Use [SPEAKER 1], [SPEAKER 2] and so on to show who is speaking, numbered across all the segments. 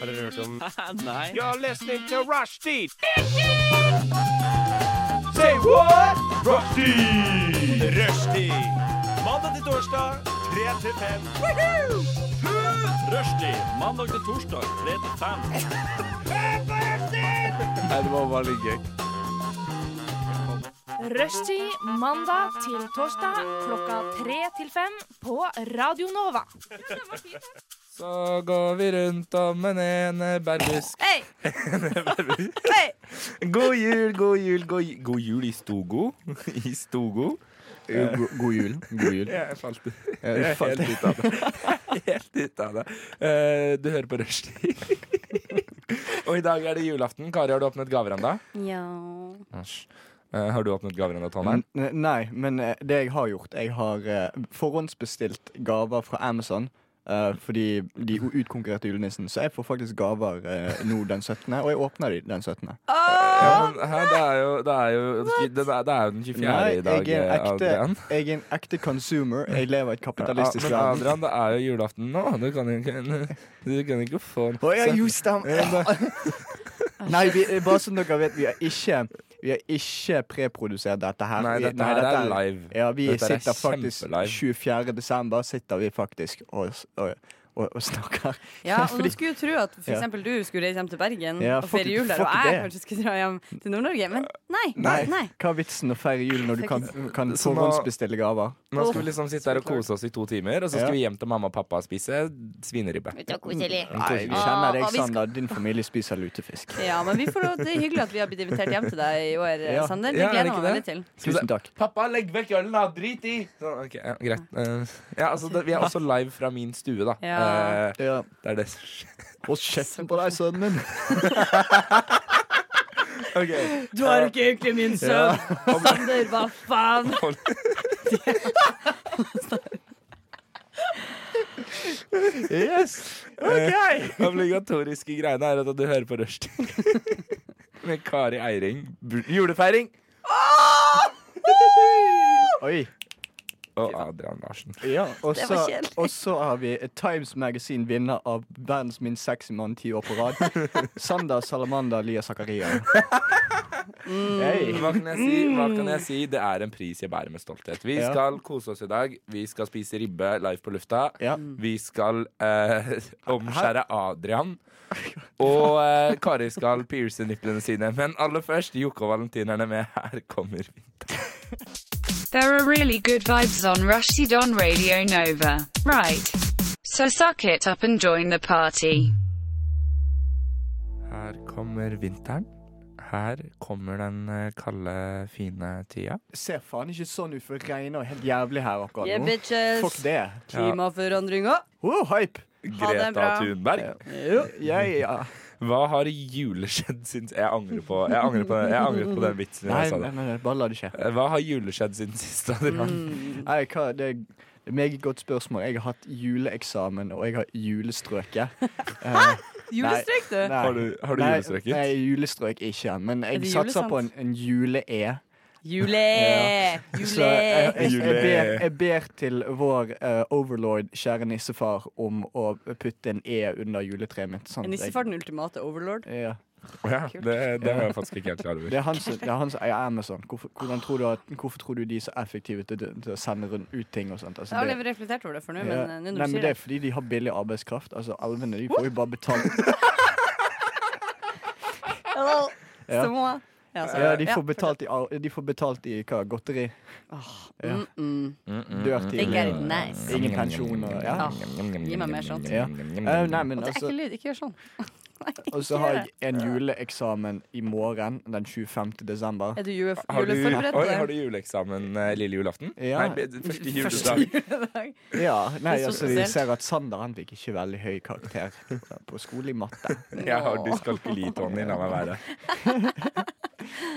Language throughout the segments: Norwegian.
[SPEAKER 1] Har dere hørt om
[SPEAKER 2] Nei.
[SPEAKER 3] You're listening to Rushdie. Say what? Rushdie. Rushdie. Mandag til torsdag, 3 til 5.
[SPEAKER 2] Rushdie mandag til torsdag 3 til 5.
[SPEAKER 4] Rushtid mandag til torsdag klokka tre til fem på Radio Nova.
[SPEAKER 5] Så går vi rundt om en enebærbusk.
[SPEAKER 4] Hei!
[SPEAKER 1] God jul, god jul, god jul, god jul i Stogo. I Stogo.
[SPEAKER 5] Eh,
[SPEAKER 6] God, god jul. God jul.
[SPEAKER 5] Jeg falt
[SPEAKER 6] Jeg falt litt av det.
[SPEAKER 5] helt ut av det. Eh, du hører på Rushdie. Og i dag er det julaften. Kari, har du åpnet gaver ennå?
[SPEAKER 7] Ja.
[SPEAKER 5] Eh, har du åpnet gaver ennå, Trondheim?
[SPEAKER 6] Men, nei, men eh, det jeg har gjort Jeg har eh, forhåndsbestilt gaver fra Amazon. eh, fordi de utkonkurrerte julenissen. Så jeg får faktisk gaver eh, nå den 17., og jeg åpner de den 17.
[SPEAKER 5] Ja, men, hæ, det, er jo, det, er jo, det, er, det er jo den 24.
[SPEAKER 6] Nei,
[SPEAKER 5] i dag, eh,
[SPEAKER 6] jeg er, en
[SPEAKER 5] Adrian.
[SPEAKER 6] ekte, jeg er en ekte consumer. Jeg lever i et kapitalistisk
[SPEAKER 5] men
[SPEAKER 6] land.
[SPEAKER 5] Adrian, det er jo julaften nå. Du kan ikke, du kan ikke få en
[SPEAKER 6] Å ja, jo, stem. Nei, vi, eh, bare så dere vet, vi har ikke Vi har ikke preprodusert dette her.
[SPEAKER 5] Nei,
[SPEAKER 6] Vi-
[SPEAKER 5] dette her er live.
[SPEAKER 6] Ja, vi
[SPEAKER 5] Dette her er
[SPEAKER 6] sitter faktisk
[SPEAKER 5] kjempelive.
[SPEAKER 6] 24. desember sitter vi faktisk og, og, og, og snakker.
[SPEAKER 7] ja, og
[SPEAKER 6] Fordi-
[SPEAKER 7] nå skulle jo tro at for
[SPEAKER 6] Ja.
[SPEAKER 7] eksempel du skulle reise hjem til Bergen
[SPEAKER 6] Ja,
[SPEAKER 7] og
[SPEAKER 6] fuck
[SPEAKER 7] feire jul
[SPEAKER 6] it,
[SPEAKER 7] der,
[SPEAKER 6] fuck
[SPEAKER 7] og jeg
[SPEAKER 6] det.
[SPEAKER 7] kanskje skulle dra hjem til Nord-Norge, men nei. nei.
[SPEAKER 6] Nei.
[SPEAKER 7] nei.
[SPEAKER 6] Hva er vitsen å feire jul når du kan, kan
[SPEAKER 5] Så nå-
[SPEAKER 6] forhåndsbestille gaver?
[SPEAKER 5] Nå skal vi liksom sitte her og kose oss i to timer, og så skal
[SPEAKER 6] Ja.
[SPEAKER 5] vi hjem til mamma og pappa og spise svineribbe.
[SPEAKER 6] Nei, vi
[SPEAKER 7] Ah,
[SPEAKER 6] kjenner
[SPEAKER 7] ah,
[SPEAKER 6] deg,
[SPEAKER 7] vi skal-
[SPEAKER 6] Sander. Din familie spiser lutefisk.
[SPEAKER 7] Ja, men vi får, lov- det er hyggelig at vi har blitt invitert hjem til deg i år,
[SPEAKER 6] Ja.
[SPEAKER 7] Sander. Det
[SPEAKER 5] Ja, er det
[SPEAKER 7] gleder jeg meg
[SPEAKER 5] ikke
[SPEAKER 7] veldig
[SPEAKER 5] det?
[SPEAKER 7] til.
[SPEAKER 6] Tusen takk.
[SPEAKER 5] Pappa, legg vekk ølen, da! Drit i! Så, ok, ja, greit. Eh, ja, altså, det, vi er også live fra min stue, da.
[SPEAKER 7] Ja.
[SPEAKER 5] Eh,
[SPEAKER 6] Ja.
[SPEAKER 5] det er det som skjer.
[SPEAKER 6] Hold kjeften på deg, sønnen min.
[SPEAKER 7] Du har ikke egentlig min sønn! Sander, hva faen?
[SPEAKER 5] Yes! Eh, obligatoriske greiene er at du hører på Rushtid. Med Kari Eiring. Bu- Julefeiring!
[SPEAKER 6] Oi.
[SPEAKER 5] Og Adrian Larsen.
[SPEAKER 6] Ja, og
[SPEAKER 7] Det
[SPEAKER 6] så,
[SPEAKER 7] var kjedelig.
[SPEAKER 6] og så har vi Times Magazine vinner av verdens minst sexy mann ti år på rad. Sander Salamander Lia Zakaria. Hei.
[SPEAKER 7] Mm.
[SPEAKER 5] Hva kan jeg si? Hva kan jeg si? Det er en pris jeg bærer med stolthet. Vi
[SPEAKER 6] Mm. Ja.
[SPEAKER 5] skal kose oss i dag. Vi skal spise ribbe live på lufta.
[SPEAKER 6] Ja.
[SPEAKER 5] Vi skal eh, omskjære Adrian. Og eh, Kari skal pierce nipplene sine. Men aller først, Jokke og Valentinerne med Her kommer vi.
[SPEAKER 8] There are really good vibes on Rushdie on Radio Nova. Right. So suck it up and join the party.
[SPEAKER 5] Her kommer vinteren. Her kommer den eh, kalde, fine tida.
[SPEAKER 6] Ser faen ikke sånn ut, for det regner helt jævlig her akkurat
[SPEAKER 7] Yeah,
[SPEAKER 6] nå. Fuck
[SPEAKER 7] bitches.
[SPEAKER 6] det.
[SPEAKER 7] Klimaforandringa.
[SPEAKER 6] Oh, hype!
[SPEAKER 7] Ha det
[SPEAKER 5] Greta
[SPEAKER 7] bra.
[SPEAKER 5] Thunberg.
[SPEAKER 6] Ja, ja.
[SPEAKER 5] Hva har i juleskjedd siden Jeg angrer på Jeg angrer på, jeg angrer på den vitsen.
[SPEAKER 6] Nei,
[SPEAKER 5] jeg sa
[SPEAKER 6] nei,
[SPEAKER 5] det.
[SPEAKER 6] nei, nei, bare la det skje.
[SPEAKER 5] Eh, Hva har juleskjedd siden sist? Adrian?
[SPEAKER 7] Mm,
[SPEAKER 6] Nei, hva, det er et meget godt spørsmål. Jeg har hatt juleeksamen, og jeg har julestrøket. Eh,
[SPEAKER 7] Julestrek, du.
[SPEAKER 6] Nei.
[SPEAKER 5] Har du, har du
[SPEAKER 6] Nei,
[SPEAKER 5] julestrøket?
[SPEAKER 6] Nei, julestrøk ikke. Men
[SPEAKER 7] Er
[SPEAKER 6] jeg
[SPEAKER 7] det
[SPEAKER 6] satser
[SPEAKER 7] julesans?
[SPEAKER 6] på en, en jule-e.
[SPEAKER 7] Jule!
[SPEAKER 6] Ja. Så eh, jeg,
[SPEAKER 7] Jule!
[SPEAKER 6] jeg, jeg, ber,
[SPEAKER 5] Jule.
[SPEAKER 6] jeg ber til vår eh, overlord, kjære nissefar, om å putte en E under juletreet mitt. Sånn at
[SPEAKER 7] Er
[SPEAKER 6] jeg-
[SPEAKER 7] Nissefar den ultimate overlord?
[SPEAKER 6] Ja.
[SPEAKER 5] Ja, det, det var jeg faktisk ikke helt klar over.
[SPEAKER 6] Det er han som det er han som eier Amazon. Hvorfor, hvordan tror du at, hvorfor tror du de er så effektive til, til å sende rundt, ut ting og sånt?
[SPEAKER 7] Jeg
[SPEAKER 6] Altså,
[SPEAKER 7] har
[SPEAKER 6] det-
[SPEAKER 7] aldri reflektert over det for nå, men
[SPEAKER 6] ja.
[SPEAKER 7] eh, nå
[SPEAKER 6] Nei,
[SPEAKER 7] når du
[SPEAKER 6] men
[SPEAKER 7] sier
[SPEAKER 6] det
[SPEAKER 7] det
[SPEAKER 6] er fordi de har billig arbeidskraft. Altså, Alvene de får jo bare betalt
[SPEAKER 7] Hello.
[SPEAKER 6] Ja.
[SPEAKER 7] Så må- Ja, så-
[SPEAKER 6] ja, de,
[SPEAKER 7] ja.
[SPEAKER 6] får betalt i, ar- de får betalt i hva? Godteri? Ja.
[SPEAKER 7] Mm, mm.
[SPEAKER 6] Dør
[SPEAKER 7] Think
[SPEAKER 6] tidlig?
[SPEAKER 7] I- nice.
[SPEAKER 6] Ingen pensjon og ja.
[SPEAKER 7] Ah, gi meg mer sånt.
[SPEAKER 6] Ja.
[SPEAKER 5] Mm.
[SPEAKER 6] Eh, nei, men
[SPEAKER 7] Og det er
[SPEAKER 6] altså
[SPEAKER 7] ekkel lyd. Ikke gjør sånn.
[SPEAKER 6] Og så har jeg en juleeksamen i morgen, den 25. desember.
[SPEAKER 7] Er du jule-
[SPEAKER 5] Har du,
[SPEAKER 7] juleforberedt
[SPEAKER 5] oi, har
[SPEAKER 7] på
[SPEAKER 5] du juleeksamen eh, lille julaften?
[SPEAKER 6] Ja.
[SPEAKER 5] Nei, be- første juledag.
[SPEAKER 7] det?
[SPEAKER 6] Ja, nei,
[SPEAKER 7] Det er så
[SPEAKER 6] altså Vi
[SPEAKER 7] spesielt.
[SPEAKER 6] ser at Sander han fikk ikke veldig høy karakter på skole i matte.
[SPEAKER 5] Jeg har dyskalkuli, Tony. La meg være.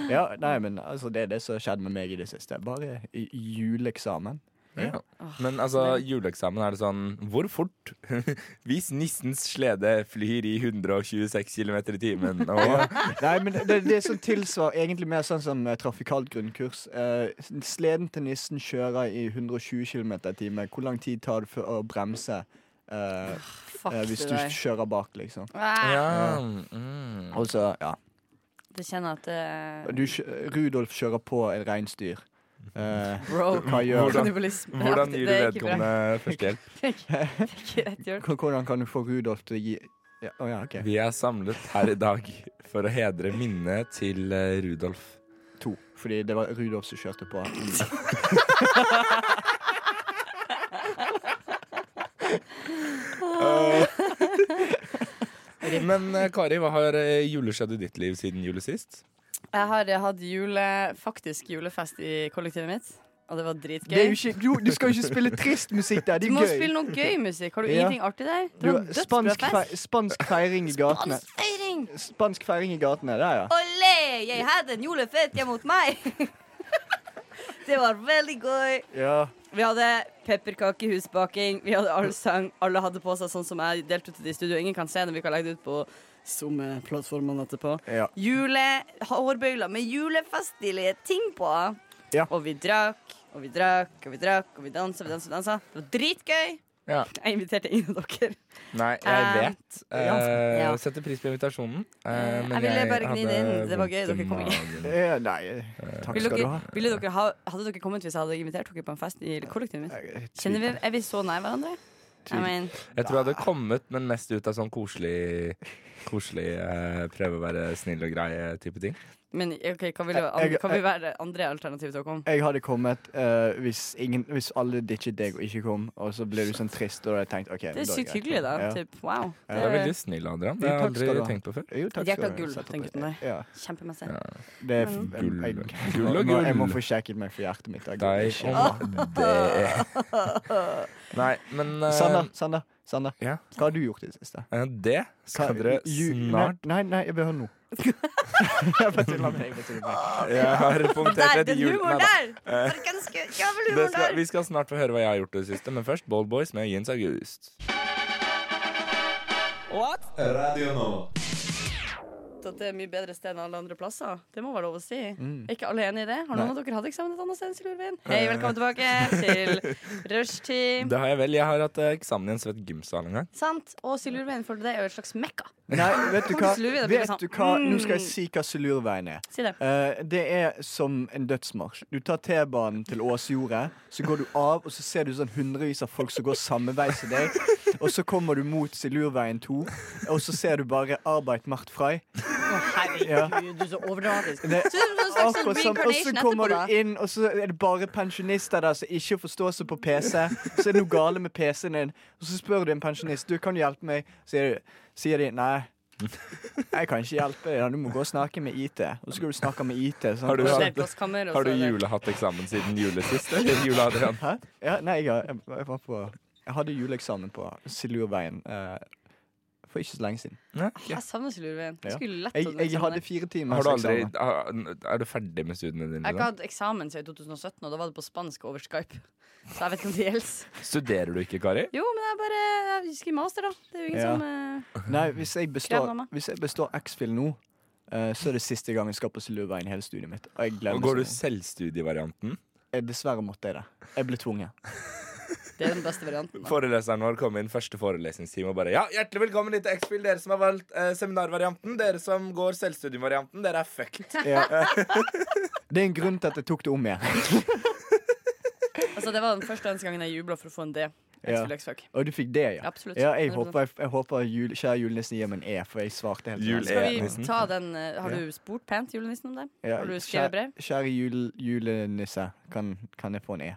[SPEAKER 6] Ja, nei, men altså Det er det som har skjedd med meg i det siste. Bare i juleeksamen.
[SPEAKER 5] Ja. Men altså, juleeksamen er det sånn Hvor fort? Hvis nissens slede flyr i 126 km i timen og
[SPEAKER 6] Nei, men det, det som tilsvarer egentlig mer sånn som eh, trafikalt grunnkurs. Eh, sleden til nissen kjører i 120 km i timen. Hvor lang tid tar det for å bremse eh,
[SPEAKER 7] Fuck
[SPEAKER 6] eh,
[SPEAKER 7] du
[SPEAKER 6] hvis du
[SPEAKER 7] deg.
[SPEAKER 6] kjører bak, liksom.
[SPEAKER 7] Ah,
[SPEAKER 5] Ja. Mm.
[SPEAKER 6] Og så, ja.
[SPEAKER 7] Det kjenner jeg at eh, det
[SPEAKER 6] Du, kjø- Rudolf kjører på et reinsdyr. Eh,
[SPEAKER 7] Bro.
[SPEAKER 6] hva gjør
[SPEAKER 5] Hvordan-
[SPEAKER 7] Kannibalisme.
[SPEAKER 5] Hvordan gir du
[SPEAKER 7] Det er ikke bra.
[SPEAKER 5] vedkommende førstehjelp?
[SPEAKER 7] Ikke rett gjort.
[SPEAKER 6] K- Hvordan kan du få Rudolf til å gi ja, å ja, OK.
[SPEAKER 5] Vi er samlet her i dag for å hedre minnet til eh, Rudolf.
[SPEAKER 6] To. Fordi det var Rudolf som kjørte på.
[SPEAKER 7] Ah.
[SPEAKER 5] Men eh, Kari, hva har eh, juleskjedd i ditt liv siden jul sist?
[SPEAKER 7] Jeg har eh, hatt jule, faktisk julefest i kollektivet mitt, og det var
[SPEAKER 6] Det er jo
[SPEAKER 7] dritgøy.
[SPEAKER 6] ikke, du, du skal jo ikke spille trist musikk der!
[SPEAKER 7] Du
[SPEAKER 6] Det er
[SPEAKER 7] må
[SPEAKER 6] gøy.
[SPEAKER 7] spille noe gøy musikk. Har du
[SPEAKER 6] Ja.
[SPEAKER 7] ingenting artig der?
[SPEAKER 6] Du,
[SPEAKER 7] Det var en
[SPEAKER 6] spansk,
[SPEAKER 7] dødsbra fest.
[SPEAKER 6] fe spansk feiring i gatene.
[SPEAKER 7] Feiring!
[SPEAKER 6] Spansk feiring i gatene, der, ja.
[SPEAKER 7] Olé! Jeg hadde en julefest hjemme hos meg! det var veldig gøy.
[SPEAKER 6] ja.
[SPEAKER 7] Vi hadde pepperkakehusbaking, vi hadde allsang. Alle hadde på seg sånn som jeg delte ut til de i studio. Ingen kan se det, vi kan legge det ut på samme plattformene etterpå.
[SPEAKER 6] Ja.
[SPEAKER 7] Jule, hårbøyler med julefestlige ting på.
[SPEAKER 6] Ja.
[SPEAKER 7] Og vi drakk, og vi drakk, og vi drakk, og vi dansa, vi dansa, vi dansa. Det var dritgøy.
[SPEAKER 5] Ja.
[SPEAKER 7] Jeg inviterte ingen av dere.
[SPEAKER 5] Nei, jeg
[SPEAKER 7] Eh,
[SPEAKER 5] vet. Eh,
[SPEAKER 7] ja.
[SPEAKER 5] Setter pris på invitasjonen. eh, men
[SPEAKER 7] jeg ville bare gni det
[SPEAKER 5] hadde
[SPEAKER 7] inn. Det var gøy,
[SPEAKER 5] vondt i
[SPEAKER 7] dere kom ikke.
[SPEAKER 5] magen.
[SPEAKER 6] Eh, Nei, takk
[SPEAKER 7] Ville
[SPEAKER 6] skal du
[SPEAKER 7] dere,
[SPEAKER 6] ha.
[SPEAKER 7] ville dere ha, hadde dere kommet hvis jeg hadde invitert dere på en fest i kollektivet mitt?
[SPEAKER 6] Jeg
[SPEAKER 7] Kjenner vi, Er vi så nær hverandre? I mean,
[SPEAKER 5] Jeg tror jeg hadde kommet, men mest ut av sånn koselig Koselig eh, prøve å være snill og grei eh, type ting.
[SPEAKER 7] men OK, hva ville
[SPEAKER 6] Jeg- jeg-
[SPEAKER 7] hva vil være det andre alternativet til å komme?
[SPEAKER 6] Jeg hadde kommet eh, hvis, ingen, hvis alle ditchet deg og ikke kom, og så ble du sånn trist. Og da hadde jeg tenkt, ok
[SPEAKER 7] Det er
[SPEAKER 6] da
[SPEAKER 7] sykt
[SPEAKER 6] greit.
[SPEAKER 7] hyggelig, da.
[SPEAKER 6] Ja.
[SPEAKER 7] Typ, wow.
[SPEAKER 5] Du er
[SPEAKER 7] Eh.
[SPEAKER 5] veldig snill, Adrian. Det har
[SPEAKER 6] Jo,
[SPEAKER 5] jeg
[SPEAKER 6] takk skal du
[SPEAKER 5] aldri
[SPEAKER 6] ha.
[SPEAKER 5] tenkt på før.
[SPEAKER 6] Jo, takk
[SPEAKER 7] De er
[SPEAKER 6] skal
[SPEAKER 7] ikke
[SPEAKER 6] du ha.
[SPEAKER 7] gull, Mm.
[SPEAKER 6] Sett opp
[SPEAKER 7] den
[SPEAKER 6] på det.
[SPEAKER 7] gutten der.
[SPEAKER 6] Ja,
[SPEAKER 7] Kjempemessig.
[SPEAKER 6] det er f
[SPEAKER 5] Gull.
[SPEAKER 6] jeg,
[SPEAKER 5] Gull og
[SPEAKER 6] Nå- Jeg må
[SPEAKER 5] gull.
[SPEAKER 6] få kjekket meg for hjertet mitt. jeg gidder
[SPEAKER 5] Deg
[SPEAKER 6] ikke.
[SPEAKER 5] om det. Nei, men eh,
[SPEAKER 6] Sander, Sander, Sander.
[SPEAKER 5] Ja.
[SPEAKER 6] Hva har du gjort i det siste?
[SPEAKER 5] eh, Det skal
[SPEAKER 6] Hva-
[SPEAKER 5] dere
[SPEAKER 6] ju-
[SPEAKER 5] snart
[SPEAKER 6] Nei, nei, nei, jeg vil høre nå. jeg bare tuller med deg. jeg bare tuller med deg.
[SPEAKER 5] Jeg har punktert
[SPEAKER 7] Der,
[SPEAKER 5] et
[SPEAKER 7] den
[SPEAKER 5] jul...
[SPEAKER 7] humoren
[SPEAKER 5] Neida.
[SPEAKER 7] der! Arkanske
[SPEAKER 5] Det
[SPEAKER 7] jævelhumoren
[SPEAKER 5] skal,
[SPEAKER 7] der!
[SPEAKER 5] vi skal snart få høre hva jeg har gjort i det siste, men først Bold Boys med Jens August.
[SPEAKER 7] At det er mye bedre sted enn alle andre plasser. Det må være lov å si.
[SPEAKER 6] Mm.
[SPEAKER 7] Er ikke alle enig i det? Har noen av dere hatt eksamen et annet sted enn Silverveien? Hei, velkommen tilbake til rushtid.
[SPEAKER 5] Det har jeg vel. Jeg har hatt eh, eksamen i en svett gymsal en gang.
[SPEAKER 7] Sant? Og Silurveien for deg er jo et slags mekka.
[SPEAKER 6] Nei, vet du
[SPEAKER 7] Kommer
[SPEAKER 6] hva?
[SPEAKER 7] til Silurveien, det blir
[SPEAKER 6] Vet
[SPEAKER 7] sånn,
[SPEAKER 6] du hva? Nå skal jeg
[SPEAKER 7] mm.
[SPEAKER 6] si hva Silurveien er.
[SPEAKER 7] Si det.
[SPEAKER 6] Eh, det er som en dødsmarsj. Du tar T-banen til Åsjordet, så går du av, og så ser du sånn hundrevis av folk som går samme vei som deg. Og så kommer du mot Silurveien 2, og så ser du bare 'Arbeid macht frei'. Ja.
[SPEAKER 7] Herregud, du er så overdramatisk.
[SPEAKER 6] Det,
[SPEAKER 7] Så det er en slags
[SPEAKER 6] Akkurat
[SPEAKER 7] sånn
[SPEAKER 6] som, og så
[SPEAKER 7] reincarnation etterpå,
[SPEAKER 6] kommer
[SPEAKER 7] da.
[SPEAKER 6] du inn, og så er det bare pensjonister der som ikke forstår seg på PC. Så er det noe gale med PC-en din, og så spør du en pensjonist Du kan du hjelpe meg. Så sier, du, sier de nei. Jeg kan ikke hjelpe deg, da. du må gå og snakke med IT. Og så skal du snakke med IT. sant?
[SPEAKER 5] Har du
[SPEAKER 6] Og så-
[SPEAKER 7] Det
[SPEAKER 5] hatt-
[SPEAKER 7] er glasskammer, og
[SPEAKER 5] Har du
[SPEAKER 7] så er det-
[SPEAKER 5] julehatt eksamen siden julesist? Eller jule, Adrian?
[SPEAKER 6] Hæ? Ja, nei, jeg, jeg, jeg var på Jeg hadde juleeksamen på Silurveien eh, for ikke så lenge siden.
[SPEAKER 5] Nei,
[SPEAKER 7] Jeg savner Silurveien. Jeg
[SPEAKER 6] Ja.
[SPEAKER 7] skulle lett
[SPEAKER 6] Jeg,
[SPEAKER 7] hatt
[SPEAKER 6] jeg
[SPEAKER 7] eksamen
[SPEAKER 6] hadde
[SPEAKER 7] der.
[SPEAKER 6] fire timer
[SPEAKER 5] Har du aldri, har- er du ferdig med studiene dine?
[SPEAKER 7] Jeg har ikke
[SPEAKER 5] da?
[SPEAKER 7] hatt eksamen siden 2017, og da var det på spansk over Skype. Så jeg vet ikke om det gjelder.
[SPEAKER 5] Studerer du ikke, Kari?
[SPEAKER 7] Jo, men jeg bare jeg skriver master, da. Det er jo ingen
[SPEAKER 6] Ja.
[SPEAKER 7] som eh,
[SPEAKER 6] Nei, hvis jeg
[SPEAKER 7] Krever
[SPEAKER 6] består,
[SPEAKER 7] av meg.
[SPEAKER 6] hvis jeg består X-Fill nå, eh, så er det siste gang jeg skal på Silurveien i hele studiet mitt. Og jeg
[SPEAKER 5] Og
[SPEAKER 6] glemmer
[SPEAKER 5] går du
[SPEAKER 6] sånn.
[SPEAKER 5] selvstudievarianten?
[SPEAKER 6] Eh, Dessverre måtte jeg det. Jeg ble tvunget.
[SPEAKER 7] Det er den beste varianten. da.
[SPEAKER 5] Foreleseren vår kom inn første forelesningstime og bare Ja, hjertelig velkommen hit til X-Fill, dere som har valgt eh, seminarvarianten. Dere som går selvstudievarianten, dere er fucked.
[SPEAKER 6] Det er en grunn til at jeg tok det om igjen.
[SPEAKER 7] Altså, det var den første og eneste gangen jeg jubla for å få en D.
[SPEAKER 6] Ja.
[SPEAKER 7] X-Fil, X-Fuck.
[SPEAKER 6] Og du fikk det, ja.
[SPEAKER 7] Absolutt.
[SPEAKER 6] Ja, jeg
[SPEAKER 7] 100%.
[SPEAKER 6] håper, jeg, jeg håper jul, kjære julenissen gir meg en E, for jeg svarte helt
[SPEAKER 5] Jul
[SPEAKER 6] rett.
[SPEAKER 7] Skal
[SPEAKER 5] E-nissen.
[SPEAKER 7] vi ta den eh, Har du spurt pent julenissen om det?
[SPEAKER 6] Ja,
[SPEAKER 7] Har du
[SPEAKER 6] kjære-
[SPEAKER 7] skrevet brev?
[SPEAKER 6] Kjære jul, julenisse, kan, kan jeg få en E?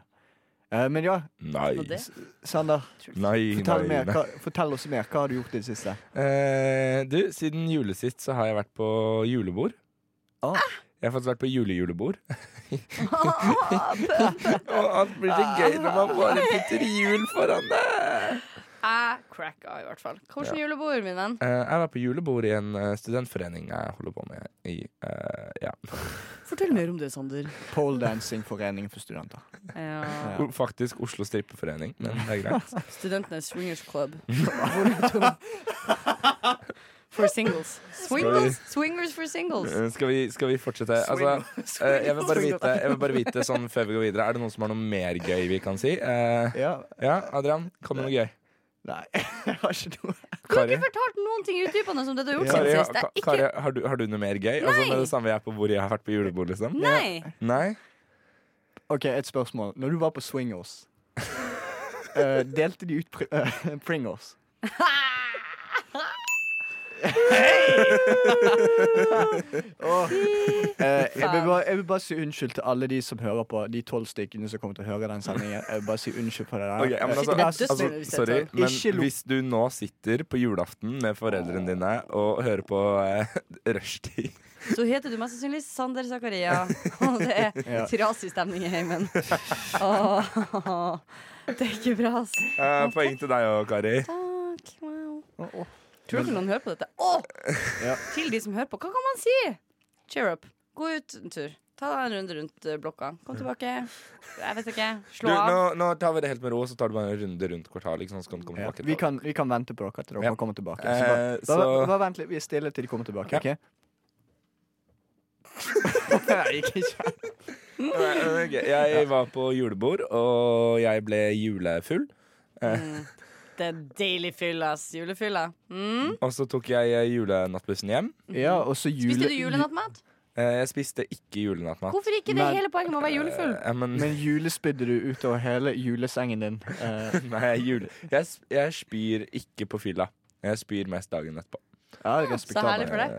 [SPEAKER 6] Eh, men ja,
[SPEAKER 5] Nei.
[SPEAKER 7] Og det?
[SPEAKER 6] Sander,
[SPEAKER 5] Nei,
[SPEAKER 6] fortell,
[SPEAKER 5] nei,
[SPEAKER 6] mer,
[SPEAKER 5] nei.
[SPEAKER 6] hva, fortell oss mer. Hva har du gjort i det siste?
[SPEAKER 5] Eh, du, siden julesist så har jeg vært på julebord.
[SPEAKER 6] Ah.
[SPEAKER 5] Jeg har faktisk vært på julejulebord. og alt blir så gøy når man bare putter jul foran det.
[SPEAKER 7] Jeg cracka, i hvert fall. Hvordan julebord, min venn?
[SPEAKER 5] Eh, jeg var på julebord i en eh, studentforening jeg holder på med i eh, ja.
[SPEAKER 7] Fortell mer om det, Sander.
[SPEAKER 6] Poledancingforeningen for studenter.
[SPEAKER 7] Ja.
[SPEAKER 5] O- Faktisk Oslo strippeforening, men det er greit.
[SPEAKER 7] Studentenes swingers club. Hvor er Tom? For singles. Swingles? Swingers for singles.
[SPEAKER 5] Eh, skal, vi, skal vi fortsette? Altså, eh, jeg, vil bare vite, jeg vil bare vite sånn før vi går videre, er det noen som har noe mer gøy vi kan si? Eh,
[SPEAKER 6] Ja,
[SPEAKER 5] ja, Adrian, kom med noe gøy.
[SPEAKER 6] Nei, jeg har ikke noe.
[SPEAKER 7] Du har ikke fortalt noen ting utdypende som det du har gjort
[SPEAKER 5] Kari,
[SPEAKER 7] siden sist. Det
[SPEAKER 5] Ka-
[SPEAKER 7] er
[SPEAKER 5] Kari,
[SPEAKER 7] ikke
[SPEAKER 5] har, du, har du noe mer gøy? Altså,
[SPEAKER 7] Nei.
[SPEAKER 5] med det samme jeg er på hvor jeg har vært på julebord, liksom?
[SPEAKER 7] Nei!
[SPEAKER 5] Nei?
[SPEAKER 6] Ok, et spørsmål. Når du var på Swingers, eh, delte de ut pri eh, Pringles? Eh, Åh, eh, jeg, vil bare, jeg vil bare si unnskyld til alle de som hører på, de tolv stykkene som kommer til å høre den sendingen. Jeg vil bare si unnskyld for det der.
[SPEAKER 5] Ok, ja, men
[SPEAKER 6] Eh,
[SPEAKER 5] altså,
[SPEAKER 7] det er dødssynd
[SPEAKER 5] altså,
[SPEAKER 7] hvis det er
[SPEAKER 5] sorry,
[SPEAKER 7] tolv.
[SPEAKER 6] Ikke
[SPEAKER 5] men
[SPEAKER 6] lo-
[SPEAKER 5] hvis du nå sitter på julaften med foreldrene dine og hører på eh, rushtid
[SPEAKER 7] Så heter du mest sannsynlig Sander Zakaria. Og det er
[SPEAKER 6] Ja.
[SPEAKER 7] trasig stemning i heimen. Åh, Det er ikke bra, ass.
[SPEAKER 5] eh, Poeng til deg òg, Kari.
[SPEAKER 7] Takk. Wow.
[SPEAKER 6] Åh, åh.
[SPEAKER 7] Tror du ikke noen hører på dette? Åh!
[SPEAKER 6] Ja.
[SPEAKER 7] Til de som hører på, hva kan man si? Cheer up. Gå ut en tur. Ta deg en runde rundt eh, blokka. Kom tilbake. Jeg vet ikke.
[SPEAKER 5] Du,
[SPEAKER 7] Slå
[SPEAKER 5] nå,
[SPEAKER 7] av.
[SPEAKER 5] nå tar vi det helt med ro, så tar du bare en runde rundt kvartalet. Liksom, så kan du komme
[SPEAKER 6] Ja,
[SPEAKER 5] tilbake
[SPEAKER 6] vi,
[SPEAKER 5] til
[SPEAKER 6] kan, vi kan vente på dere til dere
[SPEAKER 5] Ja.
[SPEAKER 6] kommer tilbake.
[SPEAKER 5] Eh,
[SPEAKER 6] Så bare,
[SPEAKER 5] så-
[SPEAKER 6] bare, bare vent litt, vi er stille til de kommer tilbake.
[SPEAKER 5] Ja.
[SPEAKER 6] ok? Nei, ikke kjære.
[SPEAKER 5] Nei, men Eh, ok, Jeg var på julebord, og jeg ble julefull.
[SPEAKER 7] Det er deilig fyll, ass. Julefylla. Mm.
[SPEAKER 5] Og så tok jeg eh, julenattbussen hjem.
[SPEAKER 6] Ja, og så jule...
[SPEAKER 7] Spiste du julenattmat?
[SPEAKER 5] Eh, Jeg spiste ikke julenattmat.
[SPEAKER 7] Hvorfor ikke? Det
[SPEAKER 6] Men-
[SPEAKER 7] er hele poenget med å være julefull.
[SPEAKER 5] Eh, men,
[SPEAKER 6] Men julespydde du utover hele julesengen din. Eh,
[SPEAKER 5] nei, jeg, jule. Jeg, s- jeg spyr ikke på fylla. Jeg spyr mest dagen etterpå.
[SPEAKER 6] ja,
[SPEAKER 7] Så herlig
[SPEAKER 6] respektabelt.
[SPEAKER 7] for deg.
[SPEAKER 5] Eh,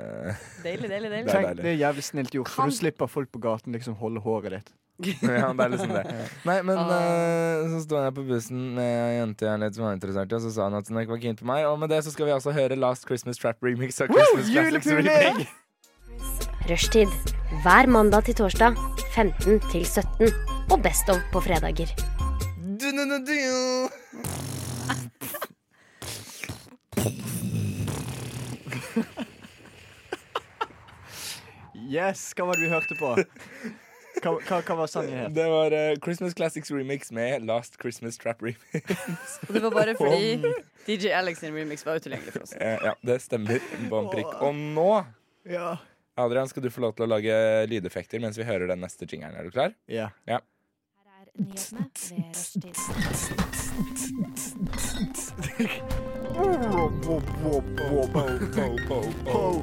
[SPEAKER 7] Deilig, deilig, deilig.
[SPEAKER 5] Det er
[SPEAKER 6] Tenk,
[SPEAKER 5] deilig.
[SPEAKER 6] det er jævlig snilt gjort, for
[SPEAKER 7] Kan-
[SPEAKER 6] du slipper folk på gaten liksom holde håret ditt.
[SPEAKER 5] Ja, det er liksom det. Nei, men
[SPEAKER 7] Ah.
[SPEAKER 5] eh, så sto jeg på bussen med ei jente jeg er litt småinteressert i, og så sa hun at hun ikke var keen på meg. Og med det så skal vi altså høre Last Christmas Trap Remix av Christmas Classics Remix.
[SPEAKER 9] Rushtid. Hver mandag til torsdag 15 til 17. Og Best of på fredager.
[SPEAKER 5] Du-du-du-du.
[SPEAKER 6] Yes, hva var det vi hørte på? Hva, hva, hva var sangen het?
[SPEAKER 5] Det var eh, Christmas Classics Remix med Last Christmas Trap Remix.
[SPEAKER 7] Og det var bare fordi DJ Alex sin remix var utilgjengelig for oss.
[SPEAKER 5] Eh, ja, det stemmer. Bånn prikk. Og nå,
[SPEAKER 6] Ja.
[SPEAKER 5] Adrian, skal du få lov til å lage lydeffekter mens vi hører den neste jingeren. Er du klar?
[SPEAKER 6] ja. Ho,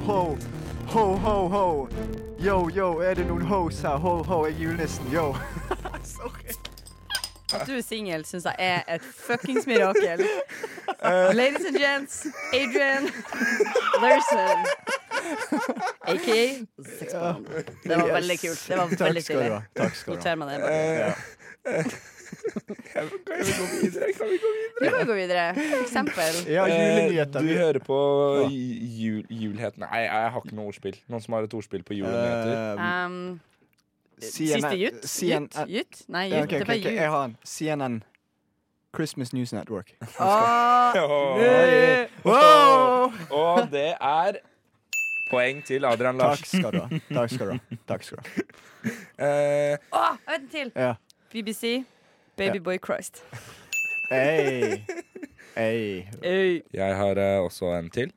[SPEAKER 6] ho, ho, ho, ho. Yo, yo, er det noen hoes her? Ho, ho, jeg er julenissen, yo.
[SPEAKER 7] At du er singel, syns jeg er et fuckings mirakel.
[SPEAKER 6] Eh.
[SPEAKER 7] Ladies and gents, Adrian Larson. Aka sexbomb. Det var veldig kult. Det var
[SPEAKER 6] Takk
[SPEAKER 7] veldig
[SPEAKER 6] skal du
[SPEAKER 7] stilig.
[SPEAKER 6] ha. Takk skal du ha.
[SPEAKER 7] Noter meg det. bare.
[SPEAKER 5] Eh, Kan vi gå videre? Kan vi gå videre?
[SPEAKER 7] Vi kan jo gå videre. For eksempel.
[SPEAKER 6] Ja, julenyheter.
[SPEAKER 5] Eh, Du hører på
[SPEAKER 6] Ja.
[SPEAKER 5] jul, julhet Nei, jeg har ikke noe ordspill. Noen som har et ordspill på julenyheter?
[SPEAKER 6] Eh,
[SPEAKER 7] Um,
[SPEAKER 6] CNN
[SPEAKER 7] siste jutt?
[SPEAKER 6] CNN
[SPEAKER 7] Jutt? Jutt? Nei,
[SPEAKER 6] uh, Ja,
[SPEAKER 7] jutt.
[SPEAKER 6] ok,
[SPEAKER 7] Det
[SPEAKER 6] ok,
[SPEAKER 7] var
[SPEAKER 6] ok, Jeg
[SPEAKER 7] jutt.
[SPEAKER 6] har en. CNN. Christmas News Network.
[SPEAKER 7] Åh,
[SPEAKER 5] Åh. Åh. Og det er poeng til Adrian
[SPEAKER 6] Takk
[SPEAKER 5] Larsen.
[SPEAKER 6] skal du ha. Takk skal du ha. Takk skal du ha.
[SPEAKER 5] Eh,
[SPEAKER 7] åh, jeg vet en til.
[SPEAKER 6] Ja.
[SPEAKER 7] BBC. Babyboy Christ.
[SPEAKER 6] Hey. Hey.
[SPEAKER 7] Øy.
[SPEAKER 5] jeg har eh, også en til.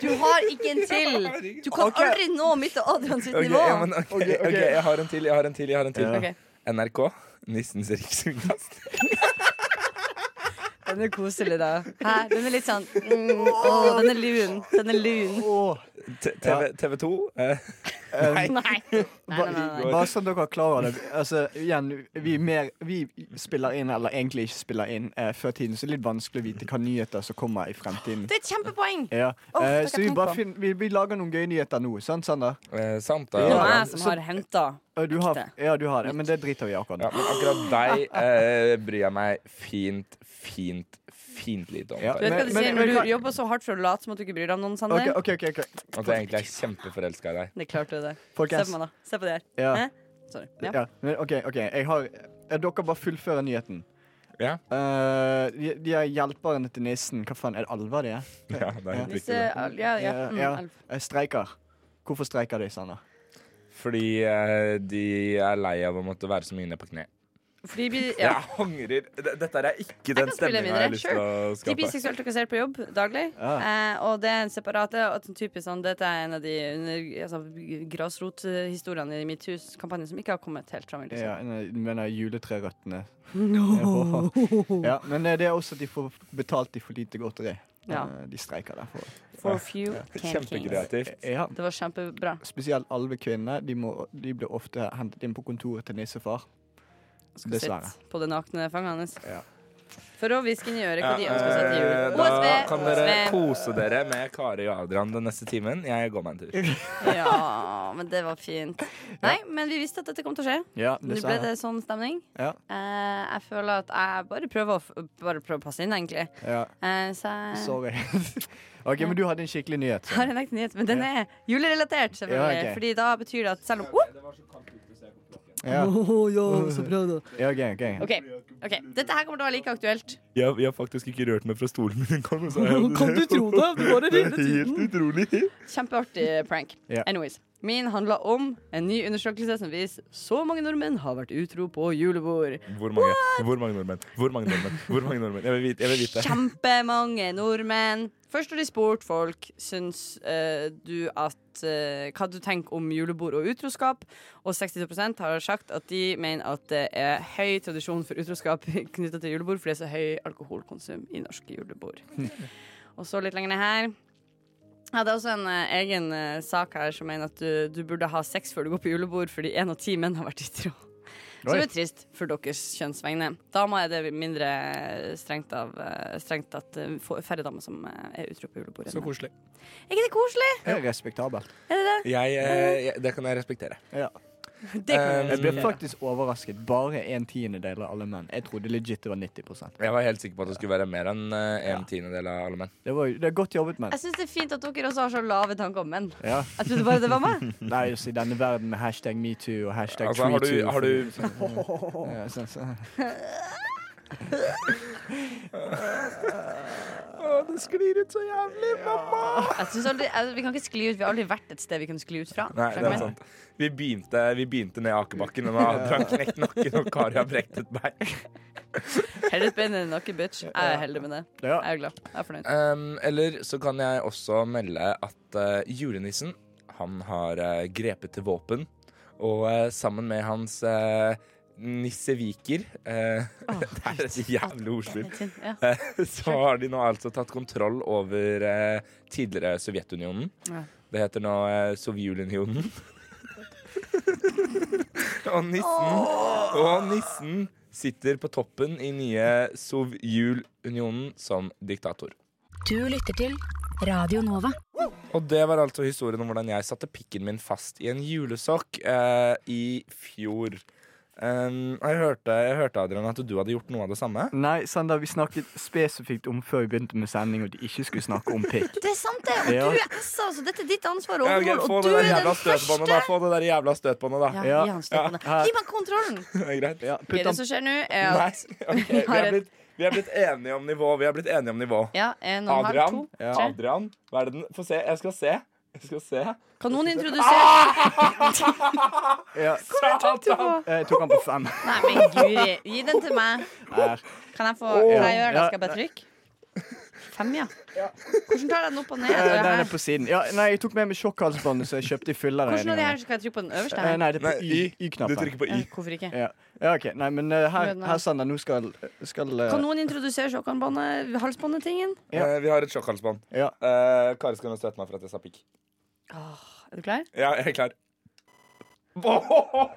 [SPEAKER 7] Du har ikke en til! Du kan
[SPEAKER 6] Ok.
[SPEAKER 7] aldri nå mitt og Adrian sitt
[SPEAKER 5] Ok,
[SPEAKER 7] nivå.
[SPEAKER 5] ja, men, ok,
[SPEAKER 6] Ok, ok.
[SPEAKER 5] ok, jeg har en til, jeg har en til. Jeg har en til.
[SPEAKER 6] Ja.
[SPEAKER 7] Ok.
[SPEAKER 5] NRK. Nissens rikskringkast.
[SPEAKER 7] Den er koselig, da. Hæ? Den er litt sånn mm, Å, den er lun. Den er lun.
[SPEAKER 6] Åh.
[SPEAKER 5] T- TV, TV 2. Eh,
[SPEAKER 6] Eh,
[SPEAKER 7] Nei. Nei, nei, nei, nei.
[SPEAKER 6] Bare sånn dere er klar over det. Altså, igjen, vi, mer, vi spiller inn, eller egentlig ikke spiller inn, eh, før tiden, så det er litt vanskelig å vite hva nyheter som kommer i fremtiden.
[SPEAKER 7] Det er et kjempepoeng!
[SPEAKER 6] Ja.
[SPEAKER 7] Åh,
[SPEAKER 6] eh,
[SPEAKER 7] det kan
[SPEAKER 6] så vi,
[SPEAKER 7] jeg
[SPEAKER 6] bare
[SPEAKER 7] tenke
[SPEAKER 6] finner, vi, vi lager noen gøye nyheter nå, sant, Sander?
[SPEAKER 5] eh, samt
[SPEAKER 7] Det
[SPEAKER 5] da.
[SPEAKER 7] var
[SPEAKER 6] Ja.
[SPEAKER 7] jeg som har henta.
[SPEAKER 6] Eh, Du har,
[SPEAKER 7] Ekte.
[SPEAKER 6] ja, du har det, men det driter vi i akkurat
[SPEAKER 5] Ja,
[SPEAKER 6] nå.
[SPEAKER 5] men akkurat deg eh, bryr jeg meg fint, fint, fint lite om.
[SPEAKER 6] Ja.
[SPEAKER 7] Du vet
[SPEAKER 5] Kari.
[SPEAKER 7] hva
[SPEAKER 6] Men-
[SPEAKER 7] de
[SPEAKER 6] men-
[SPEAKER 7] sier
[SPEAKER 6] men
[SPEAKER 7] når
[SPEAKER 6] kan-
[SPEAKER 7] du jobber så hardt for å late som at du ikke bryr deg om noen, Sander?
[SPEAKER 6] Ok, ok, ok, ok.
[SPEAKER 5] At jeg egentlig er kjempeforelska i deg.
[SPEAKER 7] Det klarte du, det. Se
[SPEAKER 6] Folkens.
[SPEAKER 7] på meg, da. Se på det her.
[SPEAKER 6] Ja.
[SPEAKER 7] Hæ? Sorry. Ja.
[SPEAKER 6] Ja. Men, ok, ok, jeg har eh, Dere bare fullfører nyheten.
[SPEAKER 5] Ja.
[SPEAKER 6] Eh, de, de er hjelperne til nissen. Hva faen, er det alver de er?
[SPEAKER 5] Ja, det er helt
[SPEAKER 7] Disse
[SPEAKER 5] riktig. det.
[SPEAKER 7] Ja, ja.
[SPEAKER 6] Eh,
[SPEAKER 7] Mm,
[SPEAKER 6] ja.
[SPEAKER 7] elf.
[SPEAKER 6] Eh, Streiker. Hvorfor streiker de, Sander?
[SPEAKER 5] Fordi eh, de er lei av å måtte være så mye ned på kne.
[SPEAKER 7] De blir, ja.
[SPEAKER 5] Jeg angrer. D- Dette er ikke den
[SPEAKER 7] spille
[SPEAKER 5] stemninga
[SPEAKER 7] videre,
[SPEAKER 5] jeg har lyst til å
[SPEAKER 7] De blir
[SPEAKER 5] skape.
[SPEAKER 7] seksuelt trakassert på jobb daglig. Eh, og det er en separat og en typisk sånn, Dette er en av de under, altså, grasrothistoriene i mitt hus kampanjen som ikke har kommet helt fram. Liksom.
[SPEAKER 6] Ja, nei, du mener juletrerøttene. Ja, men eh, det er også at de får betalt de for lite godteri.
[SPEAKER 7] Ja.
[SPEAKER 6] Eh, De streiker derfor.
[SPEAKER 7] For few can kings.
[SPEAKER 5] Kjempekreativt.
[SPEAKER 6] Ja.
[SPEAKER 7] Det var kjempebra.
[SPEAKER 6] Spesielt alvekvinnene. De, må- de blir ofte hentet inn på kontoret til nissefar.
[SPEAKER 7] Skal sitte på det nakne fanget hans.
[SPEAKER 6] Ja.
[SPEAKER 7] For å hviske inn i øret hva de ønsker seg til
[SPEAKER 5] Eh,
[SPEAKER 7] jul.
[SPEAKER 5] Da kan
[SPEAKER 7] OSV!
[SPEAKER 5] dere
[SPEAKER 7] OSV.
[SPEAKER 5] kose dere med Kari og Adrian den neste timen. Jeg går meg en tur.
[SPEAKER 7] Ja, men det var fint. Nei, men vi visste at dette kom til å skje.
[SPEAKER 6] Ja,
[SPEAKER 7] Nå ble det sånn stemning.
[SPEAKER 6] Ja.
[SPEAKER 7] Eh, jeg føler at jeg bare prøver å, f- bare prøver å passe inn, egentlig.
[SPEAKER 6] Ja,
[SPEAKER 7] Eh, så jeg
[SPEAKER 6] sorry. OK, men du hadde en skikkelig nyhet.
[SPEAKER 7] Jeg har en ekte nyhet, men den er julerelatert, selvfølgelig.
[SPEAKER 6] Ja, ok.
[SPEAKER 7] Fordi da betyr det at selv om oh!
[SPEAKER 6] Ja. Ja, OK. ok
[SPEAKER 7] OK, ok, dette her kommer til å være like aktuelt.
[SPEAKER 1] Jeg, jeg har faktisk ikke rørt meg fra stolen min engang. og så har jeg-
[SPEAKER 10] Kan du tro det? Du bare
[SPEAKER 1] Det er helt utrolig.
[SPEAKER 7] Kjempeartig eh, prank.
[SPEAKER 6] Ja.
[SPEAKER 7] Anyways. Min handla om en ny undersøkelse som viser så mange nordmenn har vært utro på julebord.
[SPEAKER 1] Hvor mange, hvor mange nordmenn? Hvor mange nordmenn? Hvor mange nordmenn? Jeg vil vite. Jeg vil vite.
[SPEAKER 7] Kjempemange nordmenn. Først har de spurt folk Syns eh, du at eh, hva du tenker om julebord og utroskap. Og 62 har sagt at de mener at det er høy tradisjon for utroskap knytta til julebord, fordi det er så høy alkoholkonsum i norske julebord. og så litt lenger ned her. Ja, det er også en eh, egen eh, sak her som mener at du, du burde ha sex før du går på julebord, fordi én av ti menn har vært utro. Som er trist for deres kjønnsvegne. Damer er det mindre strengt, av, eh, strengt at eh, få- færre damer som eh, er utro på julebordet.
[SPEAKER 5] Så koselig.
[SPEAKER 7] Er ikke det koselig?
[SPEAKER 6] Det er respektabelt.
[SPEAKER 5] Jeg, eh, jeg, det kan jeg respektere.
[SPEAKER 6] Ja.
[SPEAKER 7] Det kan
[SPEAKER 5] Um,
[SPEAKER 6] Jeg ble faktisk overrasket. Bare en tiendedel av alle menn. Jeg trodde legit det var 90
[SPEAKER 5] Jeg var helt sikker på at det skulle være mer enn eh, en tiendedel av alle menn.
[SPEAKER 6] Det, var, det er godt jobbet, menn.
[SPEAKER 7] Jeg syns det er fint at dere også har så lave tanker om menn.
[SPEAKER 6] Ja.
[SPEAKER 7] Jeg trodde bare det var meg.
[SPEAKER 6] Nei, altså, i denne verden med hashtag metoo og hashtag
[SPEAKER 5] Altså, har du,
[SPEAKER 6] treetoo
[SPEAKER 5] har du
[SPEAKER 6] ja, sånn, sånn.
[SPEAKER 7] Jeg synes aldri, jeg, vi kan ikke skli ut. Vi har aldri vært et sted vi kunne skli ut fra.
[SPEAKER 5] Nei, det er sant. Vi begynte, vi begynte ned akebakken, og nå har Adrian knekt nakken, og Kari har brekt et bein.
[SPEAKER 7] Heller et bein enn en nakke, bitch. Jeg er heldig med det.
[SPEAKER 6] Ja.
[SPEAKER 7] Jeg er glad. Jeg er fornøyd.
[SPEAKER 5] Um, eller så kan jeg også melde at eh, julenissen, han har eh, grepet til våpen. Og eh, sammen med hans eh, nisseviker eh, Det er et jævlig ordspill.
[SPEAKER 7] Ja.
[SPEAKER 5] Så har de nå altså tatt kontroll over eh, tidligere Sovjetunionen.
[SPEAKER 7] Ja.
[SPEAKER 5] Det heter nå eh, Sovjulunionen. og nissen Og nissen sitter på toppen i nye Sovjulunionen som diktator.
[SPEAKER 11] Du lytter til Radio Nova.
[SPEAKER 5] Og det var altså historien om hvordan jeg satte pikken min fast i en julesokk eh, i fjor. Um, jeg, hørte, jeg hørte, Adrian, at du hadde gjort noe av det samme.
[SPEAKER 6] Nei, Sander, vi snakket spesifikt om før vi begynte med sending, og de ikke skulle snakke om pikk.
[SPEAKER 7] Det er sant, det. Og
[SPEAKER 6] Ja.
[SPEAKER 7] du er essa, altså. Dette er ditt ansvar å
[SPEAKER 5] Ja, ok,
[SPEAKER 7] overholde.
[SPEAKER 5] få
[SPEAKER 7] Og
[SPEAKER 5] det
[SPEAKER 7] du
[SPEAKER 5] der
[SPEAKER 7] er
[SPEAKER 5] jævla
[SPEAKER 7] den
[SPEAKER 5] støtbåndet, da.
[SPEAKER 7] første.
[SPEAKER 5] Få det der jævla støtbåndet, da.
[SPEAKER 7] Ja,
[SPEAKER 6] Ja.
[SPEAKER 7] gi han støtbåndet. Gi meg kontrollen.
[SPEAKER 5] Greit.
[SPEAKER 6] Ja,
[SPEAKER 7] Ok,
[SPEAKER 6] putt
[SPEAKER 7] det
[SPEAKER 6] han
[SPEAKER 7] som skjer nå, er
[SPEAKER 5] Nei,
[SPEAKER 7] at
[SPEAKER 5] ok, vi, er blitt, vi er blitt enige om nivå. Vi er blitt enige om nivå.
[SPEAKER 7] ja, en og en halv,
[SPEAKER 5] Adrian,
[SPEAKER 7] to, tre.
[SPEAKER 5] Adrian, hva er det den Få se. Jeg skal se. Jeg skal se.
[SPEAKER 7] Kan noen introdusere
[SPEAKER 6] ja.
[SPEAKER 7] på?
[SPEAKER 6] Jeg tok han på fem.
[SPEAKER 7] Nei, men guri. Gi den til meg.
[SPEAKER 6] Her.
[SPEAKER 7] Kan jeg få Hva jeg gjør
[SPEAKER 6] Ja.
[SPEAKER 7] da? Skal jeg bare trykke? Fem, ja. Hvordan tar jeg den opp og ned?
[SPEAKER 6] Eh,
[SPEAKER 7] Og
[SPEAKER 6] Nei, den
[SPEAKER 7] her?
[SPEAKER 6] er på siden. Ja, nei, jeg tok med meg sjokkhalsbåndet, så jeg kjøpte i
[SPEAKER 7] Hvordan av de her
[SPEAKER 6] fylleregningen.
[SPEAKER 7] skal jeg trykke på den øverste?
[SPEAKER 6] Eh,
[SPEAKER 7] her?
[SPEAKER 6] Nei, det er
[SPEAKER 5] Nei,
[SPEAKER 6] på
[SPEAKER 5] Y. Du
[SPEAKER 6] Y-knappen.
[SPEAKER 5] trykker på Y.
[SPEAKER 7] Eh, Hvorfor ikke?
[SPEAKER 6] Ja. ja, OK. Nei, men eh, her,
[SPEAKER 7] Gjør den her.
[SPEAKER 6] her Sander, nå skal, skal eh,
[SPEAKER 7] Kan noen introdusere sjokkanbåndet, halsbåndetingen?
[SPEAKER 6] Ja.
[SPEAKER 5] Eh, vi har et sjokkhalsbånd.
[SPEAKER 6] Ja.
[SPEAKER 5] Eh, Kari skal nå støte meg for at jeg sa pikk.
[SPEAKER 7] Er du klar?
[SPEAKER 5] Ja, jeg er klar.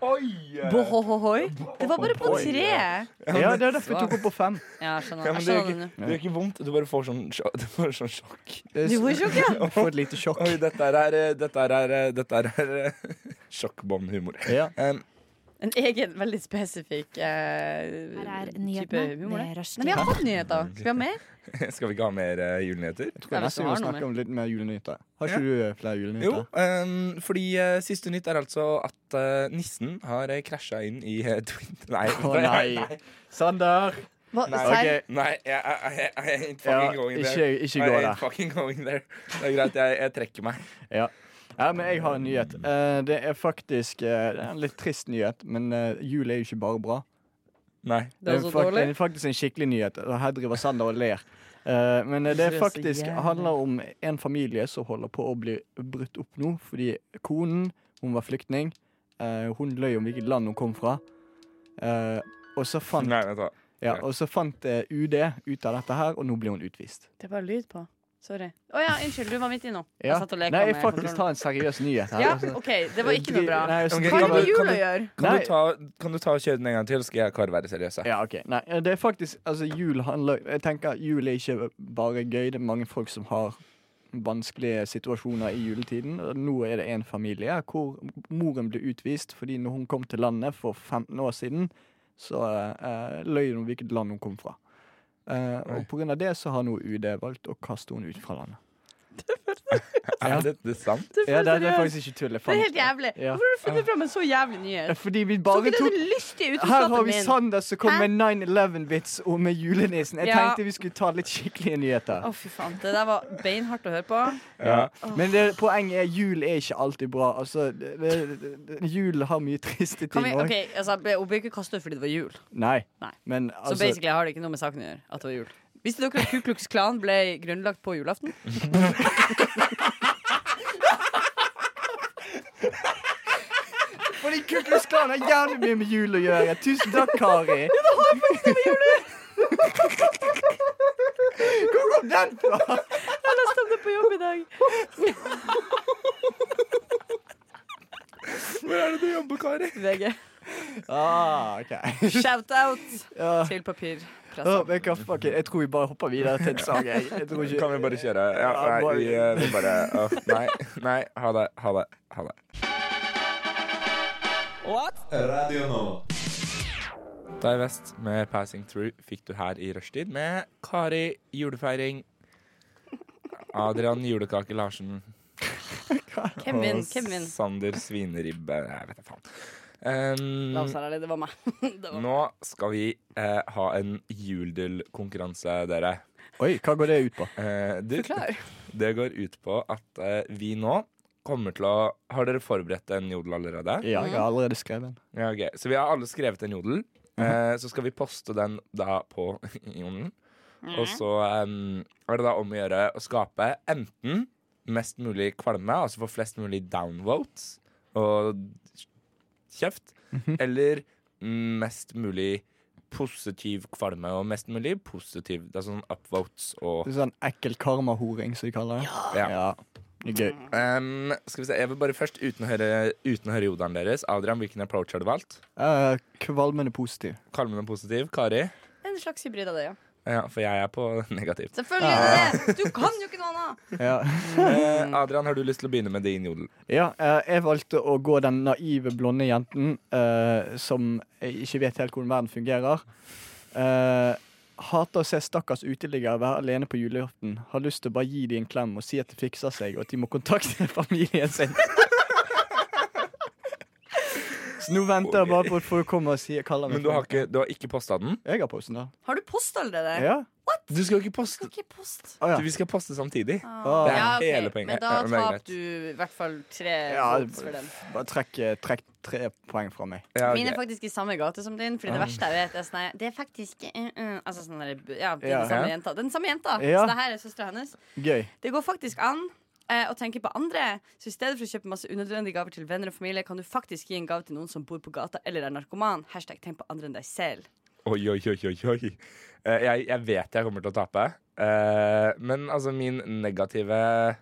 [SPEAKER 5] Oi!
[SPEAKER 7] Bohohohoi. Det var bare på tre.
[SPEAKER 6] Ja, det er derfor jeg tok opp på fem.
[SPEAKER 7] Ja, jeg skjønner.
[SPEAKER 5] Ja, men
[SPEAKER 7] Jeg
[SPEAKER 5] det gjør
[SPEAKER 7] skjønner det
[SPEAKER 5] ikke,
[SPEAKER 7] nå.
[SPEAKER 5] det gjør ikke vondt. Du bare får sånn, sjo- du får sånn sjokk.
[SPEAKER 7] Du får sjokk, ja.
[SPEAKER 6] Få et lite sjokk.
[SPEAKER 5] Oi, dette her er eh, Dette her er, eh, dette her er eh, sjokkbåndhumor.
[SPEAKER 6] Ja.
[SPEAKER 5] Em,
[SPEAKER 7] En egen, veldig spesifikk eh,
[SPEAKER 11] Her er
[SPEAKER 7] type
[SPEAKER 11] nyhetene
[SPEAKER 7] humor.
[SPEAKER 11] med
[SPEAKER 7] det. Nei,
[SPEAKER 11] Rushdie.
[SPEAKER 7] vi har hatt nyheter. Skal vi ha mer?
[SPEAKER 5] skal vi ikke ha mer eh, julenyheter?
[SPEAKER 6] Jeg
[SPEAKER 7] Ja,
[SPEAKER 6] tror
[SPEAKER 7] hvis du
[SPEAKER 6] nesten vi må
[SPEAKER 7] har noe
[SPEAKER 6] snakke om litt mer julenyheter. Har ikke du eh, flere
[SPEAKER 5] Jo,
[SPEAKER 6] julenyheter?
[SPEAKER 5] em, fordi eh, siste nytt er altså at eh, nissen har uh, krasja inn i uh, Twin... Nei.
[SPEAKER 6] Å nei. Sander!
[SPEAKER 7] Hva,
[SPEAKER 5] Nei,
[SPEAKER 7] serr?
[SPEAKER 6] ok.
[SPEAKER 5] Nei, jeg jeg- jeg- jeg ain't
[SPEAKER 6] Ja,
[SPEAKER 5] fucking going
[SPEAKER 6] ikke,
[SPEAKER 5] there.
[SPEAKER 6] ikke gå
[SPEAKER 5] I ain't
[SPEAKER 6] der.
[SPEAKER 5] fucking going there. Det er greit, jeg, jeg trekker meg.
[SPEAKER 6] Ja, men jeg har en nyhet. Eh, det er faktisk eh, det er en litt trist nyhet, men eh, jul er jo ikke bare bra.
[SPEAKER 5] Nei.
[SPEAKER 7] Det er
[SPEAKER 6] Det
[SPEAKER 7] så
[SPEAKER 6] er, fakt
[SPEAKER 7] dårlig.
[SPEAKER 6] det er faktisk en skikkelig nyhet. og Her driver Sander og ler. Eh, men det er
[SPEAKER 7] Det er så
[SPEAKER 6] faktisk
[SPEAKER 7] jævlig.
[SPEAKER 6] handler om en familie som holder på å bli brutt opp nå. Fordi konen hun var flyktning. Eh, hun løy om hvilket land hun kom fra. Eh, og så fant,
[SPEAKER 5] Nei, vet du hva.
[SPEAKER 6] ja, og så fant eh, UD ut av dette her, og nå blir hun utvist.
[SPEAKER 7] Det er bare lyd på. Sorry. Å ja, unnskyld, du var midt i nå.
[SPEAKER 6] Ja.
[SPEAKER 7] Jeg satt og leka
[SPEAKER 6] Nei, jeg
[SPEAKER 7] med
[SPEAKER 6] faktisk
[SPEAKER 7] kontrollen.
[SPEAKER 6] har en seriøs nyhet her.
[SPEAKER 7] Ja,
[SPEAKER 6] altså.
[SPEAKER 7] OK, det var ikke noe bra.
[SPEAKER 6] Nei, altså,
[SPEAKER 5] Ok,
[SPEAKER 6] jeg synes
[SPEAKER 7] Hva
[SPEAKER 5] kan
[SPEAKER 7] har
[SPEAKER 5] du- kan
[SPEAKER 7] det med jul
[SPEAKER 5] du-
[SPEAKER 7] å gjøre?
[SPEAKER 5] Kan
[SPEAKER 6] Nei.
[SPEAKER 5] du, ta, kan du ta og kjøre den en gang til, skal jeg og Kari være seriøse?
[SPEAKER 6] Ja, ok. Nei, det er faktisk Altså, jul handler Jeg tenker at jul er ikke bare gøy. Det er mange folk som har vanskelige situasjoner i juletiden. Og Nå er det en familie hvor moren ble utvist fordi når hun kom til landet for 15 år siden, så eh, løy hun om hvilket land hun kom fra. Eh,
[SPEAKER 5] Oi.
[SPEAKER 6] og på grunn av det så har nå UD valgt å kaste henne ut fra landet.
[SPEAKER 5] Er det, det er sant?
[SPEAKER 7] Det
[SPEAKER 6] Ja, det, det er
[SPEAKER 7] seriøst.
[SPEAKER 6] faktisk ikke tull. jeg
[SPEAKER 7] Det er
[SPEAKER 6] fant
[SPEAKER 7] helt jævlig.
[SPEAKER 6] Ja.
[SPEAKER 7] Hvorfor har du funnet fram en så jævlig nyhet?
[SPEAKER 6] Fordi vi
[SPEAKER 7] Så
[SPEAKER 6] bare
[SPEAKER 7] ikke sånn
[SPEAKER 6] tok
[SPEAKER 7] den lystige
[SPEAKER 6] Her har
[SPEAKER 7] utenskapen
[SPEAKER 6] vi
[SPEAKER 7] min.
[SPEAKER 6] Sander som kom
[SPEAKER 7] Hæ?
[SPEAKER 6] med 9-11-vits og med julenissen. Jeg
[SPEAKER 7] Ja.
[SPEAKER 6] tenkte vi skulle ta litt skikkelige nyheter.
[SPEAKER 7] Å, fy faen. Det der var beinhardt å høre på.
[SPEAKER 5] Ja.
[SPEAKER 6] Men det, poenget er jul er ikke alltid bra. Altså, det, det, det, jul har mye triste
[SPEAKER 7] Kan
[SPEAKER 6] ting
[SPEAKER 7] vi,
[SPEAKER 6] òg.
[SPEAKER 7] ok, altså, Hun ble ikke kastet ut fordi det var jul.
[SPEAKER 6] Nei.
[SPEAKER 7] Nei.
[SPEAKER 6] Men
[SPEAKER 7] Så
[SPEAKER 6] altså
[SPEAKER 7] basically har det ikke noe med saken å gjøre. At det var jul Visste dere at Ku Klux Klan ble grunnlagt på julaften?
[SPEAKER 6] Fordi Kuklus Klan har jævlig mye med jul å gjøre. Tusen takk, Kari. Ja, det har faktisk Hvor kom den fra?
[SPEAKER 7] Jeg leste om det på jobb i dag.
[SPEAKER 5] Hvor er det du jobber, Kari?
[SPEAKER 7] VG.
[SPEAKER 6] Ah, ok
[SPEAKER 7] Shout-out
[SPEAKER 6] ja.
[SPEAKER 7] til
[SPEAKER 6] Å,
[SPEAKER 7] papirpressa.
[SPEAKER 6] men hva, fuck it. Jeg tror vi bare hopper videre til en sang. Jeg, jeg tror ikke
[SPEAKER 5] Kan vi bare kjøre? Ja, nei, vi, eh, vi bare åh, Nei, nei, ha det, ha det, ha det. Dei Vest med 'Passing Through' fikk du her i rushtid med Kari julefeiring. Adrian Julekake Larsen.
[SPEAKER 7] Hvem vinner?
[SPEAKER 5] og
[SPEAKER 7] Hvem vinner?
[SPEAKER 5] Sander Svineribbe. Jeg vet da faen. Um,
[SPEAKER 7] La oss være ærlige, det var meg. Det var meg.
[SPEAKER 5] Nå skal vi eh, ha en juldel-konkurranse, dere.
[SPEAKER 6] Oi, hva går det ut på?
[SPEAKER 5] Eh, du,
[SPEAKER 7] Forklar.
[SPEAKER 5] det går ut på at eh, vi nå kommer til å Har dere forberedt en jodel allerede?
[SPEAKER 6] Ja, jeg har allerede skrevet den.
[SPEAKER 5] Ja, ok. Så vi har alle skrevet en jodel. Eh, så skal vi poste den da på jodelen. Og så em, er det da om å gjøre å skape enten mest mulig kvalme, altså få flest mulig downvotes og kjeft, eller mest mulig positiv kvalme og mest mulig positiv Det er sånn upvotes og
[SPEAKER 6] Det er sånn ekkel karmahoring, som de kaller det.
[SPEAKER 5] Ja.
[SPEAKER 6] Ja. Det er Gøy.
[SPEAKER 5] Em, Skal vi se, Jeg vil bare først, uten å høre, uten å høre jodelen deres, Adrian, hvilken approach har du valgt?
[SPEAKER 6] Eh, kvalmende positiv.
[SPEAKER 5] Kalmende positiv. Kari?
[SPEAKER 7] En slags hybrid av det, ja.
[SPEAKER 5] Ja, for jeg er på negativt.
[SPEAKER 7] Selvfølgelig er det det! Du kan jo ikke noe annet!
[SPEAKER 6] Ja.
[SPEAKER 5] Eh, Adrian, har du lyst til å begynne med din jodel?
[SPEAKER 6] Ja, eh, jeg valgte å gå den naive blonde jenten eh, som ikke vet helt hvordan verden fungerer. Eh, hater å se stakkars uteliggere være alene på julaften. Har lyst til å bare gi dem en klem og si at det fikser seg, og at de må kontakte familien sin. Så nå venter jeg bare på at folk kommer og sier, kaller meg
[SPEAKER 5] Men du har ikke, du har ikke posta den?
[SPEAKER 6] Jeg har posten, da.
[SPEAKER 7] Har du post allerede?
[SPEAKER 6] Ja?
[SPEAKER 5] Du skal jo ikke poste
[SPEAKER 7] Ikke post.
[SPEAKER 6] Å, ja.
[SPEAKER 5] Vi skal poste samtidig.
[SPEAKER 6] Å,
[SPEAKER 5] Det er
[SPEAKER 7] Ja, ok,
[SPEAKER 5] hele poenget.
[SPEAKER 7] Men da
[SPEAKER 5] Ja, men det er
[SPEAKER 7] taper
[SPEAKER 5] greit.
[SPEAKER 7] du i hvert fall tre
[SPEAKER 6] Ja,
[SPEAKER 7] votes for den.
[SPEAKER 6] bare trekk, eh, trekk tre poeng fra meg.
[SPEAKER 5] Ja,
[SPEAKER 7] Mine
[SPEAKER 5] ok.
[SPEAKER 7] er faktisk i samme gate som din, Fordi det verste jeg vet, er sånn her, Det er faktisk eh, eh, Altså sånn der, ja, det er
[SPEAKER 6] Ja.
[SPEAKER 7] den samme
[SPEAKER 5] Ja.
[SPEAKER 7] jenta. Den samme jenta.
[SPEAKER 6] Ja.
[SPEAKER 7] Så det her er søstera hennes.
[SPEAKER 6] Gøy.
[SPEAKER 7] Det går faktisk an eh, å tenke på andre. Så i stedet for å kjøpe masse unødvendige gaver til venner og familie, kan du faktisk gi en gave til noen som bor på gata eller er narkoman. Hashtag tenk på andre enn deg selv.
[SPEAKER 5] Oi, oi, oi, oi, oi. Eh, jeg, jeg vet jeg kommer til å tape. Eh, men altså, min negative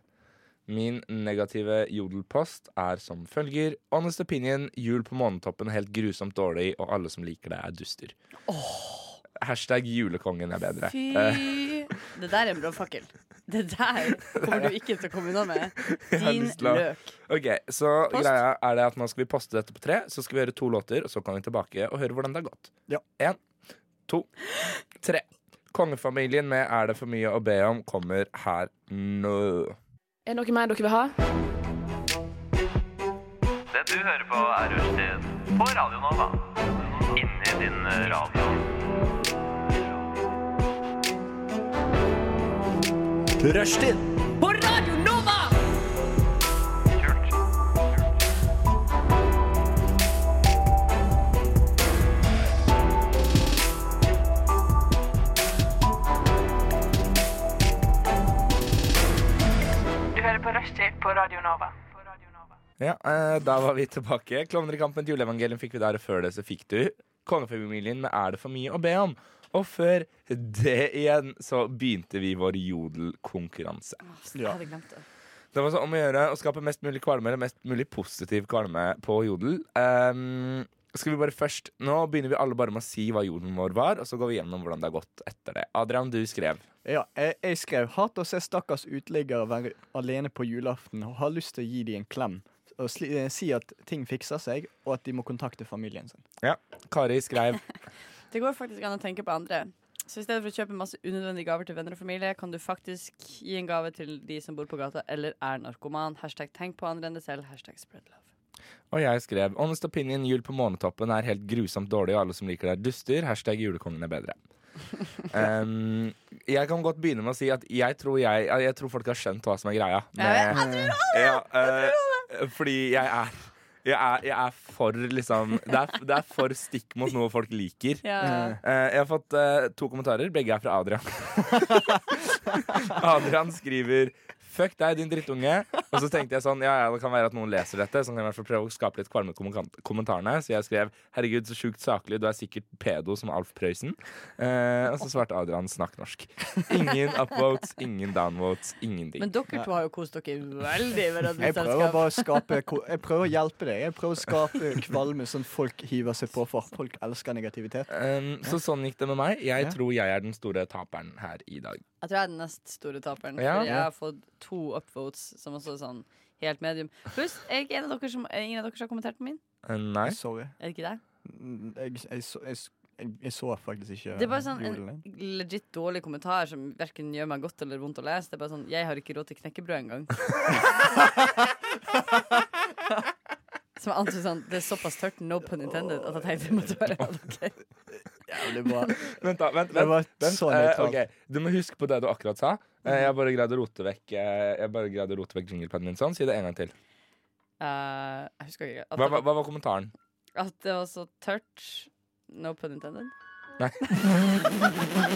[SPEAKER 5] Min negative jodelpost er som følger. Honest opinion, jul på månetoppen helt grusomt dårlig, og alle som liker det, er duster. Hashtag julekongen er bedre.
[SPEAKER 7] Fy
[SPEAKER 5] Eh,
[SPEAKER 7] Det der er en brannfakkel. Det der kommer du ikke til å komme unna med.
[SPEAKER 5] har
[SPEAKER 7] Din
[SPEAKER 5] lyst til å-
[SPEAKER 7] løk.
[SPEAKER 5] ok, Så
[SPEAKER 7] Post.
[SPEAKER 5] greia er det at nå skal vi poste dette på tre, så skal vi gjøre to låter, og så kan vi tilbake og høre hvordan det har gått.
[SPEAKER 6] Ja.
[SPEAKER 5] En, to, tre. Kongefamilien med 'Er det for mye å be om?' kommer her nå.
[SPEAKER 11] Er det noe mer dere vil ha?
[SPEAKER 2] Det du hører på er Rushtid på Radio Nova. Inni din radio.
[SPEAKER 3] Rushtid
[SPEAKER 7] På Radio Nova!
[SPEAKER 10] på rushtid på Radio Nova.
[SPEAKER 5] Ja, eh, Da var vi tilbake. Klovner i kampen til juleevangelium fikk vi der, og før det så fikk du Kongefamilien med Er det for mye å be om? Og før det igjen så begynte vi vår jodelkonkurranse.
[SPEAKER 7] Jeg hadde glemt det.
[SPEAKER 5] Det var så om å gjøre å skape mest mulig kvalme eller mest mulig positiv kvalme på jodel. Ehm, skal vi bare først Nå begynner vi alle bare med å si hva jodelen vår var, og så går vi gjennom hvordan det har gått etter det. Adrian, du skrev.
[SPEAKER 6] Ja, jeg, jeg skrev 'Hat å se stakkars uteliggere være alene på julaften og har lyst til å gi dem en klem'. Og sli, eh, si at ting fikser seg, og at de må kontakte familien sin.
[SPEAKER 5] Ja, Kari skrev
[SPEAKER 7] Det går faktisk an å tenke på andre. Så i stedet for å kjøpe masse unødvendige gaver til venner og familie, kan du faktisk gi en gave til de som bor på gata eller er narkoman. Hashtag tenk på andre enn deg selv. Hashtag spread love.
[SPEAKER 5] Og jeg skrev Honest opinion jul på månetoppen er helt grusomt dårlig, og alle som liker det, er duster. Hashtag julekongen er bedre. Ehm, jeg kan godt begynne med å si at jeg tror, jeg, jeg tror folk har skjønt hva som er greia.
[SPEAKER 7] Jeg vet- jeg
[SPEAKER 5] Ja, eh, fordi jeg er jeg er, jeg er for liksom det er, det er for stikk mot noe folk liker.
[SPEAKER 7] Ja.
[SPEAKER 5] Eh, jeg har fått eh, to kommentarer. Begge er fra Adrian. Adrian skriver Fuck deg, din drittunge. Og så tenkte jeg sånn, ja, ja, det kan være at noen leser dette. Så kan jeg i hvert fall prøve å skape litt kvalme i kommentar- kommentarene. Så jeg skrev herregud, så sjukt saklig, du er sikkert pedo som Alf Prøysen. Eh, og så svarte Adrian snakk norsk. Ingen upvotes, ingen downvotes, ingenting.
[SPEAKER 7] Men dere to har jo kost dere veldig med
[SPEAKER 6] Jeg prøver
[SPEAKER 7] Radioselskapet.
[SPEAKER 6] bare å skape ko- Jeg prøver å hjelpe deg. Jeg prøver å skape kvalme sånn folk hiver seg på for. Folk elsker negativitet.
[SPEAKER 5] Um, Så sånn gikk det med meg. Jeg tror jeg er den store taperen her i dag.
[SPEAKER 7] Jeg tror jeg er den nest store taperen.
[SPEAKER 5] Ja.
[SPEAKER 7] For jeg har fått to upvotes, som også er sånn helt medium. Pluss, er ikke en av dere som, er ingen av dere som har kommentert på min?
[SPEAKER 5] Eh, Nei.
[SPEAKER 6] Sorry.
[SPEAKER 7] Er det ikke deg?
[SPEAKER 6] Mm, Jeg, jeg, så- jeg, s- jeg, jeg så faktisk ikke
[SPEAKER 7] Det er bare sånn
[SPEAKER 6] jodelen.
[SPEAKER 7] en legit dårlig kommentar som verken gjør meg godt eller vondt å lese. Det er bare sånn 'Jeg har ikke råd til knekkebrød engang'. som jeg antok sånn Det er såpass tørt, no pun intended, at jeg tenkte det måtte være av dere.
[SPEAKER 5] Vent, da. Vent,
[SPEAKER 6] Det var
[SPEAKER 5] vent, vent.
[SPEAKER 6] så Mhm.
[SPEAKER 5] Eh,
[SPEAKER 6] nøytralt.
[SPEAKER 5] ok. Du må huske på det du akkurat sa. Eh, jeg bare greide å rote vekk eh, Jeg bare greide å rote vekk jinglepennen min sånn. Si det en gang til.
[SPEAKER 7] Eh, jeg husker ikke. At,
[SPEAKER 5] Hva, hva, hva var kommentaren?
[SPEAKER 7] at det var så tørt, no pun intended.
[SPEAKER 5] Nei.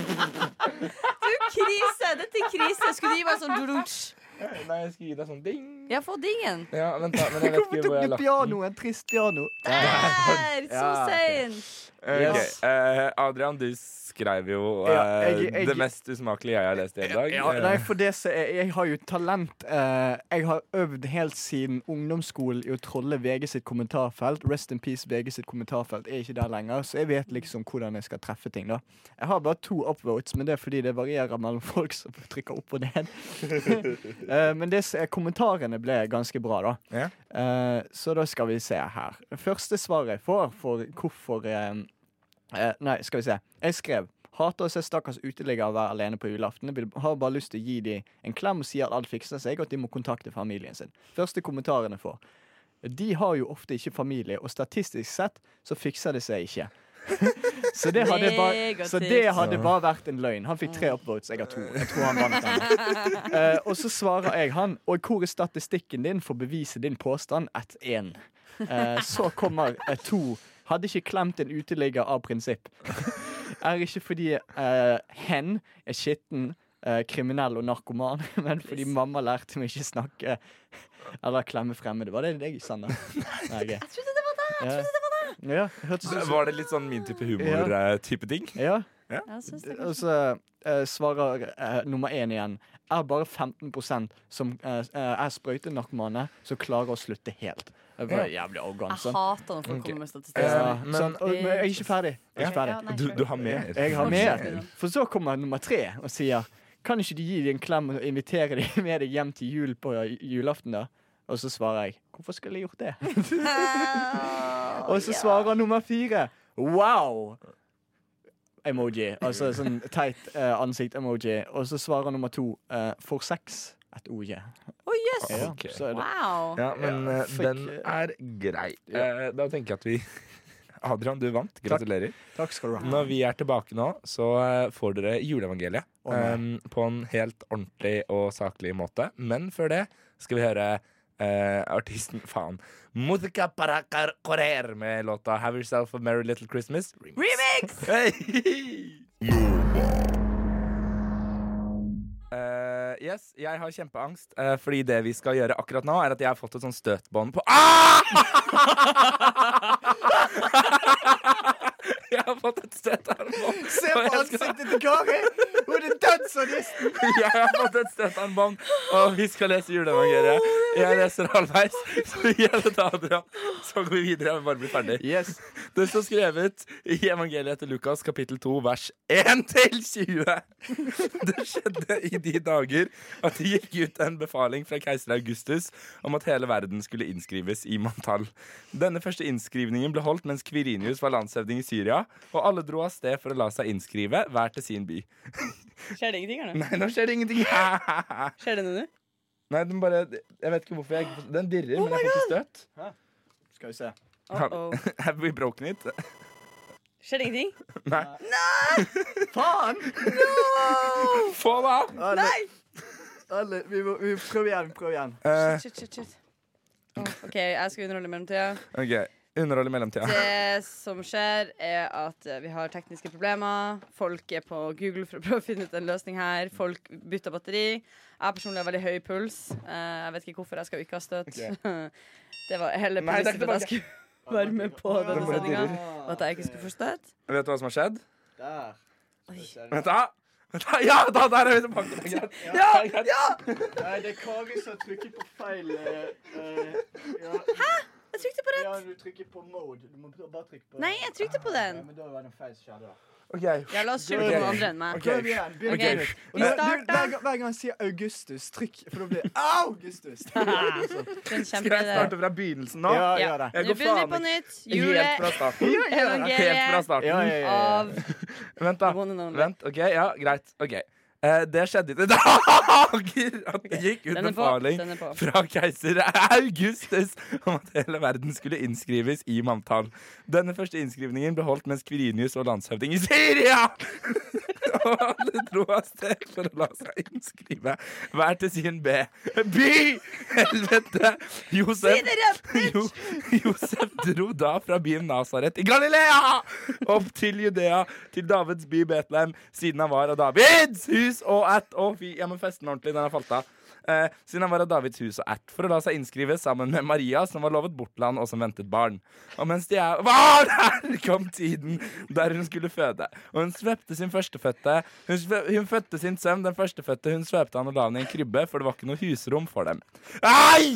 [SPEAKER 7] Du, krise! Dette er krise. Skulle de gi meg sånn dulunch?
[SPEAKER 6] Eh,
[SPEAKER 5] Nei, jeg skal gi deg sånn ding.
[SPEAKER 7] Jeg får dingen.
[SPEAKER 5] Ja, vent, da. Men jeg vet ikke hvor jeg har
[SPEAKER 6] Tok du
[SPEAKER 5] lagt den.
[SPEAKER 6] pianoen? Trist piano.
[SPEAKER 7] Der! Så
[SPEAKER 6] Ja, ok.
[SPEAKER 7] seint.
[SPEAKER 5] Eh, ok.
[SPEAKER 6] Yes.
[SPEAKER 5] Eh, Adrian, du skrev jo eh,
[SPEAKER 6] Ja, jeg- jeg-
[SPEAKER 5] det mest usmakelige jeg har lest i hele dag.
[SPEAKER 6] Ja,
[SPEAKER 5] Eh,
[SPEAKER 6] nei, for det så er, jeg har jo talent. Eh, jeg har øvd helt siden ungdomsskolen i å trolle VG sitt kommentarfelt. Rest in peace, VG sitt kommentarfelt er ikke der lenger, så jeg vet liksom hvordan jeg skal treffe ting. da Jeg har bare to upvotes, men det er fordi det varierer mellom folk som trykker opp og ned. Eh, men det, som er- kommentarene ble ganske bra, da.
[SPEAKER 5] Ja.
[SPEAKER 6] Eh, så da skal vi se her. Første svaret jeg får for hvorfor eh, eh, Nei, skal vi se. Jeg skrev Hater å se stakkars uteliggere være alene på julaften. Jeg vil- har bare lyst til å gi dem en klem og si at alt fikser seg, og at de må kontakte familien sin. Første kommentaren jeg får. De har jo ofte ikke familie, og statistisk sett så fikser det seg ikke. så, det hadde bare, så det
[SPEAKER 7] Negativt.
[SPEAKER 6] hadde bare vært en løgn. Han fikk tre upvotes, jeg har to. Jeg tror han vant den. Eh, og så svarer jeg han Og hvor er statistikken din for å bevise din påstand? At én. Eh, så kommer eh, to. Hadde ikke klemt en uteligger av prinsipp. er ikke fordi eh, hen er skitten, eh, kriminell og narkoman, men fordi mamma lærte meg ikke snakke eller klemme fremmede. Var det deg, Sander? Nei, jeg trodde det var deg! Jeg trodde det var deg. Ja, hørtes ut som
[SPEAKER 5] Var det litt sånn min type humor-type ting?
[SPEAKER 6] ja.
[SPEAKER 7] Jeg synes det er
[SPEAKER 6] Og så eh, svarer eh, nummer én igjen Er bare 15 som eh, er sprøytenarkomane Som klarer å slutte helt Det var jævlig arrogant
[SPEAKER 7] Jeg
[SPEAKER 6] sånn.
[SPEAKER 7] hater når folk
[SPEAKER 5] Ok.
[SPEAKER 7] kommer med statistikk.
[SPEAKER 6] ja,
[SPEAKER 5] men-
[SPEAKER 6] sånn, og, men jeg er ikke ferdig, jeg er ikke ferdig.
[SPEAKER 7] Ja, nei,
[SPEAKER 5] Du,
[SPEAKER 7] kjør.
[SPEAKER 5] du har mer?
[SPEAKER 6] Jeg har
[SPEAKER 7] Fortsett.
[SPEAKER 6] med For så kommer nummer tre og sier Kan ikke du gi dem en klem og invitere dem med deg hjem til jul på julaften da? Og så svarer jeg Hvorfor skulle jeg gjort det? Og så svarer nummer fire Wow Emoji, altså sånn teit eh, ansikt-emoji Og så svarer nummer to eh, For sex, et OJ
[SPEAKER 7] Å, Oh, yes!
[SPEAKER 6] ja,
[SPEAKER 5] Ok.
[SPEAKER 6] så er det,
[SPEAKER 7] Wow.
[SPEAKER 5] Ja, men
[SPEAKER 6] Ja,
[SPEAKER 5] eh,
[SPEAKER 6] fikk-
[SPEAKER 5] den er grei. Eh, da tenker jeg at vi Adrian, du vant. Gratulerer.
[SPEAKER 6] Takk skal du ha
[SPEAKER 5] Når vi er tilbake nå, så eh, får dere juleevangeliet.
[SPEAKER 6] Å, nei.
[SPEAKER 5] em, på en helt ordentlig og saklig måte. Men før det skal vi høre eh, artisten Faen. Musica para car- correr med låta 'Have Yourself a Merry Little Christmas'. Remix.
[SPEAKER 7] Remix!
[SPEAKER 5] Hey! Eh, yes, jeg har kjempeangst, eh, fordi det vi skal gjøre akkurat nå, er at jeg har fått et sånn støtbånd på ah! Jeg har fått et støtarmbånd.
[SPEAKER 6] Se
[SPEAKER 5] og
[SPEAKER 6] på
[SPEAKER 5] jeg skal-
[SPEAKER 6] ansiktet til Kari! Hun er dødsartisten!
[SPEAKER 5] Jeg har fått et støtbånd, og vi skal lese juleevangeliet. Jeg leser halvveis, så gjelder det Adrian. Så går vi videre. Jeg vil bare bli ferdig.
[SPEAKER 6] Yes.
[SPEAKER 5] Det står skrevet i evangeliet etter Lukas kapittel 2 vers 1 til 20. Det skjedde i de dager at det gikk ut en befaling fra keiser Augustus om at hele verden skulle innskrives i manntall. Denne første innskrivningen ble holdt mens Kvirinius var landshøvding i Syria, og alle dro av sted for å la seg innskrive, hver til sin by.
[SPEAKER 7] Skjer det ingenting her nå?
[SPEAKER 5] Nei, nå skjer det ingenting.
[SPEAKER 7] Skjer det noe nå?
[SPEAKER 5] Nei, den bare Jeg vet ikke hvorfor jeg Den dirrer, men jeg får ikke støt.
[SPEAKER 6] Skal vi se.
[SPEAKER 7] Uh-oh.
[SPEAKER 5] Have we broken it?
[SPEAKER 7] Skjer det ingenting?
[SPEAKER 5] Nei.
[SPEAKER 6] Faen!
[SPEAKER 5] Få det av!
[SPEAKER 6] Alle, alle, vi, må, vi prøver igjen. Prøv igjen.
[SPEAKER 5] Eh,
[SPEAKER 7] Shit, shit, shit. Åh, OK, jeg skal underholde i mellomtida.
[SPEAKER 5] OK. Underhold i mellomtida.
[SPEAKER 7] Det som skjer, er at eh, vi har tekniske problemer. Folk er på Google for å prøve å finne ut en løsning her. Folk bytter batteri. Jeg personlig har veldig høy puls. Eh, Jeg vet ikke hvorfor jeg skal ikke ha støt. Det var hele
[SPEAKER 5] Nei, det er
[SPEAKER 7] premisset for at jeg
[SPEAKER 5] tilbake.
[SPEAKER 7] skulle være med på denne
[SPEAKER 5] bare
[SPEAKER 7] sendinga. Og at jeg ikke skulle få støt.
[SPEAKER 5] Vet du hva som har skjedd?
[SPEAKER 6] Der.
[SPEAKER 5] Vent da. Vent da. Ja, da, der er vi tilbake. Det er greit. Ja, ja,
[SPEAKER 6] Nei, det er Kari som har trykket på feil eh,
[SPEAKER 7] Jeg trykte på
[SPEAKER 6] Ja,
[SPEAKER 7] rett!
[SPEAKER 6] du trykker på mode. Du må bare trykke på
[SPEAKER 7] Nei, jeg trykte på den.
[SPEAKER 6] men da var det en feil som skjedde, da.
[SPEAKER 5] OK.
[SPEAKER 7] Ja, la oss skylde på noen andre enn meg.
[SPEAKER 6] Prøv igjen. Begynn
[SPEAKER 5] Ok.
[SPEAKER 6] på nytt.
[SPEAKER 7] Vi
[SPEAKER 6] Nei, du,
[SPEAKER 7] starter.
[SPEAKER 6] Hver gang- hver gang han sier Augustus, trykk, for da blir det Augustus.
[SPEAKER 7] Det er en
[SPEAKER 5] Skal jeg
[SPEAKER 7] kjempeidé.
[SPEAKER 5] starte fra begynnelsen nå?
[SPEAKER 6] Ja,
[SPEAKER 7] Ja.
[SPEAKER 6] gjør det.
[SPEAKER 5] Jeg
[SPEAKER 7] Nå
[SPEAKER 5] går
[SPEAKER 7] begynner vi
[SPEAKER 5] faen
[SPEAKER 7] på
[SPEAKER 5] ikke-
[SPEAKER 7] nytt.
[SPEAKER 5] Helt fra
[SPEAKER 7] Jule
[SPEAKER 5] starten. Helt fra
[SPEAKER 7] juleevangeliet
[SPEAKER 5] starten.
[SPEAKER 7] av
[SPEAKER 5] Vent, da.
[SPEAKER 7] The one and only.
[SPEAKER 5] Vent, ok, ja, greit. Ok Eh, Det skjedde i de dager at det gikk ut
[SPEAKER 7] Den er på.
[SPEAKER 5] befaling
[SPEAKER 7] Den er på.
[SPEAKER 5] fra keiser Augustus om at hele verden skulle innskrives i manntall. Denne første innskrivningen ble holdt mens Kvirinius var landshøvding i Syria! Og alle dro av sted for å la seg innskrive hver til sin B. By! Helvete! Josef jo, Josef dro da fra byen Nasaret i Galilea opp til Judea, til Davids by Betlehem, siden han var av Davids hus og ætt Å, fy, jeg må feste den ordentlig, den har falt av. Eh, siden han var av Davids hus og ætt, for å la seg innskrive sammen med Maria, som var lovet bortland og som ventet barn. Og mens de er Hva? Der kom tiden der hun skulle føde. Og hun svøpte sin førstefødte. Hun, svø- hun fødte sin sønn, den førstefødte. Hun svøpte han og la han i en krybbe, for det var ikke noe husrom for dem. Ei!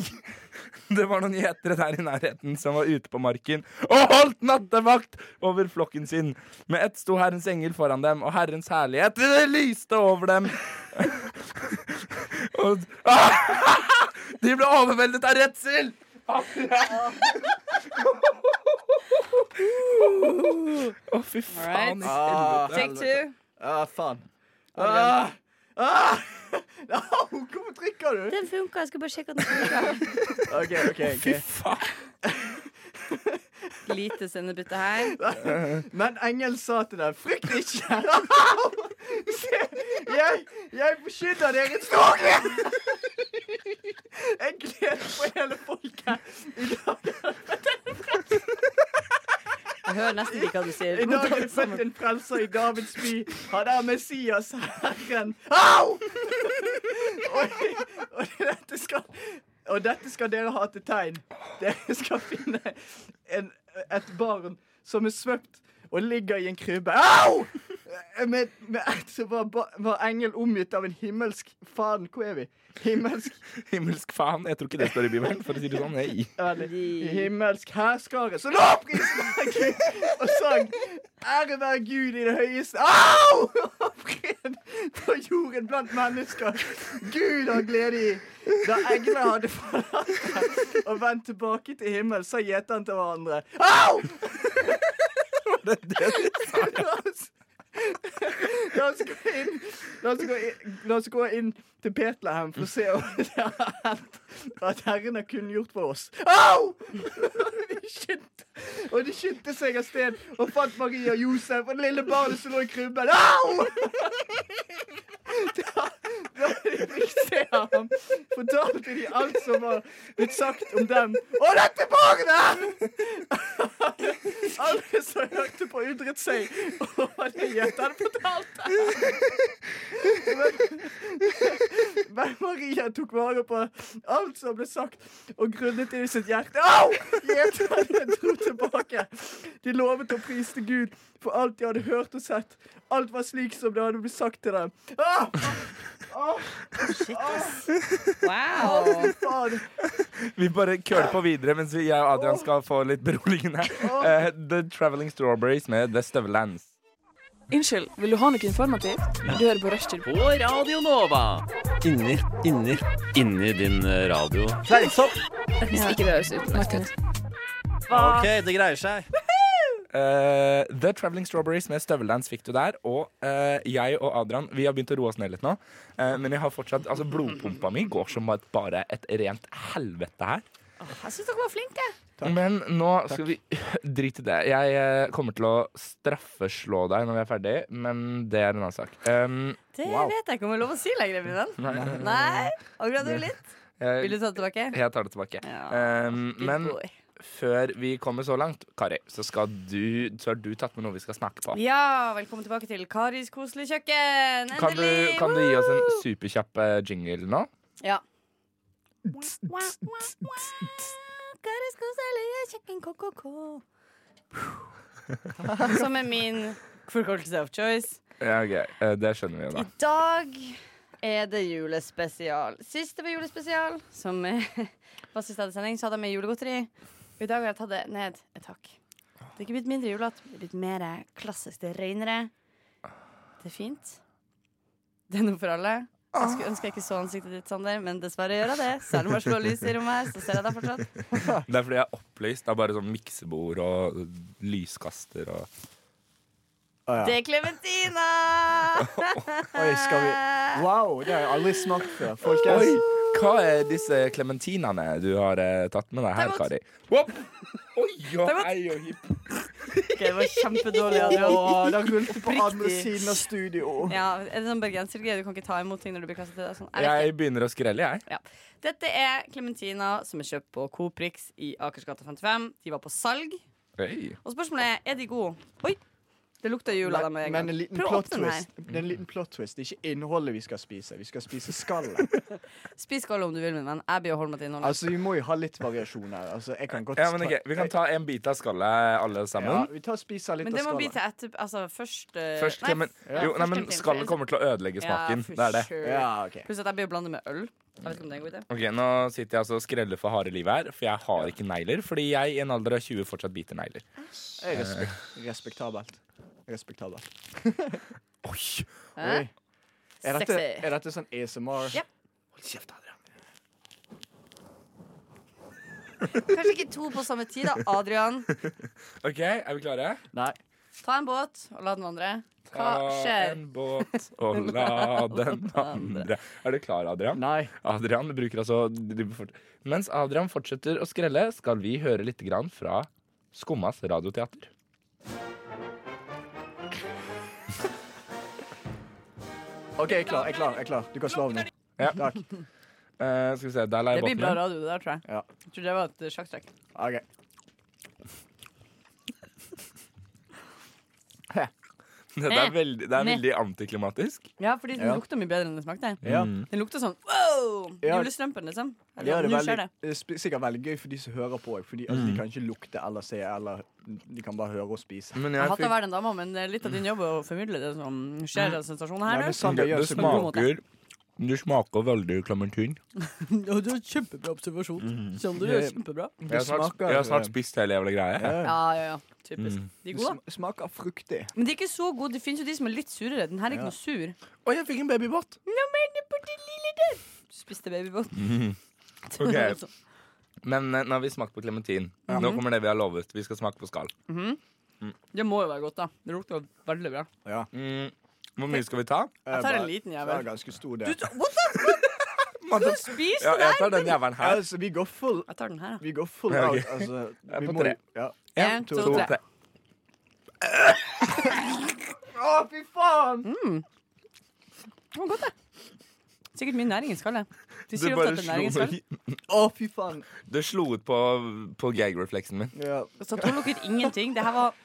[SPEAKER 5] Det var noen gjetere der i nærheten som var ute på marken og holdt nattevakt over flokken sin. Med ett sto Herrens engel foran dem, og Herrens herlighet det lyste over dem. og De ble overveldet av redsel! Å, fy faen. i
[SPEAKER 6] Ah,
[SPEAKER 5] helvete.
[SPEAKER 7] Take two.
[SPEAKER 6] ah, faen. Ah, ah. Au, Hvorfor trykker du?
[SPEAKER 7] Den funka. Jeg skulle bare sjekke at den funka.
[SPEAKER 6] OK, OK. ok.
[SPEAKER 5] Fy faen.
[SPEAKER 7] Lite sendebytte her.
[SPEAKER 6] Men engelen sa til deg, frykt ikke! Se, jeg, jeg beskytter dere trolig! Jeg gleder på hele folket. I dag,
[SPEAKER 7] Jeg hører nesten ikke hva du sier.
[SPEAKER 6] I dag er det født en frelser i Davids by. Han er Messias, Herren. Au! Og, og, dette skal, og dette skal dere ha til tegn. Dere skal finne en, et barn som er svøpt og ligger i en krybbe. Au! Med, med ett så var, ba- var engel omgitt av en himmelsk Faen, hvor er vi? Himmelsk
[SPEAKER 5] Himmelsk faen. Jeg tror ikke det står i Bibelen, for å si det sånn. Nei.
[SPEAKER 6] eller, Himmelsk hærskare som lovpriste deg, Gud, og sang 'Ære være Gud i det høyeste'. Au! Og fred på jorden blant mennesker. Gud har glede i. Da englene hadde forlatt deg og vendt tilbake til himmelen, sa gjeteren til hverandre. Au!
[SPEAKER 5] Det, det,
[SPEAKER 6] La oss- La oss gå inn La oss gå inn, la oss gå inn til Betlehem for å se om det har hendt at Herren har kunngjort for oss. Au! De skyndte- Og de skyndte seg av sted og fant Maria og Josef og det lille barnet som lå i krybben. Au! Da, da de fikk se ham, fortalte de alt som var blitt sagt om dem. Og dette barnet! Alle som hørte på, undret seg over det gjeteren fortalte. Men, men Maria tok vare på alt som ble sagt, og grunnet det i sitt hjerte. Au! Gjeterne dro tilbake. De lovet å prise Gud for alt de hadde hørt og sett. Alt var slik som det hadde blitt sagt til dem. Ah! Ah!
[SPEAKER 7] Wow.
[SPEAKER 6] Fy faen.
[SPEAKER 5] Vi bare køler på videre mens vi, jeg og Adrian skal få litt beroligende. Eh, The Traveling Strawberries med The Støvelands.
[SPEAKER 10] Unnskyld, vil du ha noe informativt? Du hører på Rushtid.
[SPEAKER 2] På Radio Nova. Inni, inni, inni din eh, radio. Fleisopp.
[SPEAKER 10] Hvis ikke det høres ut.
[SPEAKER 2] OK, det greier seg.
[SPEAKER 5] Eh, The Traveling Strawberries med Støvelands fikk du der. Og eh, jeg og Adrian vi har begynt å roe oss ned litt nå. Eh, men jeg har fortsatt, altså blodpumpa mi går som et- bare et rent helvete her.
[SPEAKER 7] Jeg syns dere var flinke.
[SPEAKER 5] Men nå skal vi Drit i det. Jeg eh, kommer til å straffeslå deg når vi er ferdig, men det er en annen sak. Um,
[SPEAKER 7] Det
[SPEAKER 5] Wow.
[SPEAKER 7] vet jeg ikke om jeg er lov å si lenger, min venn.
[SPEAKER 5] nei,
[SPEAKER 7] Nei? Angrer du litt?
[SPEAKER 5] jeg-
[SPEAKER 7] Vil du ta det tilbake?
[SPEAKER 5] eh, jeg tar det tilbake.
[SPEAKER 7] Ja,
[SPEAKER 5] um,
[SPEAKER 7] Good
[SPEAKER 5] men
[SPEAKER 7] boy.
[SPEAKER 5] før vi kommer så langt, Kari, så, skal du, så har du tatt med noe vi skal snakke på.
[SPEAKER 7] Ja, velkommen tilbake til Karis koselige kjøkken. Endelig!
[SPEAKER 5] Kan du, kan du gi oss en
[SPEAKER 7] Woo!
[SPEAKER 5] superkjapp eh, jingle nå?
[SPEAKER 7] Ja. Karis koselige kjøkken, ko-ko-ko. Som er min forkortelse of choice.
[SPEAKER 5] Ja, ok, eh, Det skjønner vi jo,
[SPEAKER 7] I
[SPEAKER 5] da.
[SPEAKER 7] dag er det julespesial. Sist det var julespesial, som eh, var siste hadde sending, så hadde jeg med julegodteri. Og I dag har jeg tatt det ned et hakk. Det er ikke blitt mindre julete, det er blitt mer klassisk. Det er renere. Det er fint. Det er noe for alle. Jeg skulle ønske jeg ikke så ansiktet ditt, Sander, men dessverre gjør jeg det. Selv om jeg slår lys i rommet her, så ser jeg deg fortsatt.
[SPEAKER 5] Det er fordi jeg er opplyst av bare sånn miksebord og lyskaster og
[SPEAKER 7] Det er Klementina!
[SPEAKER 6] Oi, skal vi
[SPEAKER 7] Eh.
[SPEAKER 6] Wow, det har jeg aldri smakt før, folkens.
[SPEAKER 5] Oi, hva er disse klementinene du har eh, tatt med deg her,
[SPEAKER 7] imot.
[SPEAKER 5] Kari? Whoop! Oi, og
[SPEAKER 7] imot.
[SPEAKER 5] hei og hipp.
[SPEAKER 7] Ok, det var kjempedårlig, Adrian.
[SPEAKER 6] Åh, det rullte på andre
[SPEAKER 7] Oppriktig.
[SPEAKER 6] siden av studio.
[SPEAKER 7] Ja, er det sånn bergensergreie? Du kan ikke ta imot ting når du blir kastet til deg? Sånn. Jeg vet ikke.
[SPEAKER 5] Jeg begynner å skrelle, jeg.
[SPEAKER 7] Ja. Dette er Clementina som er kjøpt på Coprix i Akersgata 55. De var på salg.
[SPEAKER 5] Hey.
[SPEAKER 7] Og spørsmålet er er de gode. Oi! Det lukta jul av
[SPEAKER 6] Men,
[SPEAKER 7] dem. med en
[SPEAKER 6] men
[SPEAKER 7] gang.
[SPEAKER 6] en liten
[SPEAKER 7] Prøv å
[SPEAKER 6] plot
[SPEAKER 7] åpne den her.
[SPEAKER 6] twist. Det er en liten plot twist. Det er ikke innholdet vi skal spise. Vi skal spise skallet.
[SPEAKER 7] Spis skål om du vil, min venn. Jeg blir å holde meg til innholdet.
[SPEAKER 6] Altså, Vi må jo ha litt variasjon her. Altså, jeg kan godt
[SPEAKER 5] Ja, men ok, Vi kan ta en bit av skallet, alle
[SPEAKER 6] ja,
[SPEAKER 5] sammen.
[SPEAKER 6] Vi tar og spiser litt
[SPEAKER 7] Men det
[SPEAKER 6] av
[SPEAKER 7] må bli
[SPEAKER 6] skallet.
[SPEAKER 7] til etter Altså først eh,
[SPEAKER 5] Først
[SPEAKER 7] nei,
[SPEAKER 5] klemen...
[SPEAKER 7] f-
[SPEAKER 5] Jo,
[SPEAKER 7] først
[SPEAKER 5] nei, men
[SPEAKER 7] klementin, for
[SPEAKER 5] skallet
[SPEAKER 7] ellers-
[SPEAKER 5] kommer til å ødelegge smaken.
[SPEAKER 7] Ja, for
[SPEAKER 5] Det er det.
[SPEAKER 7] sure.
[SPEAKER 6] Ja, ok
[SPEAKER 7] Pluss at jeg blir å blande med øl. Jeg vet ikke om det er en god idé.
[SPEAKER 5] Ok, Nå sitter jeg altså og skreller for harde livet her, for jeg har ikke negler. Fordi jeg i en alder av 20 fortsatt biter negler.
[SPEAKER 6] Eh, respekt, Respektabelt. Respektabelt.
[SPEAKER 5] Oi!
[SPEAKER 7] Hæ?
[SPEAKER 6] Oi. Er dette,
[SPEAKER 7] Sexy.
[SPEAKER 6] er dette sånn ASMR?
[SPEAKER 7] Ja.
[SPEAKER 5] Hold kjeft, Adrian.
[SPEAKER 7] Kanskje ikke to på samme tid, da. Adrian,
[SPEAKER 5] OK, er vi klare?
[SPEAKER 6] Nei.
[SPEAKER 7] ta en båt og la den vandre. Hva
[SPEAKER 5] Ta
[SPEAKER 7] skjer?
[SPEAKER 5] en båt og la den andre Er du klar, Adrian?
[SPEAKER 6] Nei.
[SPEAKER 5] Adrian bruker altså driver fort- Mens Adrian fortsetter å skrelle, skal vi høre litt grann fra Skummas radioteater.
[SPEAKER 6] OK, jeg er klar. Jeg er klar. Jeg er klar. Du kan slå av nå.
[SPEAKER 5] Ja.
[SPEAKER 6] Takk.
[SPEAKER 5] Eh, skal vi se, Der la
[SPEAKER 7] Det
[SPEAKER 5] jeg
[SPEAKER 7] blir
[SPEAKER 5] båten
[SPEAKER 7] bra
[SPEAKER 5] min.
[SPEAKER 7] radio, det der, tror jeg.
[SPEAKER 6] Ja.
[SPEAKER 7] Jeg tror det var et eh, sjakktrekk.
[SPEAKER 6] OK.
[SPEAKER 5] Det er veldig, det er veldig antiklimatisk.
[SPEAKER 7] Ja, fordi den
[SPEAKER 6] Ja.
[SPEAKER 7] lukta mye bedre enn den smakte.
[SPEAKER 5] Mm.
[SPEAKER 6] Ja.
[SPEAKER 7] Den lukter sånn wow!
[SPEAKER 6] Ja.
[SPEAKER 7] Julestrømpen, liksom. Eller,
[SPEAKER 6] Ja, det
[SPEAKER 7] nå
[SPEAKER 6] er
[SPEAKER 7] skjer
[SPEAKER 6] veldig, det er sp- sikkert veldig gøy for de som hører på. Fordi altså,
[SPEAKER 5] Mm.
[SPEAKER 6] De kan ikke lukte eller se, eller de kan bare høre og spise.
[SPEAKER 5] Men
[SPEAKER 7] Jeg
[SPEAKER 5] jeg
[SPEAKER 7] hater å
[SPEAKER 5] fikk,
[SPEAKER 7] være den dama, men eh, litt av din jobb er å formidle det som skjer av sensasjoner
[SPEAKER 6] Nei,
[SPEAKER 7] her.
[SPEAKER 6] men
[SPEAKER 7] nå.
[SPEAKER 6] Sander
[SPEAKER 5] det,
[SPEAKER 6] gjør
[SPEAKER 5] det
[SPEAKER 6] så god-
[SPEAKER 5] smaker Det smaker veldig klementin.
[SPEAKER 7] Ja, du har kjempebra observasjon.
[SPEAKER 5] Mm.
[SPEAKER 7] Sander
[SPEAKER 6] gjør
[SPEAKER 7] kjempebra.
[SPEAKER 5] Jeg har snart,
[SPEAKER 6] smaker,
[SPEAKER 5] jeg har snart
[SPEAKER 6] eh,
[SPEAKER 5] spist hele jævla greia.
[SPEAKER 6] Ja.
[SPEAKER 7] Ja, ja, ja. Typisk.
[SPEAKER 5] Mm.
[SPEAKER 7] De er
[SPEAKER 6] Det
[SPEAKER 7] gode.
[SPEAKER 6] sm- smaker fruktig.
[SPEAKER 7] Men de er ikke så gode. Det fins jo de som er litt surere. Den her er
[SPEAKER 6] Ja.
[SPEAKER 7] ikke noe sur.
[SPEAKER 5] Å, jeg fikk en babybåt!
[SPEAKER 7] Du spiste babybåt.
[SPEAKER 5] Mm. Ok. Men eh, nå har vi smakt på klementin. Nå kommer det vi har lovet. Vi skal smake på skall.
[SPEAKER 7] Det må jo være godt, da. Det lukter jo veldig bra.
[SPEAKER 6] Ja.
[SPEAKER 5] Mm. Hvor mye skal vi ta?
[SPEAKER 7] Jeg tar en liten
[SPEAKER 6] Det er
[SPEAKER 7] jævel.
[SPEAKER 6] ganske stor del.
[SPEAKER 7] Spis
[SPEAKER 5] Ja,
[SPEAKER 7] den
[SPEAKER 5] jeg
[SPEAKER 7] her!
[SPEAKER 5] tar den jævelen her.
[SPEAKER 6] Altså, vi går full
[SPEAKER 7] Jeg tar den her, da.
[SPEAKER 6] Vi går full
[SPEAKER 5] Ja, ok.
[SPEAKER 6] out. Altså,
[SPEAKER 5] er
[SPEAKER 6] vi
[SPEAKER 5] på
[SPEAKER 6] må-
[SPEAKER 5] tre.
[SPEAKER 6] Ja.
[SPEAKER 7] En, to,
[SPEAKER 5] To,
[SPEAKER 7] tre.
[SPEAKER 5] tre.
[SPEAKER 6] Å, fy faen!
[SPEAKER 7] Det var godt, det. Sikkert mye næring i skallet. De
[SPEAKER 5] Du
[SPEAKER 7] sier ofte
[SPEAKER 5] bare
[SPEAKER 7] at det er næring i
[SPEAKER 5] slo,
[SPEAKER 7] skallet.
[SPEAKER 6] Å, fy faen.
[SPEAKER 5] du slo ut på, på gag-refleksen min.
[SPEAKER 6] Ja. eh,
[SPEAKER 7] Så to lukker ingenting. Det her var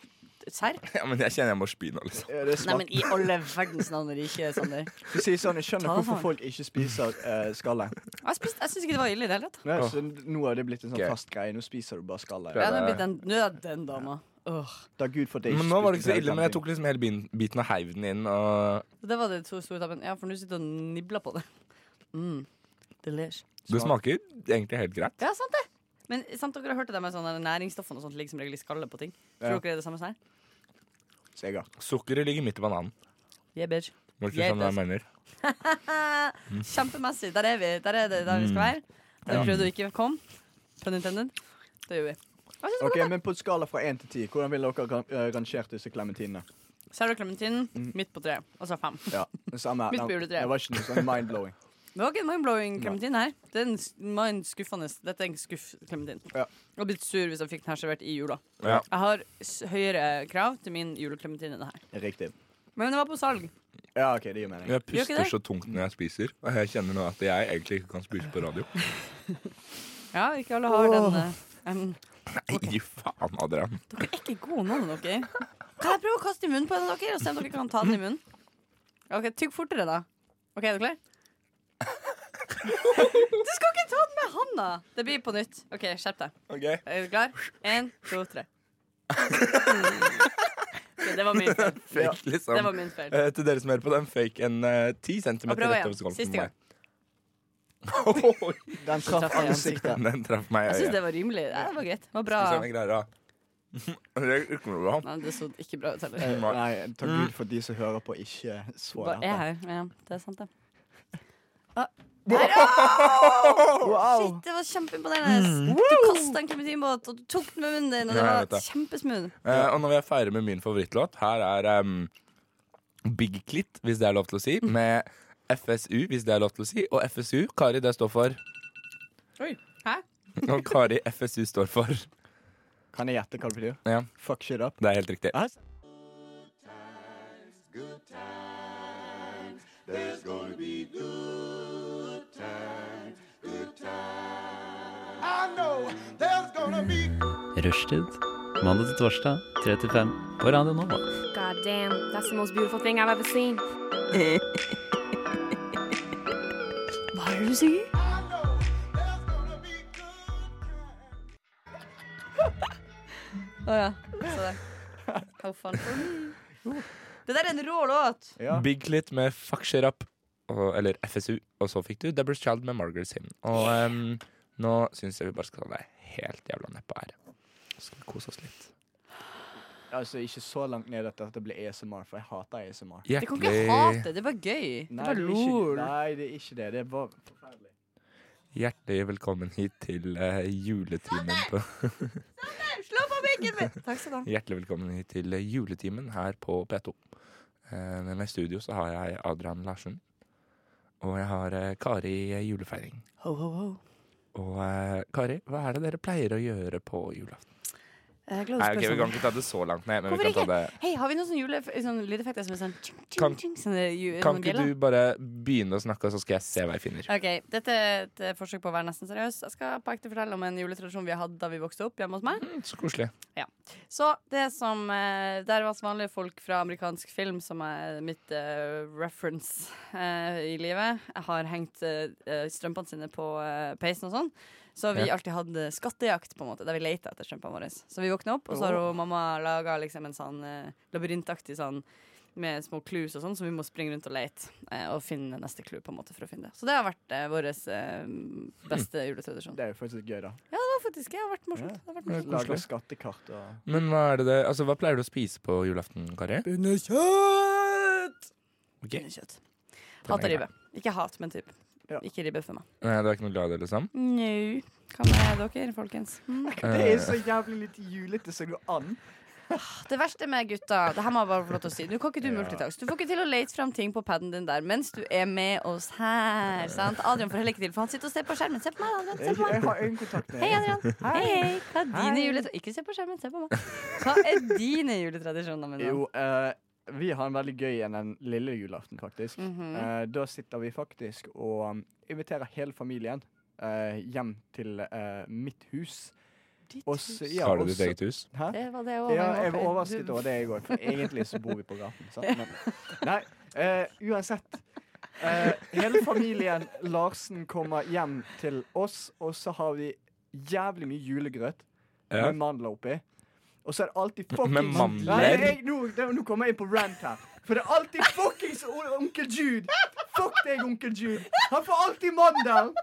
[SPEAKER 7] Serr?
[SPEAKER 5] Ja, men jeg kjenner jeg må spy nå, liksom.
[SPEAKER 6] Ja, det er
[SPEAKER 7] Nei,
[SPEAKER 6] smart.
[SPEAKER 7] men i alle verdens navn er det ikke Sander.
[SPEAKER 6] Du sier sånn, jeg skjønner
[SPEAKER 7] Ta
[SPEAKER 6] hvorfor
[SPEAKER 7] faen.
[SPEAKER 6] folk ikke spiser eh, skallet.
[SPEAKER 7] Jeg, spiste- jeg syns ikke det var ille i det hele tatt.
[SPEAKER 6] Nei, så Nå har det blitt en sånn
[SPEAKER 5] Ok.
[SPEAKER 6] fast greie. Nå spiser du bare skallet.
[SPEAKER 7] Ja, nå er det blitt den, nå er det den dama. Åh.
[SPEAKER 6] Da Gud for det
[SPEAKER 5] Men nå var det ikke så ille, men jeg tok liksom hele bin- biten og heiv den inn. Og
[SPEAKER 7] Det var det to store tabben. Ja, for nå sitter du og nibler på det. Mm. Delish.
[SPEAKER 5] det smaker egentlig helt greit.
[SPEAKER 7] Ja, sant det. Men sant dere har hørt det der med sånne næringsstoffene og sånt ligger som regel i skallet på ting? Tror
[SPEAKER 5] Ja.
[SPEAKER 7] dere det er det samme som her?
[SPEAKER 5] Sukkeret ligger midt i bananen.
[SPEAKER 7] Yeah, bitch.
[SPEAKER 5] Var det ikke
[SPEAKER 7] Yeah,
[SPEAKER 5] sånn jeg
[SPEAKER 7] bitch.
[SPEAKER 5] mener?
[SPEAKER 7] Eh, Kjempemessig. Der er vi. Der er det der vi skal
[SPEAKER 5] Mm.
[SPEAKER 7] være.
[SPEAKER 6] Mm.
[SPEAKER 7] Der
[SPEAKER 6] Ja.
[SPEAKER 7] vi prøvde å ikke komme. Pun intended. Det gjør vi.
[SPEAKER 6] Ok, men På en skala fra én til ti, hvordan ville dere ran- eh, rangert disse klementinene?
[SPEAKER 7] Så er det klementinen
[SPEAKER 6] Mm.
[SPEAKER 7] midt på treet. Altså fem.
[SPEAKER 6] Ja, det samme.
[SPEAKER 7] Midt
[SPEAKER 6] her.
[SPEAKER 7] på
[SPEAKER 6] Det
[SPEAKER 7] juletreet.
[SPEAKER 6] var ikke noe sånn mind-blowing.
[SPEAKER 7] Det var ikke en mind-blowing klementin her. Det er en s- mind-skuffende Dette er en skuff klementin.
[SPEAKER 6] Ja.
[SPEAKER 7] Jeg hadde blitt sur hvis jeg fikk den her servert i jula.
[SPEAKER 6] Ja.
[SPEAKER 7] Jeg har s høyere krav til min juleklementin enn det her.
[SPEAKER 6] Riktig.
[SPEAKER 7] Men det var på salg.
[SPEAKER 6] Ja, ok, det gir mening.
[SPEAKER 5] Jeg
[SPEAKER 7] Gjør ikke det?
[SPEAKER 5] puster så tungt når jeg spiser, og jeg kjenner nå at jeg egentlig ikke kan spise på radio.
[SPEAKER 7] Ja, ikke alle har den.
[SPEAKER 5] Åh.
[SPEAKER 7] eh, em,
[SPEAKER 5] Nei, gi faen, Adrian.
[SPEAKER 7] dere er ikke gode nå, dere. Kan jeg prøve å kaste i munnen på en av dere og se om dere kan ta den i munnen? Ja, Ok, Tygg fortere, da. Ok, Er du klar? Du skal ikke ta den med handa! Det blir på nytt. OK, skjerp deg. Er du klar? Én, to, tre. Ok, det var min feil.
[SPEAKER 5] Fake, liksom.
[SPEAKER 7] Det var min feil.
[SPEAKER 5] Eh, til dere som hører på, den fake en eh, 10 cm
[SPEAKER 7] Og prøv
[SPEAKER 5] rett
[SPEAKER 7] igjen.
[SPEAKER 5] over skallen
[SPEAKER 7] Siste
[SPEAKER 5] på meg.
[SPEAKER 7] gang.
[SPEAKER 6] Den traff ansiktet.
[SPEAKER 5] Den traff meg
[SPEAKER 7] Jeg
[SPEAKER 5] i
[SPEAKER 7] syns det
[SPEAKER 5] øyet.
[SPEAKER 7] var rimelig. Ja, det var greit. Det var bra.
[SPEAKER 5] Skal vi se om jeg greier å Det kommer til å gå bra.
[SPEAKER 7] Nei, det så ikke bra ut
[SPEAKER 6] Eh,
[SPEAKER 7] heller.
[SPEAKER 6] Nei, takk
[SPEAKER 5] Mm.
[SPEAKER 6] Gud for de som hører på, ikke så
[SPEAKER 7] Bare er
[SPEAKER 6] dette.
[SPEAKER 7] her. Ja, det er sant, det.
[SPEAKER 6] Wow!
[SPEAKER 7] Shit, det var kjempeimponerende. Du kasta en klementinbåt, og du tok den med munnen din, og
[SPEAKER 5] Mm.
[SPEAKER 7] det
[SPEAKER 5] Nei, jeg
[SPEAKER 7] var
[SPEAKER 5] vet det.
[SPEAKER 7] kjempesmooth.
[SPEAKER 5] Eh, og nå vil jeg feire med min favorittlåt. Her er em, Big Clit, hvis det er lov til å si, med FSU, hvis det er lov til å si, og FSU, Kari, det står for
[SPEAKER 7] Oi. Hæ?
[SPEAKER 5] Og Kari, FSU står for
[SPEAKER 6] Kan jeg gjette hva det betyr?
[SPEAKER 5] Ja,
[SPEAKER 6] Fuck shit up.
[SPEAKER 5] det er helt riktig.
[SPEAKER 6] Hæ?
[SPEAKER 12] Rushtid. Mandag til torsdag, 3 til 5 på Radio Nova.
[SPEAKER 13] God damn, that's the most beautiful thing I've ever seen.
[SPEAKER 10] Hva er det du sier?
[SPEAKER 7] Å ja. Så det. How fun for me. Det der er en rå låt.
[SPEAKER 5] Big Clit med Fuck Shit Up, og, eller FSU, og så fikk du Deborah's Child med Margaret Simon. Og em, nå syns jeg vi bare skal ta deg helt jævla nedpå her. Så skal vi kose oss litt.
[SPEAKER 6] Altså, ikke så langt ned at dette blir ASMR, for jeg hater ASMR.
[SPEAKER 5] Hjertelig. Det kan ikke hate,
[SPEAKER 7] det er bare gøy.
[SPEAKER 6] Nei,
[SPEAKER 7] bare
[SPEAKER 6] er ikke-
[SPEAKER 7] lol.
[SPEAKER 6] Nei, det er ikke det. Det er bare forferdelig.
[SPEAKER 5] Hjertelig velkommen hit til eh, juletimen på
[SPEAKER 7] Slå på mikken min! Takk skal du ha.
[SPEAKER 5] Hjertelig velkommen hit til eh, juletimen her på P2. Eh, Med meg i studio så har jeg Adrian Larsen. Og jeg har eh, Kari eh, julefeiring.
[SPEAKER 7] Ho, ho, ho.
[SPEAKER 5] Og eh, Kari, hva er det dere pleier å gjøre på julaften?
[SPEAKER 7] Jeg er glad du
[SPEAKER 5] Nei, ok,
[SPEAKER 7] spør
[SPEAKER 5] Vi kan
[SPEAKER 7] sånn.
[SPEAKER 5] ikke ta det så langt ned. Men vi
[SPEAKER 7] Hvorfor
[SPEAKER 5] kan, ta
[SPEAKER 7] ikke?
[SPEAKER 5] det.
[SPEAKER 7] Hei, har vi noen sånne, jule, sånne lydeffekter som er sånn tjing, tjing,
[SPEAKER 5] Kan-
[SPEAKER 7] tjing, sånne, ju-
[SPEAKER 5] kan
[SPEAKER 7] sånne
[SPEAKER 5] ikke
[SPEAKER 7] bjeller?
[SPEAKER 5] du bare begynne å snakke, så skal jeg se hva jeg finner?
[SPEAKER 7] Ok, Dette er et eh, forsøk på å være nesten seriøs. Jeg skal på ekte fortelle om en juletradisjon vi hadde da vi vokste opp hjemme hos meg.
[SPEAKER 5] Så koselig.
[SPEAKER 7] Ja. Så det som eh, Der var som vanlig folk fra amerikansk film som er mitt eh, reference eh, i livet. Jeg har hengt eh, eh, strømpene sine på eh, peisen og sånn. Så vi
[SPEAKER 10] Ja.
[SPEAKER 7] alltid hadde skattejakt, på en måte, der vi leita etter strømpene våre. Så vi våkna opp, og så har
[SPEAKER 10] Åh.
[SPEAKER 7] hun mamma laga liksom en sånn eh, labyrintaktig sånn med små clues og sånn, så vi må springe rundt og leite eh, og finne neste clue på en måte for å finne det. Så det har vært eh, vår eh, beste juletradisjon.
[SPEAKER 6] Det er jo faktisk gøy, da.
[SPEAKER 7] Ja, det var faktisk det har vært morsomt. Det har vært morsomt.
[SPEAKER 6] Lager skattekart og
[SPEAKER 5] Men hva, er det det, altså, hva pleier du å spise på julaften, Kari?
[SPEAKER 7] Bundekjøtt!
[SPEAKER 5] Ok.
[SPEAKER 7] Bundekjøtt. Hater
[SPEAKER 5] er
[SPEAKER 7] ribbe. Ikke hat, men typ. Ikke ribbe for meg.
[SPEAKER 5] Nei, Du er ikke noe glad i det, liksom?
[SPEAKER 7] Njau. Hva med dere, folkens? Mm.
[SPEAKER 6] Det er så jævlig lite julete som går an.
[SPEAKER 7] Ah, Det verste med gutta Det her må jeg bare få lov til å si. Nå kan ikke du multitask. Du får ikke til å lete fram ting på paden din der mens du er med oss her. Sant? Adrian får heller ikke til, for han sitter og ser på skjermen. Se på meg, Adrian. Se
[SPEAKER 6] Jeg,
[SPEAKER 7] på
[SPEAKER 6] jeg
[SPEAKER 7] meg.
[SPEAKER 6] har øyekontakt med
[SPEAKER 7] Hei, Adrian. Hei, hei. Hva er dine
[SPEAKER 6] Hei.
[SPEAKER 7] juletradisjoner? Ikke se på skjermen, se på meg. Hva er dine juletradisjoner, min venn?
[SPEAKER 6] Jo, eh, vi har en veldig gøy en den lille julaften, faktisk.
[SPEAKER 7] Mhm.
[SPEAKER 6] Eh, da sitter vi faktisk og um, inviterer hele familien eh, hjem til eh, mitt hus.
[SPEAKER 7] ditt
[SPEAKER 6] Også,
[SPEAKER 7] hus.
[SPEAKER 6] ja,
[SPEAKER 5] Har du ditt
[SPEAKER 6] også-
[SPEAKER 5] eget hus?
[SPEAKER 6] Hæ?
[SPEAKER 7] Det var det også,
[SPEAKER 6] Ja,
[SPEAKER 7] jeg
[SPEAKER 6] jeg var
[SPEAKER 7] håper.
[SPEAKER 6] overrasket
[SPEAKER 7] Du-
[SPEAKER 6] over det, jeg òg. For egentlig så bor vi på gaten. Sant? Men, nei, eh, uansett. Eh, hele familien Larsen kommer hjem til oss, og så har vi jævlig mye julegrøt
[SPEAKER 5] Ja.
[SPEAKER 6] med mandler oppi. Og så er det alltid
[SPEAKER 5] Med
[SPEAKER 6] fuckings
[SPEAKER 5] mandler?
[SPEAKER 6] Nei, jeg, nå, det- nå kommer jeg inn på rant her. For det er alltid fuckings o- onkel Jude. Fuck deg, onkel Jude. Han får alltid mandel.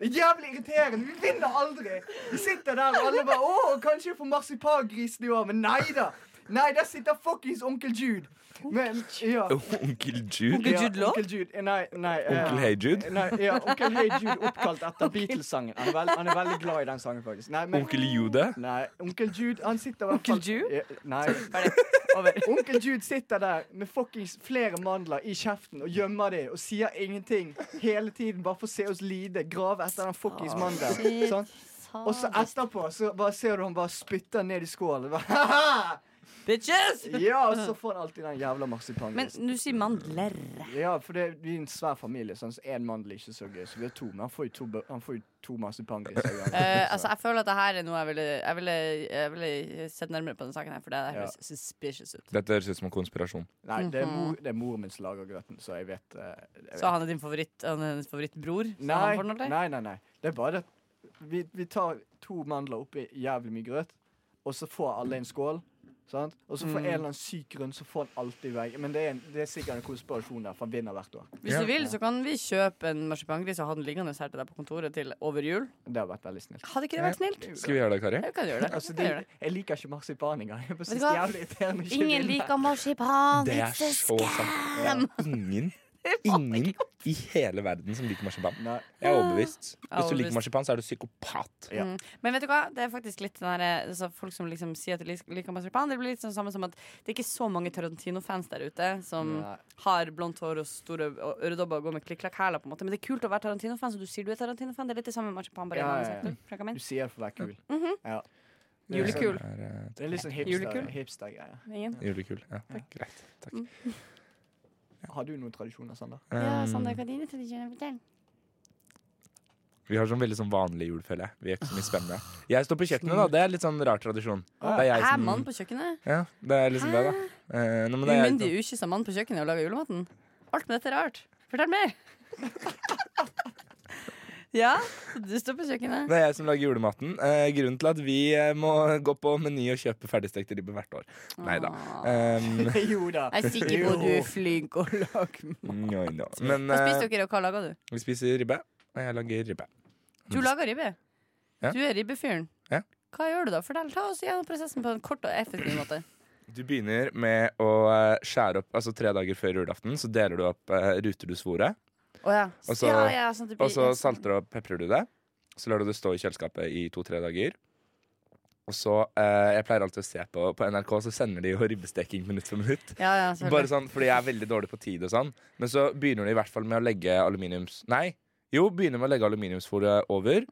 [SPEAKER 6] Det er jævlig irriterende. Vi vinner aldri. Vi sitter der og alle bare Å, kanskje jeg får marsipangrisen i år, men nei da. Nei, der sitter fuckings onkel Jude. Men, ja.
[SPEAKER 5] Onkel Jude?
[SPEAKER 6] Ja, onkel Jude. Eh, Nei, nei. eh,
[SPEAKER 5] Onkel Hey Jude?
[SPEAKER 6] Nei, ja, onkel Hey Jude oppkalt etter Beatles-sangen. Han, er vel- han er veldig glad i den sangen, faktisk. Nei, men,
[SPEAKER 5] Onkel Jude?
[SPEAKER 6] Nei, onkel Jude han sitter i hvert fall Onkel Jude? Nei. Over. Onkel Jude sitter der med fuckings flere mandler i kjeften og gjemmer dem og sier ingenting hele tiden bare for å se oss lide, grave etter den fuckings
[SPEAKER 14] Ah,
[SPEAKER 6] mandelen.
[SPEAKER 14] shit.
[SPEAKER 6] Sånn. Og så etterpå så bare ser du han bare spytter ned i skålen. Bare, «Haha!»
[SPEAKER 7] Bitches!
[SPEAKER 6] Ja, og så får han alltid den jævla
[SPEAKER 7] Men
[SPEAKER 6] marsipangrisen.
[SPEAKER 7] du sier mandler.
[SPEAKER 6] Ja, for det vi er en svær familie, sånn, så én mandel er ikke så gøy. Så vi har to, men han får jo to, bø- han får jo to marsipangriser.
[SPEAKER 7] Eh, altså, jeg føler at det her er noe jeg ville, jeg ville, jeg ville sett nærmere på denne saken her, for det
[SPEAKER 6] Ja.
[SPEAKER 7] høres suspicious ut.
[SPEAKER 5] Dette høres ut som en konspirasjon.
[SPEAKER 6] Nei, det er,
[SPEAKER 7] Mhm.
[SPEAKER 6] mor, det er moren min som lager grøten, så jeg vet, eh, jeg vet.
[SPEAKER 7] Så han er din favoritt, han er hennes favorittbror? Så han får noe
[SPEAKER 6] nei,
[SPEAKER 7] til?
[SPEAKER 6] nei, nei, nei. Det er bare det at vi, vi tar to mandler oppi jævlig mye grøt, og så får alle en skål. Sant? Og så for en
[SPEAKER 7] Mm.
[SPEAKER 6] eller annen syk grunn så får han alltid vei. Men det er, en, det er sikkert en konspirasjon der, for han vinner hvert år.
[SPEAKER 7] Hvis du vil, så kan vi kjøpe en marsipangris og ha den liggende her til deg på kontoret til over jul.
[SPEAKER 6] Det har vært veldig snilt.
[SPEAKER 7] Hadde ikke det vært snilt?
[SPEAKER 5] Skal vi gjøre det, Kari?
[SPEAKER 7] Ja, vi kan gjøre det.
[SPEAKER 6] Altså, de,
[SPEAKER 7] Vi kan gjøre det.
[SPEAKER 6] jeg liker ikke marsipan engang. Jeg bare
[SPEAKER 7] Vet
[SPEAKER 6] synes
[SPEAKER 7] du
[SPEAKER 6] det er
[SPEAKER 7] hva?
[SPEAKER 6] jævlig irriterende å ikke
[SPEAKER 7] Ingen
[SPEAKER 6] vinne.
[SPEAKER 7] liker marsipan.
[SPEAKER 5] Det er så sant. Ingen, ingen i hele verden som liker marsipan. Jeg er overbevist. Hvis
[SPEAKER 7] Jeg er
[SPEAKER 5] du
[SPEAKER 7] overbevist.
[SPEAKER 5] liker marsipan, så er du psykopat.
[SPEAKER 7] Mm. Men vet du hva, det er faktisk litt den der, altså folk som liksom sier at de lik- liker marsipan. Det blir litt sånn samme som at det er ikke så mange Tarantino-fans der ute som
[SPEAKER 6] Nei.
[SPEAKER 7] har blondt hår og store og øredobber og går med klikk-klakk-hæler, på en måte. Men det er kult å være Tarantino-fan, så du sier du er Tarantino-fan. Det er litt det samme med marsipan, bare
[SPEAKER 6] Ja,
[SPEAKER 7] en annen
[SPEAKER 6] ja, ja.
[SPEAKER 7] sektor. Franka min.
[SPEAKER 6] Du sier det for å være kul.
[SPEAKER 7] Mhm.
[SPEAKER 6] Ja.
[SPEAKER 7] Julekul.
[SPEAKER 5] eh,
[SPEAKER 6] Det er litt sånn
[SPEAKER 7] Julekul.
[SPEAKER 6] hipster- hipster-greie.
[SPEAKER 5] Sånn.
[SPEAKER 7] Ingen.
[SPEAKER 5] Julekul. Ja, greit. Takk.
[SPEAKER 6] har du noen tradisjoner, Sander?
[SPEAKER 5] Ja, Sander,
[SPEAKER 7] hva sånn er dine tradisjoner? Fortell.
[SPEAKER 5] Vi har sånn veldig sånn vanlig jul, føler jeg. Vi gjør ikke
[SPEAKER 7] Ah.
[SPEAKER 5] så mye spennende. Jeg står på kjøkkenet, da. Det er litt sånn rar tradisjon. Det er jeg
[SPEAKER 7] Er
[SPEAKER 5] som-
[SPEAKER 7] Ah. mann på kjøkkenet?
[SPEAKER 5] Ja, det er liksom det, da. Eh, nei, men det er jeg
[SPEAKER 7] Umyndig, ukyssa mann på kjøkkenet og lager julematen? Alt med dette er rart. Fortell mer! ja, du står på kjøkkenet.
[SPEAKER 5] Det er jeg som lager julematen. Eh, grunnen til at vi eh, må gå på Meny og kjøpe ferdigstekte ribbe hvert år. Nei da.
[SPEAKER 7] Ah.
[SPEAKER 6] jo da.
[SPEAKER 7] Jeg er sikker på at du er flink og lager mat.
[SPEAKER 5] No, no. Men
[SPEAKER 7] Hva
[SPEAKER 5] eh,
[SPEAKER 7] spiser dere, og hva lager du?
[SPEAKER 5] vi spiser ribbe, og jeg lager ribbe.
[SPEAKER 7] Du lager ribbe.
[SPEAKER 5] Ja.
[SPEAKER 7] Du er ribbefyren.
[SPEAKER 5] Ja.
[SPEAKER 7] Hva gjør du da? Fortell, Ta oss gjennom prosessen på en kort og effektiv måte.
[SPEAKER 5] Du begynner med å eh, skjære opp altså tre dager før julaften. Så deler du opp eh, ruter du svoret.
[SPEAKER 7] Å ja.
[SPEAKER 5] Og så,
[SPEAKER 7] ja, ja, sånn at det blir-
[SPEAKER 5] og så salter og peprer du det. Så lar du det stå i kjøleskapet i to-tre dager. Og så, eh, Jeg pleier alltid å se på på NRK, så sender de jo ribbesteking minutt for minutt.
[SPEAKER 7] Ja, ja, selvfølgelig.
[SPEAKER 5] Bare sånn, Fordi jeg er veldig dårlig på tid og sånn. Men så begynner de i hvert fall med å legge aluminiums... Nei. Jo, begynner med å legge aluminiumsfolie over.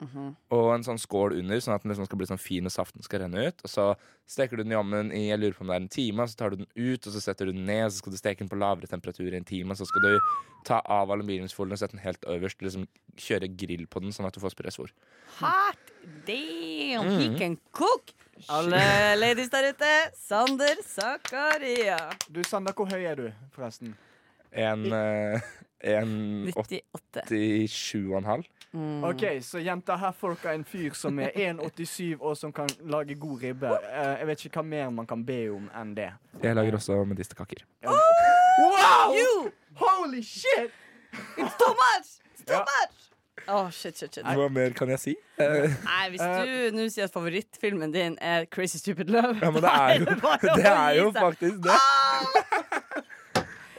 [SPEAKER 5] Og en sånn skål under, sånn at den liksom skal bli sånn fin og saften skal renne ut. Og så steker du den i ovnen i jeg lurer på om det er en time, og så tar du den ut, og så setter du den ned, og så skal du steke den på lavere temperatur i en time, og så skal du ta av aluminiumsfolien og sette den helt øverst, liksom kjøre grill på den, sånn at du får spressvor.
[SPEAKER 7] Hot damn,
[SPEAKER 5] Mm.
[SPEAKER 7] he can cook! Alle ladies der ute, Sander Zakaria.
[SPEAKER 6] Du, Sander, hvor høy er du, forresten?
[SPEAKER 5] En, eh, en
[SPEAKER 7] 98.
[SPEAKER 5] 87,5.
[SPEAKER 7] Mm.
[SPEAKER 6] OK, så jenta her folk er en fyr som er 1,87 og som kan lage god ribbe. Eh, jeg vet ikke hva mer man kan be om enn det.
[SPEAKER 5] Jeg lager også medisterkaker.
[SPEAKER 6] Wow!
[SPEAKER 7] You!
[SPEAKER 6] Holy shit!
[SPEAKER 7] It's too much! It's too
[SPEAKER 6] Ja.
[SPEAKER 7] much! Å, shit, shit, shit.
[SPEAKER 5] Hva mer kan jeg si? Eh,
[SPEAKER 7] Nei, hvis du nå sier at favorittfilmen din er Crazy Stupid Love
[SPEAKER 5] Ja, men det
[SPEAKER 7] da
[SPEAKER 5] er jo,
[SPEAKER 7] bare å
[SPEAKER 5] det er jo
[SPEAKER 7] gi seg.
[SPEAKER 5] faktisk det.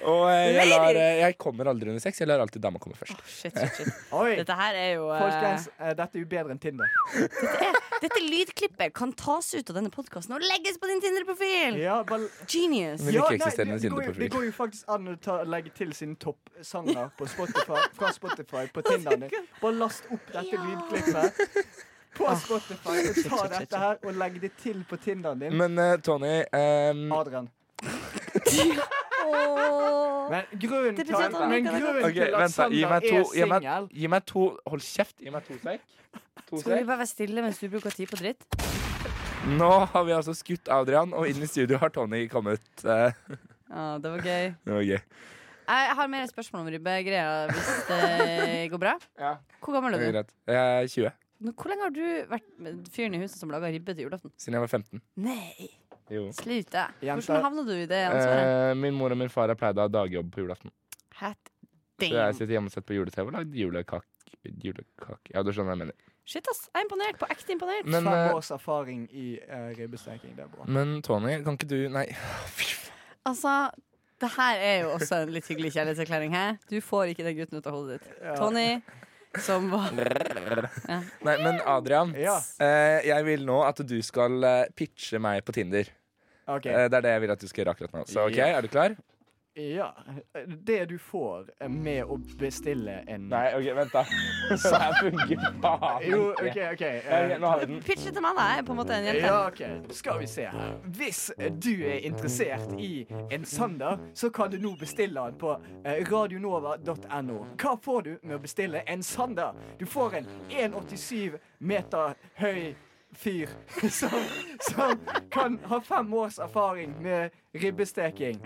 [SPEAKER 5] Og eh, jeg, lar,
[SPEAKER 7] Ladies!
[SPEAKER 5] eh, jeg kommer aldri under sex. Jeg lar alltid dama komme først.
[SPEAKER 7] Shit, shit, shit.
[SPEAKER 6] Oi.
[SPEAKER 7] Dette her er jo eh,
[SPEAKER 6] Folkens, eh, dette er jo bedre enn Tinder.
[SPEAKER 7] Dette lydklippet kan tas ut av denne podkasten og legges på din Tinder-profil!
[SPEAKER 6] Ja, bare...
[SPEAKER 7] Genius.
[SPEAKER 5] Men ikke eksisterende
[SPEAKER 6] det- det går jo-
[SPEAKER 5] Tinder-profil.
[SPEAKER 6] Det går jo faktisk an å ta, legge til sine toppsanger på Spotify, fra Spotify på Tinderen din. Bare last opp dette lydklippet
[SPEAKER 7] Ah.
[SPEAKER 6] på Spotify og ta dette her og legge det til på Tinderen din.
[SPEAKER 5] Men eh, Tony ehm,
[SPEAKER 6] Adrian.
[SPEAKER 7] Åh.
[SPEAKER 6] Men grunnen
[SPEAKER 7] Det
[SPEAKER 6] til,
[SPEAKER 7] betyr at han
[SPEAKER 6] men
[SPEAKER 7] ikke har
[SPEAKER 6] grunnen
[SPEAKER 5] Ok,
[SPEAKER 6] til
[SPEAKER 5] vent
[SPEAKER 6] at
[SPEAKER 5] da, gi
[SPEAKER 6] Sander
[SPEAKER 5] meg to,
[SPEAKER 6] er
[SPEAKER 5] gi meg,
[SPEAKER 6] singel
[SPEAKER 5] gi meg to Hold kjeft, gi meg to sek. To
[SPEAKER 7] Skal vi
[SPEAKER 5] sek.
[SPEAKER 7] bare være stille mens du bruker tid på dritt?
[SPEAKER 5] Nå har vi altså skutt Adrian, og inn i studio har Tony kommet. Eh,
[SPEAKER 7] Ja, det var gøy.
[SPEAKER 5] Det var gøy.
[SPEAKER 7] Jeg har mer spørsmål om ribbegreia, hvis det går bra. Hvor gammel
[SPEAKER 5] Det
[SPEAKER 7] er
[SPEAKER 5] er
[SPEAKER 7] du?
[SPEAKER 5] greit. Jeg er 20,
[SPEAKER 7] Nå, Hvor lenge har du vært med fyren i huset som laga ribbe til julaften?
[SPEAKER 5] siden jeg var 15.
[SPEAKER 7] Nei,
[SPEAKER 5] Jo.
[SPEAKER 7] slutt det.
[SPEAKER 5] Jenta.
[SPEAKER 7] Hvordan havna du i det ansvaret?
[SPEAKER 5] Eh, min mor og min far har pleid å ha dagjobb på julaften.
[SPEAKER 7] Hat
[SPEAKER 5] Så jeg
[SPEAKER 7] damn.
[SPEAKER 5] sitter hjemme og sett på jule-TV og lagd julekake. Julekake Ja, du skjønner hva jeg mener.
[SPEAKER 7] Shit, ass. Jeg er imponert. På ekte imponert.
[SPEAKER 5] Men,
[SPEAKER 6] Fem
[SPEAKER 5] eh,
[SPEAKER 6] års erfaring i eh, ribbesteking, det er bra.
[SPEAKER 5] Men Tony, kan ikke du Nei.
[SPEAKER 7] Altså, det her er jo også en litt hyggelig kjærlighetserklæring. Hæ? Du får ikke den gutten ut av hodet ditt. Tony, som var
[SPEAKER 5] Nei, men Adrian, eh, jeg vil nå at du skal eh, pitche meg på Tinder.
[SPEAKER 6] Ok.
[SPEAKER 5] Eh, det er det jeg vil at du skal gjøre akkurat nå. Så OK,
[SPEAKER 6] Ja.
[SPEAKER 5] er du klar?
[SPEAKER 6] Ja. Det du får eh, med å bestille en
[SPEAKER 5] Nei, OK, vent, da. Det her funker faen
[SPEAKER 6] Jo,
[SPEAKER 5] ikke.
[SPEAKER 6] OK, eh, OK.
[SPEAKER 5] Ja, ok, nå har vi den.
[SPEAKER 7] Pitch det til meg, da. Jeg er på en måte en jente.
[SPEAKER 6] Ja, ok. Skal vi se her. Hvis eh, du er interessert i en Sander, så kan du nå bestille den på eh, radionova.no. Hva får du med å bestille en Sander? Du får en 1,87 meter høy fyr som, som kan ha fem års erfaring med ribbesteking.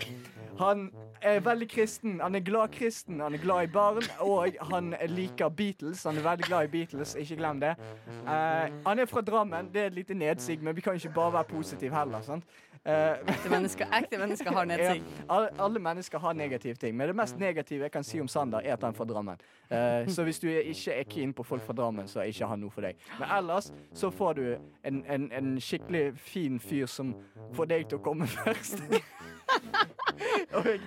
[SPEAKER 6] Han er veldig kristen. Han er glad kristen, han er glad i barn, og han liker Beatles. Han er veldig glad i Beatles, ikke glem det. Eh, han er fra Drammen, det er et lite nedsig, men vi kan ikke bare være positive heller. sant? Eh, ekte,
[SPEAKER 7] mennesker, har nedsig.
[SPEAKER 6] alle, alle mennesker har negative ting, men det mest negative jeg kan si om Sander, er at han er fra Drammen. Eh, så hvis du er- ikke er keen på folk fra Drammen, så er ikke han noe for deg. Men ellers så får du en, en, en skikkelig fin fyr som får deg til å komme først. Oi,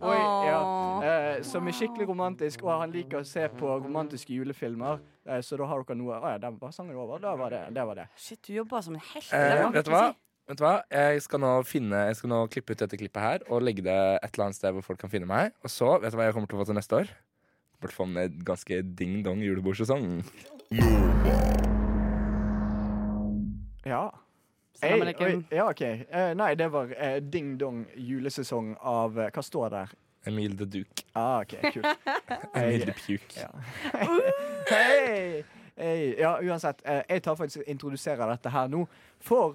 [SPEAKER 6] ja. eh, som er skikkelig romantisk, og han liker å se på romantiske julefilmer. Eh, så da har dere noe Å ja, der var sangen over. Da var det det. Var det.
[SPEAKER 7] Shit, du jobber som en helt.
[SPEAKER 5] Eh, vet du hva? Vet du hva? Jeg skal nå finne Jeg skal nå klippe ut dette klippet her og legge det et eller annet sted hvor folk kan finne meg. Og så, vet du hva jeg kommer til å få til neste år? Jeg kommer til å få en ganske ding-dong julebordsesong.
[SPEAKER 6] Ja.
[SPEAKER 7] Salam
[SPEAKER 6] Ei,
[SPEAKER 7] alaikum.
[SPEAKER 6] oi, ja, OK. Eh, nei, det var eh, Ding Dong julesesong av eh, Hva står der?
[SPEAKER 5] Emil the Duke.
[SPEAKER 6] Ah, OK, kult.
[SPEAKER 5] Emil the Puke.
[SPEAKER 6] Hei! Hei. Ja, uansett. eh, Jeg tar faktisk og introduserer dette her nå. For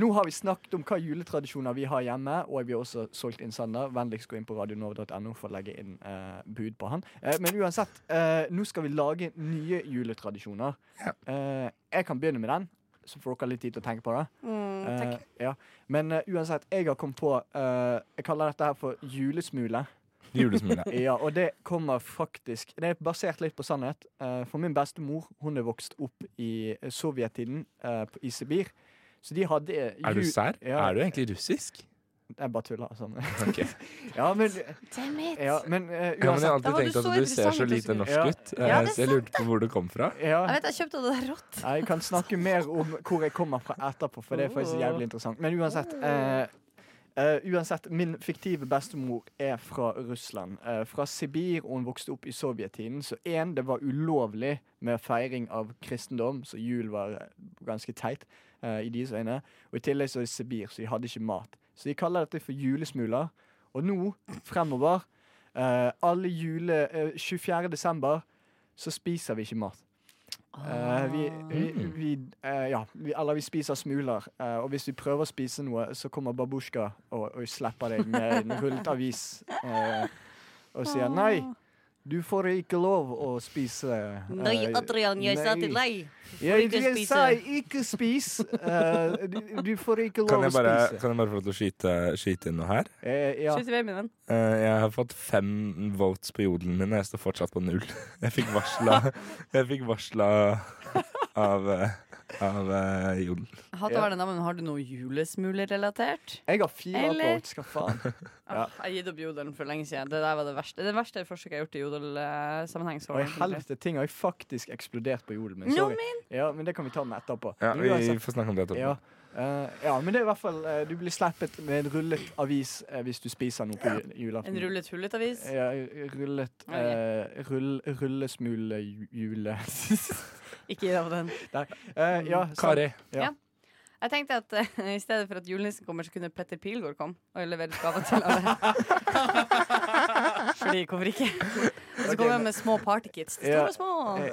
[SPEAKER 6] nå har vi snakket om hva juletradisjoner vi har hjemme, og vi har også solgt inn Sander. Vennligst gå inn på radionova.no for å legge inn eh, bud på han. Eh, men uansett, eh, nå skal vi lage nye juletradisjoner. Eh, jeg kan begynne med den, så får dere litt tid til å tenke på det.
[SPEAKER 7] Mm,
[SPEAKER 6] Eh,
[SPEAKER 7] takk.
[SPEAKER 6] ja. Men eh, uansett, jeg har kommet på eh, Jeg kaller dette her for julesmule.
[SPEAKER 5] Julesmule.
[SPEAKER 6] ja, og det kommer faktisk Det er basert litt på sannhet. Eh, for min bestemor hun er vokst opp i sovjettiden eh, på- i Sibir. Så de hadde eh,
[SPEAKER 5] Er du
[SPEAKER 6] ju-
[SPEAKER 5] sær?
[SPEAKER 6] Ja,
[SPEAKER 5] Er du egentlig russisk?
[SPEAKER 6] Jeg bare tuller. Sånn.
[SPEAKER 5] Ok.
[SPEAKER 6] ja, men,
[SPEAKER 7] Damn it.
[SPEAKER 6] ja, men
[SPEAKER 5] Ja,
[SPEAKER 6] eh,
[SPEAKER 5] men jeg har
[SPEAKER 6] uansett-
[SPEAKER 5] alltid tenkt at du ser så lite norsk
[SPEAKER 6] Ja.
[SPEAKER 5] ut. Eh, så jeg lurte på hvor du kom fra.
[SPEAKER 6] Ja.
[SPEAKER 7] Jeg vet jeg kjøpte det der rått.
[SPEAKER 6] Jeg kan snakke mer om hvor jeg kommer fra etterpå, for det er faktisk jævlig interessant. Men uansett eh, eh, uansett, Min fiktive bestemor er fra Russland. eh, fra Sibir, og hun vokste opp i sovjettiden. Så én, det var ulovlig med feiring av kristendom, så jul var eh, ganske teit eh, i deres øyne. Og i tillegg så er det Sibir, så de hadde ikke mat. Så de kaller dette for julesmuler. Og nå, fremover, eh, alle jule... eh, 24. desember, så spiser vi ikke mat. Eh, vi, vi,
[SPEAKER 5] Mm.
[SPEAKER 6] vi, eh, ja, vi, eller vi spiser smuler, eh, og hvis vi prøver å spise noe, så kommer babusjka og, og slipper deg med en rullet avis eh, og sier nei. Du får ikke lov å spise eh,
[SPEAKER 7] Nei, Adrian, jeg sa til
[SPEAKER 6] nei.
[SPEAKER 7] deg.
[SPEAKER 6] Jeg,
[SPEAKER 7] Du får ikke
[SPEAKER 6] jeg sa ikke spis. Eh, du, du får ikke lov
[SPEAKER 5] Kan jeg
[SPEAKER 6] å
[SPEAKER 5] bare,
[SPEAKER 6] spise.
[SPEAKER 5] kan jeg bare få lov til å skyte, skyte inn noe her?
[SPEAKER 6] Eh, ja.
[SPEAKER 7] Skyt i vei, min venn.
[SPEAKER 5] Eh, jeg har fått fem votes på jodelen min, og jeg står fortsatt på null. Jeg fikk varsla Jeg fikk varsla av, eh, av eh, jodel.
[SPEAKER 7] Jeg hater å være den damen, men har du noe julesmulerelatert?
[SPEAKER 6] Jeg har fire
[SPEAKER 7] Eller?
[SPEAKER 6] votes, hva faen. Ja.
[SPEAKER 7] Jeg har gitt opp jodelen for lenge siden. Det der var det verste Det verste forsøket jeg har gjort i eh, jodelsammenheng.
[SPEAKER 6] Og i helvete, ting har jeg faktisk eksplodert på jorden min.
[SPEAKER 7] Nå
[SPEAKER 6] Sorry. Ja, men det kan vi ta med etterpå.
[SPEAKER 5] Ja,
[SPEAKER 6] Men
[SPEAKER 5] vi
[SPEAKER 6] uansett-
[SPEAKER 5] får snakke om det etterpå.
[SPEAKER 6] Ja. eh, ja, men det er i hvert fall eh, Du blir slappet med en rullet avis eh, hvis du spiser noe på ju- julaften.
[SPEAKER 7] En rullet hullet avis.
[SPEAKER 6] Ja, rullet eh, rull, Rullesmule ju- jule...
[SPEAKER 7] Ikke gi deg på den.
[SPEAKER 6] Nei. eh, ja,
[SPEAKER 7] Mm,
[SPEAKER 6] sant.
[SPEAKER 5] Kari.
[SPEAKER 6] Ja.
[SPEAKER 7] Ja. Jeg tenkte at eh, i stedet for at julenissen kommer, så kunne Petter Pilgaard komme og levere gaver til alle. Fordi hvorfor ikke? Og så kommer jeg med små partykits. Store og små.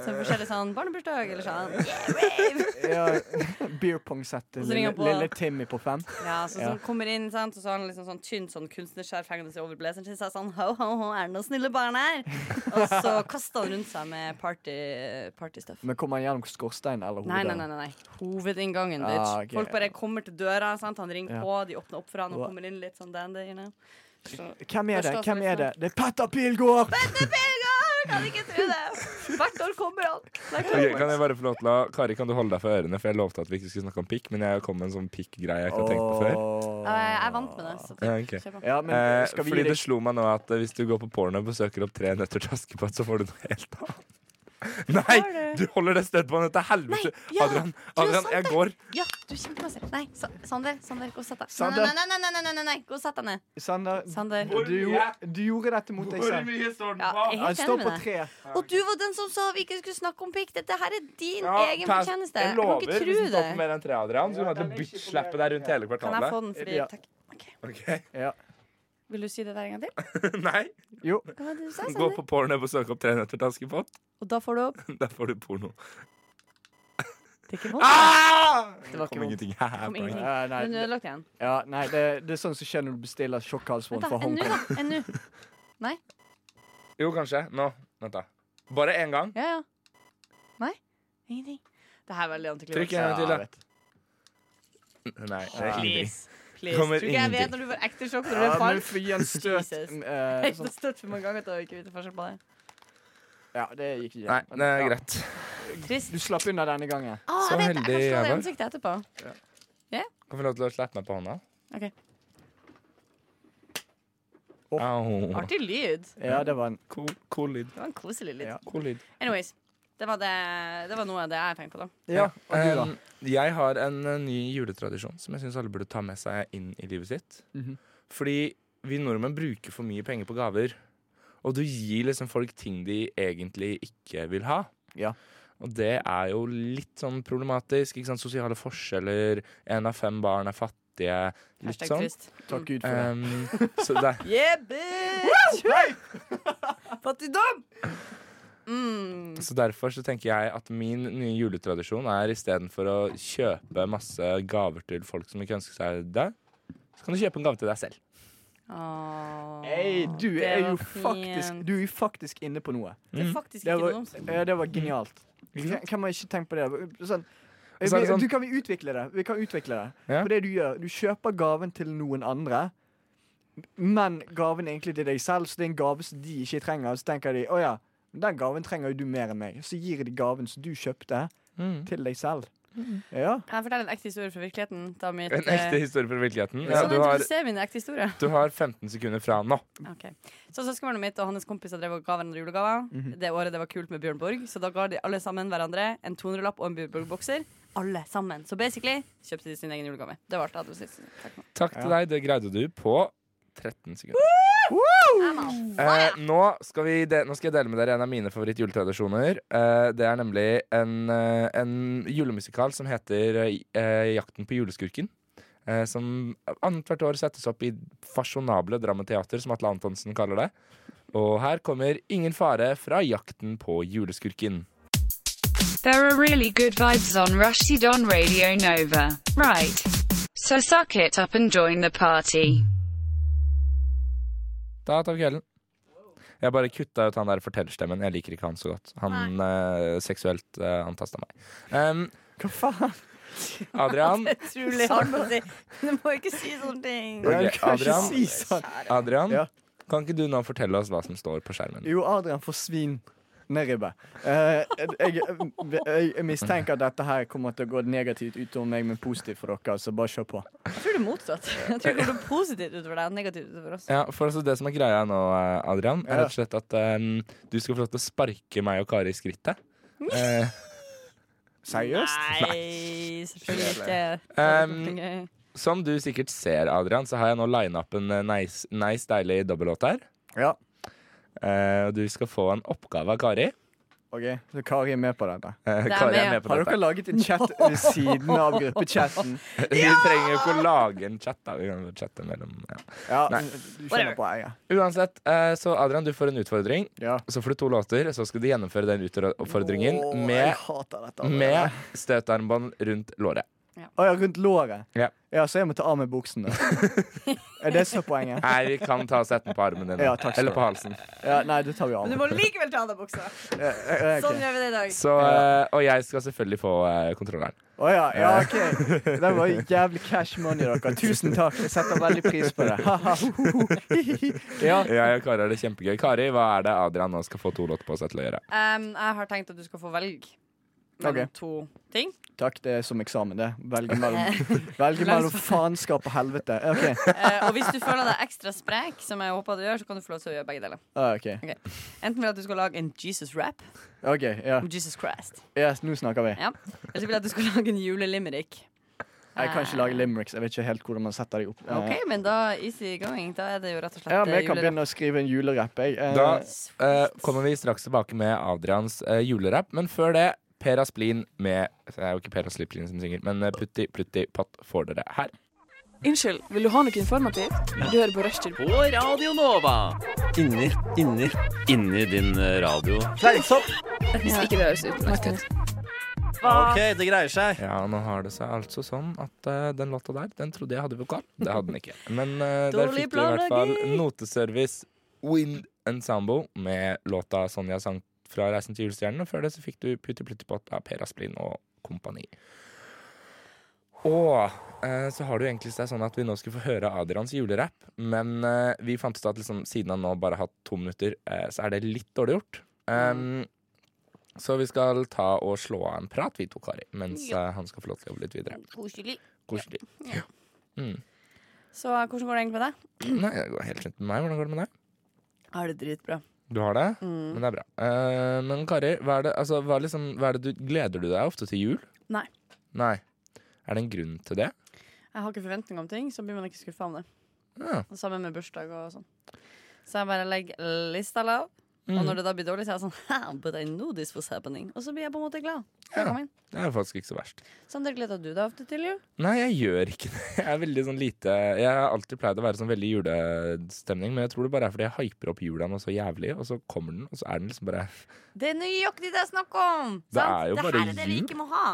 [SPEAKER 7] Som forskjellig sånn barnebursdag eller sånn. Yeah, rave!
[SPEAKER 6] Ja, beer pong-sett til
[SPEAKER 7] Og så
[SPEAKER 6] lille,
[SPEAKER 7] ringer han på.
[SPEAKER 6] lille Timmy på fem.
[SPEAKER 7] Ja, så
[SPEAKER 6] Ja.
[SPEAKER 7] sånn kommer inn, sant? og så har han liksom sånn tynn sånn kunstnerskjerf hengende seg over blazeren sin. Så er det sånn ho, ho, ho, er det noen snille barn her? Og så kaster han rundt seg med party, partystuff.
[SPEAKER 6] Men kommer han gjennom skorsteinen eller
[SPEAKER 7] Nei,
[SPEAKER 6] hodet?
[SPEAKER 7] nei, nei, nei, nei. Hovedinngangen, bitch.
[SPEAKER 6] Ah, ok.
[SPEAKER 7] Folk bare kommer til døra. Sant? Han ringer
[SPEAKER 6] Ja.
[SPEAKER 7] på, de åpner opp for han og
[SPEAKER 6] Hva-
[SPEAKER 7] kommer inn litt sånn dandy. You know.
[SPEAKER 6] Hvem er det?
[SPEAKER 7] Først
[SPEAKER 6] Hvem er det?
[SPEAKER 7] statsministeren.
[SPEAKER 6] Det er Petter Pilgaard!
[SPEAKER 7] Petter Pilgaard! Kan ikke tro det! Hvert år kommer han. Det er
[SPEAKER 5] Ok,
[SPEAKER 7] klart.
[SPEAKER 5] kan jeg bare få lov til å Kari, kan du holde deg for ørene? For jeg lovte at vi ikke skulle snakke om pikk, men jeg kom med en sånn pikk-greie jeg ikke har tenkt på før.
[SPEAKER 7] Ja, jeg er vant med det. Så
[SPEAKER 5] Ja, ok.
[SPEAKER 7] kjør på.
[SPEAKER 5] eh,
[SPEAKER 6] skal vi
[SPEAKER 5] fordi
[SPEAKER 6] gi deg-
[SPEAKER 5] det slo meg nå at eh, hvis du går på porno og søker opp tre nøtter til Askepott, så får du noe helt annet. Nei! Du holder det støtebåndet til helvete!
[SPEAKER 7] ja,
[SPEAKER 5] Adrian,
[SPEAKER 7] du er
[SPEAKER 5] Adrian,
[SPEAKER 7] sant
[SPEAKER 5] jeg
[SPEAKER 7] det.
[SPEAKER 5] går.
[SPEAKER 7] Ja, du er kjempemassiv. Nei, Sa- Sander, Sander, gå og sett deg.
[SPEAKER 6] Sander.
[SPEAKER 7] Nei, nei, nei, nei, nei, nei, nei, nei, gå og sett deg ned.
[SPEAKER 6] Sander,
[SPEAKER 7] Sander.
[SPEAKER 6] Du, gjorde- du gjorde dette mot deg selv.
[SPEAKER 7] står den på? Ja, jeg er helt
[SPEAKER 6] Han står
[SPEAKER 7] enig
[SPEAKER 6] på
[SPEAKER 7] med
[SPEAKER 6] tre.
[SPEAKER 7] Og du var den som sa vi ikke skulle snakke om pikk. Dette her er din
[SPEAKER 5] Ja,
[SPEAKER 7] egen
[SPEAKER 5] pass.
[SPEAKER 7] fortjeneste.
[SPEAKER 5] Jeg
[SPEAKER 7] Jeg kan
[SPEAKER 5] lover,
[SPEAKER 7] ikke
[SPEAKER 5] hvis
[SPEAKER 7] tro
[SPEAKER 5] du tar på
[SPEAKER 7] det.
[SPEAKER 5] mer enn tre, Adrian, så kommer jeg til å byttslippe deg rundt hele kvartalet.
[SPEAKER 7] Kan jeg få den fordi
[SPEAKER 5] Ja.
[SPEAKER 7] Takk.
[SPEAKER 5] Ok.
[SPEAKER 7] Vil du si det der en gang til?
[SPEAKER 5] Nei.
[SPEAKER 6] Jo.
[SPEAKER 7] Hva var det du sa,
[SPEAKER 5] Gå
[SPEAKER 7] Sander?
[SPEAKER 5] på porno og søk opp tre nøtter til Askepott.
[SPEAKER 7] Og da får du opp
[SPEAKER 5] Der får du porno.
[SPEAKER 7] Det er ikke vondt.
[SPEAKER 5] Ah!
[SPEAKER 7] Det var ikke
[SPEAKER 5] kom
[SPEAKER 7] vondt.
[SPEAKER 5] ingenting.
[SPEAKER 7] Kom
[SPEAKER 5] Poeng.
[SPEAKER 7] ingenting.
[SPEAKER 6] Ja, Eh, nei,
[SPEAKER 7] Den er ødelagt igjen.
[SPEAKER 6] Ja, nei, det, det er sånn som skjer når du bestiller sjokkhalsbånd
[SPEAKER 7] Vent,
[SPEAKER 6] fra
[SPEAKER 7] da. En nå,
[SPEAKER 6] Hongkong.
[SPEAKER 7] da. En nå. Nei.
[SPEAKER 5] Jo, kanskje. Nå. Vent, da. Bare én gang.
[SPEAKER 7] Ja, ja. Nei. Ingenting. Det her er veldig antiklimaks.
[SPEAKER 5] Trykk en gang til,
[SPEAKER 6] jeg
[SPEAKER 5] da. Nei, det er ingenting.
[SPEAKER 7] Please. Please.
[SPEAKER 5] Kommer
[SPEAKER 7] Tror ikke jeg vet
[SPEAKER 5] ingenting.
[SPEAKER 7] når du får ekte sjokk
[SPEAKER 6] Ja,
[SPEAKER 7] når du er
[SPEAKER 6] men
[SPEAKER 7] falsk.
[SPEAKER 6] for en støt
[SPEAKER 7] Jesus.
[SPEAKER 6] eh,
[SPEAKER 7] Jeg
[SPEAKER 6] sånn.
[SPEAKER 7] har støtt for mange ganger til å ikke vite forskjell på det.
[SPEAKER 6] Ja, det gikk ikke.
[SPEAKER 5] Nei, det er greit.
[SPEAKER 7] Trist.
[SPEAKER 6] Du slapp unna denne gangen.
[SPEAKER 7] Å,
[SPEAKER 5] Så
[SPEAKER 7] jeg vet det. Jeg
[SPEAKER 5] heldig
[SPEAKER 7] kan slå
[SPEAKER 5] jeg
[SPEAKER 7] deg i
[SPEAKER 5] var.
[SPEAKER 7] ansiktet etterpå.
[SPEAKER 5] Kan vi lov til å slappe meg på hånda?
[SPEAKER 7] Ok.
[SPEAKER 5] Au.
[SPEAKER 7] Artig lyd.
[SPEAKER 6] Ja, det var en
[SPEAKER 5] Cool, cool lyd.
[SPEAKER 7] Det var en koselig lyd.
[SPEAKER 5] Cool lyd.
[SPEAKER 7] Anyways, det var, det, det var noe av det jeg tenkte på, da.
[SPEAKER 6] Ja, og du da?
[SPEAKER 5] Em, jeg har en eh, ny juletradisjon som jeg syns alle burde ta med seg inn i livet sitt.
[SPEAKER 6] Mhm.
[SPEAKER 5] Fordi vi nordmenn bruker for mye penger på gaver. Og du gir liksom folk ting de egentlig ikke vil ha. Og det er jo litt sånn problematisk. Ikke sant? Sosiale forskjeller, én av fem barn er fattige. Litt
[SPEAKER 7] Hashtag
[SPEAKER 5] sånn.
[SPEAKER 7] trist.
[SPEAKER 6] Takk Gud for det.
[SPEAKER 5] Em, så det. er-
[SPEAKER 7] Yeah, bitch! Fattigdom! Mm.
[SPEAKER 5] Så derfor så tenker jeg at min nye juletradisjon er istedenfor å kjøpe masse gaver til folk som ikke ønsker seg det, så kan du kjøpe en gave til deg selv.
[SPEAKER 6] Hey, du
[SPEAKER 7] det
[SPEAKER 6] er jo
[SPEAKER 7] var
[SPEAKER 6] faktisk
[SPEAKER 7] fint.
[SPEAKER 6] Du er jo faktisk inne på noe.
[SPEAKER 7] Det er faktisk
[SPEAKER 6] Det
[SPEAKER 7] ikke
[SPEAKER 6] var,
[SPEAKER 7] noe om seg.
[SPEAKER 6] ja, det var genialt. Kan man ikke tenke på det? Sånn,
[SPEAKER 5] Mm. Og så er det
[SPEAKER 6] vi-
[SPEAKER 5] sånn-
[SPEAKER 6] du kan vi utvikle det. Vi kan utvikle det.
[SPEAKER 5] Ja.
[SPEAKER 6] For det du gjør, du kjøper gaven til noen andre, men gaven er egentlig til deg selv, så det er en gave som de ikke trenger. Så tenker de å ja, men den gaven trenger jo du mer enn meg. Så gir de gaven som du kjøpte,
[SPEAKER 5] Mm.
[SPEAKER 6] til deg selv.
[SPEAKER 7] Mm.
[SPEAKER 6] Ja.
[SPEAKER 7] Kan jeg fortelle en ekte historie fra virkeligheten? Da mitt, eh,
[SPEAKER 5] En ekte historie fra virkeligheten.
[SPEAKER 7] Ja,
[SPEAKER 5] Eh, Ja, du, har,
[SPEAKER 7] introduserer min ekte historie.
[SPEAKER 5] du har 15 sekunder fra nå.
[SPEAKER 7] Ok. Så søskenbarnet mitt og hans kompiser drev og ga hverandre julegaver.
[SPEAKER 5] Mhm.
[SPEAKER 7] Det året det var kult med Bjørn Borg, så da ga de alle sammen hverandre en 200-lapp og en Bjørn Borg-bokser. Alle sammen. Så basically kjøpte de sin egen julegave. Det var alt jeg hadde å si. Takk.
[SPEAKER 5] Takk til deg, det greide du på 13 sekunder.
[SPEAKER 7] Emma.
[SPEAKER 5] Eh, nå, skal vi de nå skal jeg dele med dere en av mine favorittjuletradisjoner. Eh, det er nemlig en, eh, en julemusikal som heter eh, Jakten på juleskurken. Eh, som annethvert år settes opp i fasjonable Drammeteater, som Atle Antonsen kaller det. Og her kommer Ingen fare fra Jakten på juleskurken.
[SPEAKER 8] There are really good vibes on Rushdie on Radio Nova. Right. So suck it up and join the party.
[SPEAKER 5] Da tar vi kvelden. Jeg bare kutta ut han der fortellerstemmen. Jeg liker ikke han så godt. Han eh, seksuelt eh, antasta meg. Em,
[SPEAKER 6] Hva faen?
[SPEAKER 5] Adrian.
[SPEAKER 7] Det er utrolig hardt å si. Du må ikke si sånne ting.
[SPEAKER 5] Ok,
[SPEAKER 6] du kan ikke
[SPEAKER 5] Adrian,
[SPEAKER 6] si sånn.
[SPEAKER 5] Adrian kan ikke du nå fortelle oss hva som står på skjermen?
[SPEAKER 6] Jo, Adrian får svin ned ribbe. Eh, jeg, jeg, jeg mistenker at dette her kommer til å gå negativt utover meg, men positivt for dere. Så bare kjør på.
[SPEAKER 7] Jeg tror det er motsatt. Jeg tror det går positivt utover deg og negativt utover oss.
[SPEAKER 5] Ja, for altså Det som er greia nå, eh, Adrian, er rett og slett at eh, du skal få lov til å sparke meg og Kari i skrittet. Eh,
[SPEAKER 7] Nei, selvfølgelig ikke.
[SPEAKER 5] Em, som du sikkert ser, Adrian, så har jeg nå lina opp en eh, nice, nice deilig dobbellåt her.
[SPEAKER 6] Ja.
[SPEAKER 5] Eh, Og du skal få en oppgave av Kari. Eh,
[SPEAKER 6] Ok, Så Kari er med på dette?
[SPEAKER 5] Kari er med ja. på
[SPEAKER 6] Har
[SPEAKER 5] dette.
[SPEAKER 6] dere laget en chat ved siden av gruppechatten?
[SPEAKER 5] Vi trenger jo ikke å lage en chat, da. Vi kan jo chatte mellom ja.
[SPEAKER 6] Ja,
[SPEAKER 5] Nei.
[SPEAKER 6] du skjønner på eier.
[SPEAKER 5] Uansett, eh, så Adrian, du får en utfordring. Så får du to låter, så skal du gjennomføre den utfordringen
[SPEAKER 6] Åh, jeg hater dette
[SPEAKER 5] med,
[SPEAKER 6] allerede.
[SPEAKER 5] med støtarmbånd rundt låret.
[SPEAKER 6] Å ja, rundt låret.
[SPEAKER 5] Ja.
[SPEAKER 6] Ja, så jeg må ta av meg buksen. da. er det så poenget?
[SPEAKER 5] Nei, vi kan ta setten på armen din.
[SPEAKER 6] Ja, takk skal
[SPEAKER 5] eller
[SPEAKER 6] du
[SPEAKER 5] på
[SPEAKER 6] ha.
[SPEAKER 5] halsen.
[SPEAKER 6] Ja, nei, det tar vi av. Eh,
[SPEAKER 7] Men du må likevel ta av deg buksa. Sånn gjør vi det i dag.
[SPEAKER 5] Så, eh, og jeg skal selvfølgelig få eh, kontrolleren.
[SPEAKER 6] Å ja, ja, OK. Det var jævlig cash money, dere. Tusen takk. Jeg setter veldig pris på det.
[SPEAKER 5] Ja. Jeg og Kari har det kjempegøy. Kari, hva er det Adrian nå skal få to låter på seg til å gjøre?
[SPEAKER 7] Um, jeg har tenkt at du skal få velge mellom
[SPEAKER 6] Ok.
[SPEAKER 7] to ting.
[SPEAKER 6] Takk, det er som eksamen, det. Velge mellom, velge mellom faenskap og helvete. OK.
[SPEAKER 7] Eh, og hvis du føler deg ekstra sprek, som jeg håper du gjør, så kan du få lov til å gjøre begge deler.
[SPEAKER 6] Ah, ok.
[SPEAKER 7] Ok. Enten vil jeg at du skal lage en Jesus-rap.
[SPEAKER 6] OK. Ja.
[SPEAKER 7] Jesus Christ.
[SPEAKER 6] Yes, nå snakker vi.
[SPEAKER 7] Ja. Eller så vil jeg at du skal lage en julelimerick.
[SPEAKER 6] Jeg kan ikke lage limericks. Jeg vet ikke helt hvordan man setter de opp. Eh,
[SPEAKER 7] OK, men da easy going. Da er det jo rett og slett eh,
[SPEAKER 6] Ja, men jeg kan
[SPEAKER 7] julerap.
[SPEAKER 6] begynne å skrive en julerapp. Jeg. Eh,
[SPEAKER 5] Da eh, kommer vi straks tilbake med Adrians eh, julerapp, men før det Per Asplin med Det er jo ikke Per Asplin som synger, men eh, Putti Plutti Patt får dere her.
[SPEAKER 10] Unnskyld, vil du ha noe informativt? Du hører på Rushtid. På Radio Nova.
[SPEAKER 12] Inni, inni, inni din eh, radio. Fleinsopp!
[SPEAKER 10] Hvis ikke det høres ut.
[SPEAKER 12] OK, det greier seg.
[SPEAKER 5] Ja, nå har det seg altså sånn at eh, den låta der, den trodde jeg hadde vokal. Det hadde den ikke. Men eh, der
[SPEAKER 12] Dårlig
[SPEAKER 5] fikk du i hvert fall
[SPEAKER 12] planlegging.
[SPEAKER 5] Noteservice Wind Ensemble med låta Sonja sang fra Reisen til julestjernen. Og før det så fikk du Putti Plutti Pott av Per Asplin og kompani. Og eh, så har det jo egentlig seg sånn at vi nå skulle få høre Adrians julerapp, men eh, vi fant ut at liksom, siden han nå bare har hatt to minutter, eh, så er det litt dårlig gjort. Um, Så vi skal ta og slå av en prat, vi to, Kari, mens
[SPEAKER 7] Ja.
[SPEAKER 5] eh, han skal få lov til å jobbe litt videre.
[SPEAKER 7] Koselig.
[SPEAKER 5] Koselig.
[SPEAKER 7] Ja.
[SPEAKER 5] Mm.
[SPEAKER 7] Så eh, hvordan går det egentlig med deg?
[SPEAKER 5] Nei, det går helt fint med meg. Hvordan går det med deg?
[SPEAKER 7] Jeg har Ah, det dritbra.
[SPEAKER 5] Du har det?
[SPEAKER 7] Mm.
[SPEAKER 5] Men det er bra. Eh, men Kari, hva er det, altså, hva, er liksom, hva er det du Gleder du deg ofte til jul?
[SPEAKER 7] Nei.
[SPEAKER 5] Nei. Er det en grunn til det?
[SPEAKER 7] Jeg har ikke forventninger om ting, så blir man ikke skuffa om det.
[SPEAKER 5] Ja.
[SPEAKER 7] Og Sammen med bursdag og sånn. Så jeg bare legger lista lav. Og
[SPEAKER 6] Mm.
[SPEAKER 5] Mhm.
[SPEAKER 7] når det da blir dårlig, så er jeg sånn «Ha, But I know this was happening. Og så blir jeg på en måte glad. Så jeg kom inn.
[SPEAKER 5] Det er jo faktisk ikke så verst.
[SPEAKER 7] Sander, gleder du deg ofte til jul?
[SPEAKER 5] Nei, jeg gjør ikke det. Jeg er veldig sånn lite Jeg har alltid pleid å være sånn veldig julestemning, men jeg tror det bare er fordi jeg hyper opp jula nå så jævlig, og så kommer den, og så er den liksom bare
[SPEAKER 7] Det er nøyaktig det jeg snakker om!
[SPEAKER 5] Det er jo
[SPEAKER 7] det
[SPEAKER 5] bare
[SPEAKER 7] her er det vi
[SPEAKER 5] jul.
[SPEAKER 7] ikke må ha.